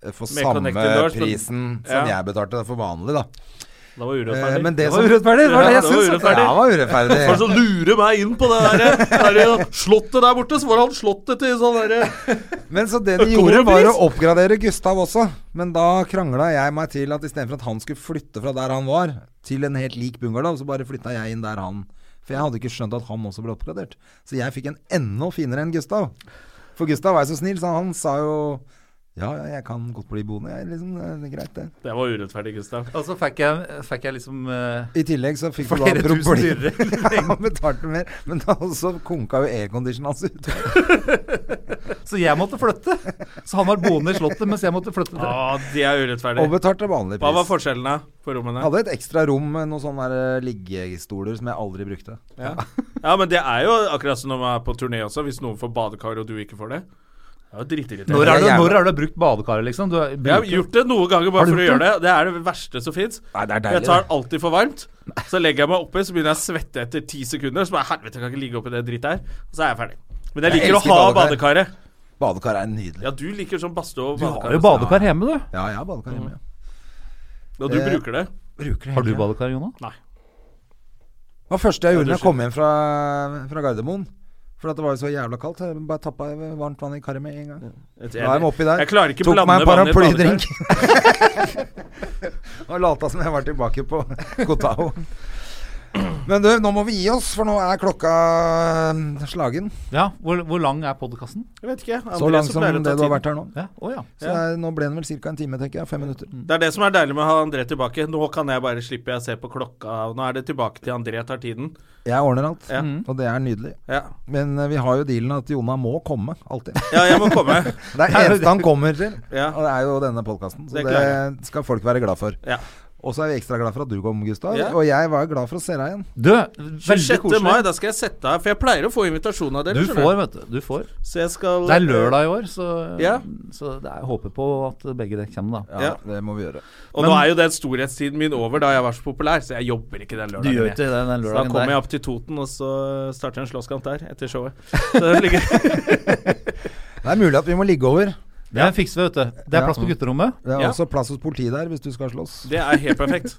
Speaker 2: eh, for
Speaker 1: Med
Speaker 2: samme
Speaker 1: connected doors, men-
Speaker 2: prisen som
Speaker 1: Ja.
Speaker 2: jeg betalte for vanlig, da.
Speaker 1: Da var
Speaker 2: Eh,
Speaker 1: urettferdig.
Speaker 2: men det,
Speaker 3: var urettferdig, det var
Speaker 2: Ja,
Speaker 3: det jeg
Speaker 1: syntes.
Speaker 2: urettferdig. Ja, det var urettferdig.
Speaker 1: For så lurer meg inn på det der, der eh, slottet der borte, så var han slottet til sånn derre
Speaker 2: Men så det de
Speaker 1: Økonomisk.
Speaker 2: gjorde var å oppgradere Gustav også. Men da krangla jeg meg til at istedenfor at han skulle flytte fra der han var, til en helt lik bungalow, så bare flytta jeg inn der han For jeg hadde ikke skjønt at han også ble oppgradert. Så jeg fikk en enda finere enn Gustav. For Gustav var jo så snill, så han sa jo ja, ja, jeg kan godt bli boende, jeg, liksom. Det er greit, det.
Speaker 1: Det var urettferdig, Gustav.
Speaker 3: Og så fikk jeg, fikk jeg liksom eh,
Speaker 2: I tillegg så fikk du da
Speaker 3: Flere tusen
Speaker 2: problemer.
Speaker 3: dyrere.
Speaker 2: Ja, han betalte mer. Men da også konka jo airconditionen hans ut.
Speaker 3: Så jeg måtte flytte. Så han var boende i Slottet mens jeg måtte flytte.
Speaker 1: Å, de er urettferdig.
Speaker 2: Og betalte vanlig
Speaker 1: Hva var
Speaker 2: pris.
Speaker 1: forskjellene på rommene?
Speaker 2: Jeg hadde et ekstra rom med noen sånne der, eh, liggestoler som jeg aldri brukte.
Speaker 1: Ja. ja, men det er jo akkurat som når man er på turné også, hvis noen får badekar og du ikke får det. Det er jo
Speaker 3: Når
Speaker 1: dritirriterende.
Speaker 3: har du,
Speaker 2: Jeg er
Speaker 3: når har du brukt badekaret, liksom? Du har-
Speaker 1: Jeg har gjort det noen ganger
Speaker 3: Har
Speaker 1: bare
Speaker 3: du
Speaker 1: for å
Speaker 3: gjort
Speaker 1: gjøre det. Det er det verste som fins.
Speaker 2: Nei, det er
Speaker 1: Jeg
Speaker 2: deilig,
Speaker 1: tar
Speaker 2: det.
Speaker 1: alltid for varmt. Så legger jeg meg oppi, så begynner jeg å svette etter ti sekunder. Så bare helvete, jeg kan ikke ligge oppi det drittet her. Og så er jeg ferdig. Men jeg
Speaker 2: Jeg
Speaker 1: liker å
Speaker 2: elsker
Speaker 1: ha
Speaker 2: badekar.
Speaker 1: badekaret.
Speaker 2: Badekar er nydelig.
Speaker 1: Ja, du liker sånn badstue og
Speaker 3: Du har jo
Speaker 1: badekar.
Speaker 3: badekar hjemme, du.
Speaker 2: Ja, jeg har badekar hjemme. Ja.
Speaker 1: Og du
Speaker 2: Eh,
Speaker 1: bruker det.
Speaker 2: Bruker det
Speaker 3: Har du
Speaker 2: hele tiden.
Speaker 3: badekar, Jona?
Speaker 2: Det var første jeg gjorde
Speaker 1: Ja, du
Speaker 2: da jeg kom hjem fra, fra Gardermoen. For at det var jo så jævla kaldt. Jeg bare tappa varmt vann i karet med en gang.
Speaker 1: Jeg,
Speaker 2: Da er jeg oppi der.
Speaker 1: jeg klarer ikke
Speaker 2: Tok
Speaker 1: blande
Speaker 2: meg en
Speaker 1: vann i et
Speaker 2: paraplydrink.
Speaker 1: badekar.
Speaker 2: og lata som jeg var tilbake på Kotao. Men du, nå må vi gi oss, for nå er klokka eh, slagen.
Speaker 3: Ja. Hvor, hvor lang er podkasten?
Speaker 1: Jeg vet ikke.
Speaker 2: Så lang som det du har vært her nå.
Speaker 3: Ja. Å ja.
Speaker 2: Så det er- nå ble den vel ca. en time, tenker jeg. Fem minutter.
Speaker 1: Det er det som er deilig med å ha André tilbake. Nå kan jeg bare slippe jeg se på klokka. Nå er det tilbake til André tar tiden.
Speaker 2: Jeg ordner alt,
Speaker 1: Ja.
Speaker 2: og det er nydelig.
Speaker 1: Ja,
Speaker 2: Men eh, vi har jo dealen at Jona må komme, alltid.
Speaker 1: ja jeg må komme.
Speaker 2: Det er eneste han kommer til,
Speaker 1: Ja.
Speaker 2: og det er jo denne podkasten. Så
Speaker 1: Det
Speaker 2: det,
Speaker 1: klarer
Speaker 2: skal folk være glad for.
Speaker 1: Ja.
Speaker 2: Og så er vi ekstra glad for at du kom, Gustav.
Speaker 1: Ja.
Speaker 2: Og jeg var glad for å se deg igjen.
Speaker 3: Du, veldig
Speaker 1: 26. mai,
Speaker 3: koselig.
Speaker 1: da skal jeg sette av For jeg pleier å få invitasjon av dere.
Speaker 3: Du
Speaker 1: skjønner
Speaker 3: får, vet du. Du får.
Speaker 1: jeg. Så jeg skal
Speaker 3: Det er lørdag i år, så,
Speaker 1: Ja.
Speaker 3: så det er, jeg håper på at begge dere kommer, da.
Speaker 2: Ja,
Speaker 1: Ja.
Speaker 2: Det må vi gjøre.
Speaker 1: eh, Og nå er jo den storhetstiden min over da jeg var så populær, så jeg jobber ikke den lørdagen. jeg.
Speaker 3: det den
Speaker 1: så da kommer jeg opp til Toten, og så starter jeg en slåsskamp der etter showet. Så det ligger
Speaker 2: Det er mulig at vi må ligge over.
Speaker 3: Det fikser vi, vet du. Det er
Speaker 2: Ja.
Speaker 3: plass på gutterommet.
Speaker 2: Det er
Speaker 1: Ja.
Speaker 2: også plass hos politiet der hvis du skal slåss.
Speaker 1: Det er helt perfekt.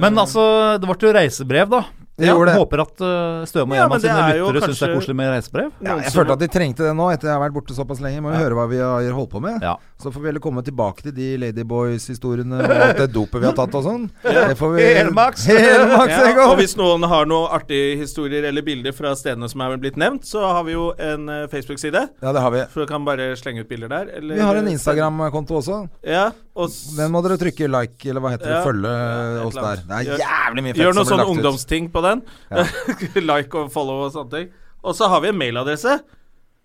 Speaker 3: Men altså, det ble jo reisebrev, da.
Speaker 2: Det gjorde det.
Speaker 3: Håper at uh, Støme og
Speaker 1: Ja,
Speaker 3: en
Speaker 1: men
Speaker 3: av
Speaker 1: det
Speaker 3: sine
Speaker 1: er jo
Speaker 3: lyttere syns det er
Speaker 1: kanskje-
Speaker 3: koselig med reisebrev.
Speaker 2: Ja, jeg følte at de trengte det nå, etter jeg har vært borte såpass lenge. Må jo høre hva vi har holdt på med.
Speaker 3: Ja.
Speaker 2: Så får vi heller komme tilbake til de Ladyboys-historiene og alt det dopet vi har tatt og sånn. Det får vi
Speaker 3: Helmaks.
Speaker 2: Helmaks,
Speaker 1: Ja,
Speaker 2: Egil.
Speaker 1: og hvis noen har noen artige historier eller bilder fra stedene som er blitt nevnt, så har vi jo en eh, Facebook-side.
Speaker 2: Ja, det har vi.
Speaker 1: Så du kan bare slenge ut bilder der. Eller,
Speaker 2: Vi har en Instagram-konto også.
Speaker 1: Ja, og s-
Speaker 2: Den må dere trykke like, eller hva heter
Speaker 1: Ja.
Speaker 2: det, følge
Speaker 1: Ja, et
Speaker 2: oss
Speaker 1: eller
Speaker 2: der.
Speaker 1: annet.
Speaker 2: Det
Speaker 1: Gjør-
Speaker 2: er jævlig mye
Speaker 1: gjør sånn noen
Speaker 2: fett som
Speaker 1: sånne
Speaker 2: blir lagt ut.
Speaker 1: ungdomsting på den. like og follow og sånne ting. Og så har vi en mailadresse.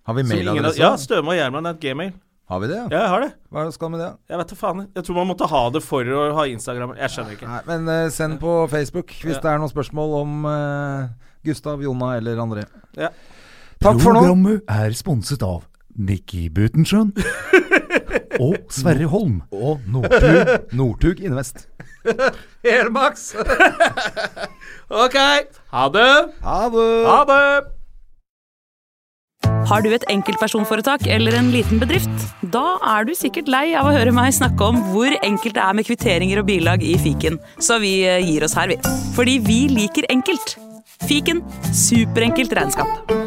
Speaker 2: Har vi
Speaker 1: som ingen har-
Speaker 2: mailadresse?
Speaker 1: Ja, Støme og Gjerman er et gmail.
Speaker 2: Har vi det? ja?
Speaker 1: Ja, jeg har det.
Speaker 2: Hva skal vi med det?
Speaker 1: Jeg vet da faen. Jeg tror man måtte ha det for å ha Instagram. Jeg skjønner ikke.
Speaker 2: Nei, men eh, send på Facebook hvis
Speaker 1: Ja.
Speaker 2: det er noen spørsmål om eh, Gustav, Jonna eller André.
Speaker 1: Ja.
Speaker 2: Takk for nå.
Speaker 3: Programmet er sponset av Nikki Butenschøn og Sverre Holm.
Speaker 2: Og Northug, Northug Invest.
Speaker 1: Helmaks! ok. Ha det.
Speaker 2: Ha det!
Speaker 1: Ha det.
Speaker 4: Har du et enkeltpersonforetak eller en liten bedrift? Da er du sikkert lei av å høre meg snakke om hvor enkelt det er med kvitteringer og bilag i fiken, så vi eh, gir oss her, vi. Fordi vi liker enkelt. Fiken superenkelt regnskap.